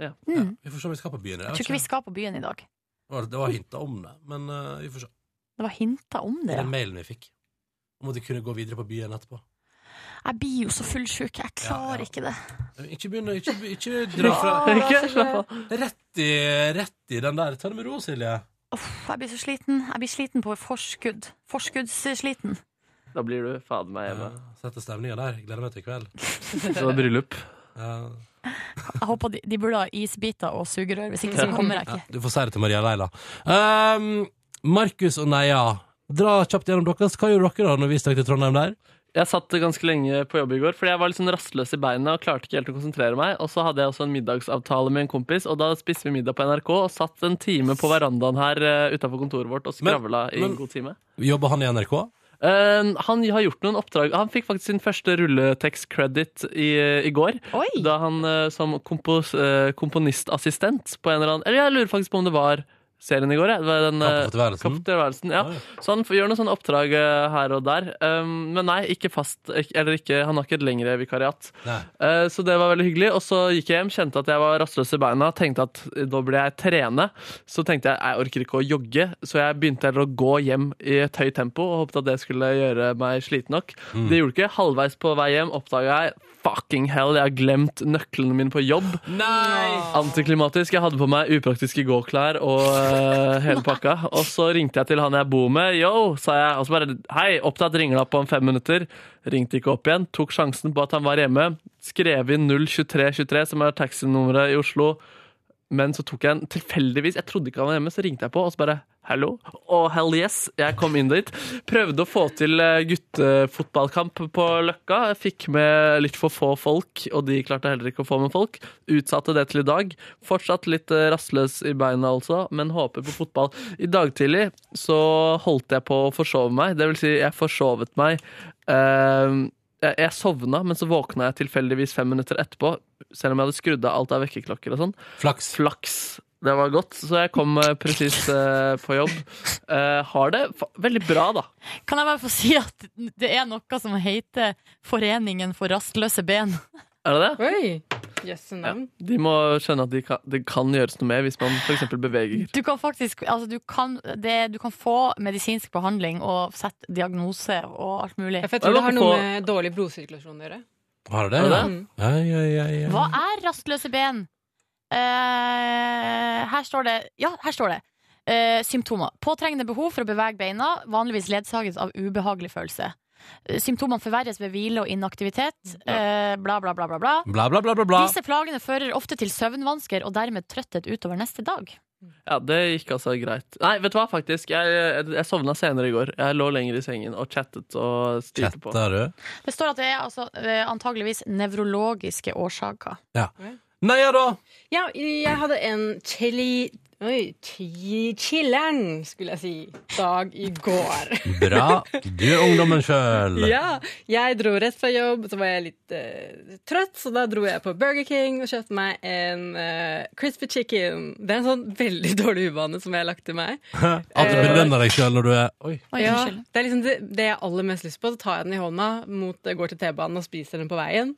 S2: Ja.
S1: Ja,
S3: Mm.
S1: vi får se om vi skal på byen.
S3: Jeg tror ikke vi skal på byen i dag.
S1: Det var, det var hinta om det, men eh, vi får se.
S3: Det var hinta om
S1: Det
S3: det.
S1: er
S3: Ja.
S1: den mailen vi fikk. Om at vi kunne gå videre på byen etterpå.
S3: Jeg blir jo så fullsjuk. Jeg klarer ikke det.
S1: Eh, Ikke begynn å Ikke, be- ikke dra fra
S3: Ikke, slapp av.
S1: Rett i, rett i den der. Ta det med ro, Silje.
S3: Uff, jeg blir så sliten. Jeg blir sliten på forskudd. Forskuddssliten.
S2: Da blir du fader meg hjemme.
S1: Eh, Sette stemninga der. Gleder meg til i kveld. Eh,
S2: Så det er bryllup.
S3: Jeg håper de, de burde ha isbiter og sugerør, hvis ikke så
S1: Ja.
S3: kommer jeg ikke.
S1: Ja, Du får si det til Maria Leila. Ehm, Markus og Neia, dra kjapt gjennom deres. Hva gjorde dere da når vi stakk til Trondheim der?
S2: Jeg satt ganske lenge på jobb i går, fordi jeg var litt sånn rastløs i beina og klarte ikke helt å konsentrere meg. Og så hadde jeg også en middagsavtale med en kompis, og da spiste vi middag på NRK og satt en time på verandaen her utafor kontoret vårt og skravla i
S1: men-
S2: en god time.
S1: Jobba han i NRK?
S2: Eh, han har gjort noen oppdrag. Han fikk faktisk sin første rulletekst-credit i, i går. Da han eh, som kompos, eh, komponistassistent på en eller annen Eller jeg lurer faktisk på om det var serien i går. jeg. Det var den, eh,
S1: Kampen for tilværelsen.
S2: Kampen for tilværelsen, ja. Så han f- Sånn, gjør noen sånne oppdrag eh, her og der. Um, men nei, ikke fast ikke- Eller ikke, han har ikke et lengre vikariat. Eh, Så det var veldig hyggelig. Og så gikk jeg hjem, kjente at jeg var rastløs i beina, tenkte at nå burde jeg trene. Så tenkte jeg jeg orker ikke å jogge, så jeg begynte heller å gå hjem i et høyt tempo og håpet at det skulle gjøre meg sliten nok.
S1: Mm.
S2: Det gjorde det ikke. Halvveis på vei hjem oppdaga jeg fucking hell, jeg har glemt nøklene mine på jobb.
S1: Nei!
S2: Antiklimatisk. Jeg hadde på meg upraktiske gåklær og eh, hele pakka. Og så ringte jeg til han jeg bor med. Yo, sa jeg. Og så bare hei, opptatt, ringer deg på om fem minutter. Ringte ikke opp igjen. Tok sjansen på at han var hjemme. Skrev inn 02323, som er taxinummeret i Oslo. Men så tok jeg en tilfeldigvis Jeg trodde ikke han var hjemme, så ringte jeg på, og så bare Hallo? Og hell yes, jeg kom inn dit. Prøvde å få til eh, guttefotballkamp på Løkka. Jeg fikk med litt for få folk, og de klarte heller ikke å få med folk. Utsatte det til i dag. Fortsatt litt eh, rastløs i beina, altså, men håper på fotball. I dag tidlig så holdt jeg på å forsove meg. Det vil si, jeg forsovet meg. eh, jeg, jeg sovna, men så våkna jeg tilfeldigvis fem minutter etterpå. Selv om jeg hadde skrudd av alt av vekkerklokker og sånn.
S1: Flaks.
S2: Det var godt, så jeg kom eh, presis eh, på jobb. Eh, har det fa veldig bra, da.
S3: Kan jeg bare få si at det er noe som heter Foreningen for rastløse ben?
S2: Er det det?
S17: Oi! Jøsse navn.
S2: De må skjønne at de kan, det kan gjøres noe med hvis man f.eks. beveger.
S3: Du kan faktisk altså du kan, det, du kan få medisinsk behandling og sette diagnose og alt mulig.
S17: Jeg tror det har noe med dårlig blodsirkulasjon å gjøre. Mm.
S1: Har du det?
S3: Er det
S1: ja? Ja,
S3: det?
S1: ja, ja, ja.
S3: Hva er rastløse ben? Eh, her står det Ja, her står det. Eh, symptomer. Påtrengende behov for å bevege beina, vanligvis ledsaget av ubehagelig følelse. Eh, Symptomene forverres ved hvile og inaktivitet. eh, Bla, bla, bla, bla, bla.
S1: Bla, bla, bla, bla, bla.
S3: Disse plagene fører ofte til søvnvansker og dermed trøtthet utover neste dag.
S2: Ja, Det gikk altså greit. Nei, vet du hva, faktisk. Jeg, jeg, jeg sovna senere i går. Jeg lå lenger i sengen og chattet og styrte på.
S1: Chatter
S2: du?
S3: Det står at det er altså, eh, antageligvis nevrologiske årsaker.
S1: Nei, ja da!
S17: Ja, jeg hadde en chili... Oi, chi- chilleren, skulle jeg si, dag i går.
S1: Bra. Du er ungdommen sjøl.
S17: Ja, jeg dro rett fra jobb, så var jeg litt eh, trøtt, så da dro jeg på Burger King og kjøpte meg en eh, crispy chicken. Det er en sånn veldig dårlig uvane som jeg har lagt til meg.
S1: At du
S17: Eh,
S1: belønner deg sjøl når du er Oi.
S17: ja, det er liksom det, det jeg har aller mest lyst på. Så tar jeg den i hånda, mot, går til T-banen og spiser den på veien.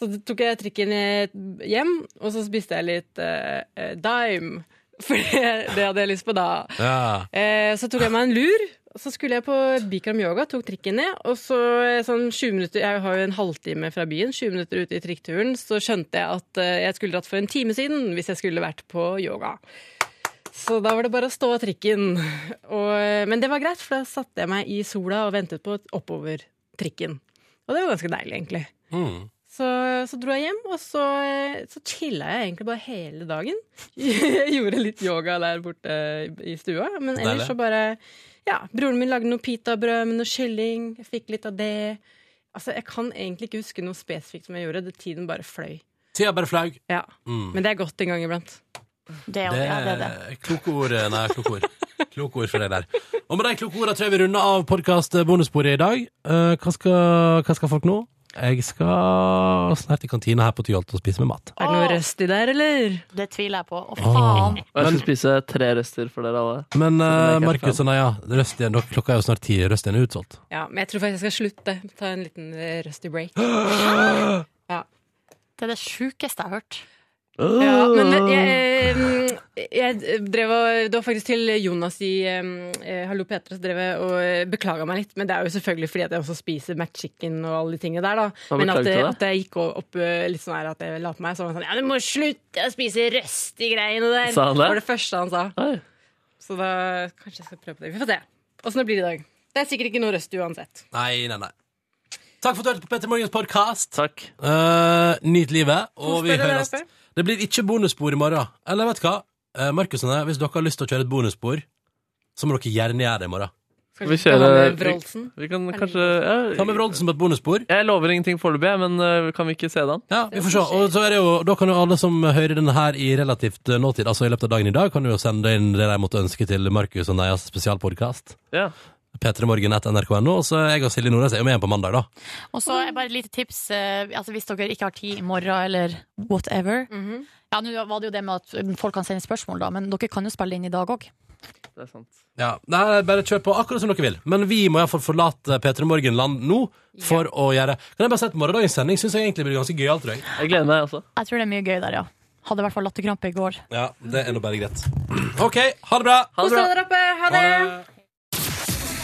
S17: Så tok jeg trikken eh, hjem, og så spiste jeg litt eh, eh, dime. For det, det hadde jeg lyst på da.
S1: Ja.
S17: Eh, så tok jeg meg en lur. Så skulle jeg på Bikram yoga, tok trikken ned. Og så eh, sånn 20 minutter, jeg har jo en halvtime fra byen, 20 minutter ute i trikkturen, så skjønte jeg at eh, jeg skulle dratt for en time siden hvis jeg skulle vært på yoga. Så da var det bare å stå av trikken. Og, eh, men det var greit, for da satte jeg meg i sola og ventet på oppover trikken. Og det var ganske deilig, egentlig.
S1: Mm.
S17: Så, så dro jeg hjem, og så, eh, så chilla jeg egentlig bare hele dagen. Jeg gjorde litt yoga der borte i stua, men
S18: Deilig.
S17: ellers så bare Ja, broren min lagde noe pitabrød med noe kylling, jeg fikk litt av det. Altså, Jeg kan egentlig ikke huske noe spesifikt som jeg gjorde, det tiden bare fløy.
S1: Tida bare flaug.
S17: Ja,
S1: Mm.
S17: Men det er godt en gang iblant.
S3: Det,
S1: er kloke ord. eh, Nei, kloke ord. Kloke ord for deg der. Og med de kloke ordene tror jeg vi runder av podkast-bonusbordet i dag. Eh, hva, skal, hva skal folk nå? Jeg skal snart i kantina her på Tyholt og spise med mat.
S17: Er det noe røst i der, eller?
S3: Det tviler jeg på. Å,
S1: faen.
S2: Og jeg skal spise tre røster for dere alle.
S1: Men eh,
S2: Det merker jeg
S1: Markus og Naja, røst igjen. Dere- Klokka er jo snart ti. Røst igjen er utsolgt.
S17: Ja, Men jeg tror faktisk jeg skal slutte. Ta en liten eh, rusty break. Ja.
S3: Det er det sjukeste jeg har hørt.
S17: Ja, men det- jeg, eh, jeg drev og Det var faktisk til Jonas i eh, Hallo Petra som drev jeg og beklaga meg litt. Men det er jo selvfølgelig fordi at jeg også spiser McChicken og alle de tingene der, da.
S18: Hva
S17: Men at,
S18: beklaget du da?
S17: at jeg gikk opp eh, litt sånn her at jeg la på meg, så var han sånn Ja, du må slutte å spise røstig greiene der!
S18: Sa han det?
S17: var det første han sa. Så da kanskje jeg skal prøve på det. Vi får se åssen det blir i dag. Det er sikkert ikke noe røst uansett.
S1: Nei, nei, nei. Takk for at du hørte på Petter Morgens podkast.
S2: Takk.
S1: Eh, nyt livet,
S17: Kos
S1: og vi
S17: dere der
S1: høres.
S17: oppe.
S1: Det blir ikke bonusspor i morgen. Eller vet du hva? Eh, Markus og jeg, hvis dere har lyst til å kjøre et bonusspor, så må dere gjerne gjøre det i morgen.
S2: Skal vi kjøre vi, vi kan kanskje ja,
S1: Ta med Wroldsen på et bonusspor.
S2: Jeg lover ingenting foreløpig, jeg, men eh, kan vi ikke se det an?
S1: Ja, Vi får se. Og så er det jo, da kan jo alle som hører denne her i relativt eh, nåtid, altså i løpet av dagen i dag, kan jo sende inn det de måtte ønske til Markus og Neias spesialpodkast.
S2: Ja.
S1: P3morgen.nrk.no. Og så er jeg og Silje Nordnes er jo med igjen på mandag, da.
S3: Og så er bare et lite tips eh, altså hvis dere ikke har tid i morgen eller whatever. Ja, Nå var det jo det med at eh, folk kan sende spørsmål, da, men dere kan jo spille inn i dag òg.
S2: Det er sant.
S1: Ja, nei, bare kjør på akkurat som dere vil. Men vi må iallfall forlate P3 Morgenland nå for å gjøre Kan jeg bare si at morgendagens sending syns jeg egentlig blir ganske gøyal, tror jeg.
S2: Jeg gleder meg også.
S3: Jeg tror det er mye gøy der, ja. Hadde i hvert fall latterkrampe i går.
S1: Ja, det er nå bare greit. OK, ha det bra.
S17: Kos dere oppe! Ha det!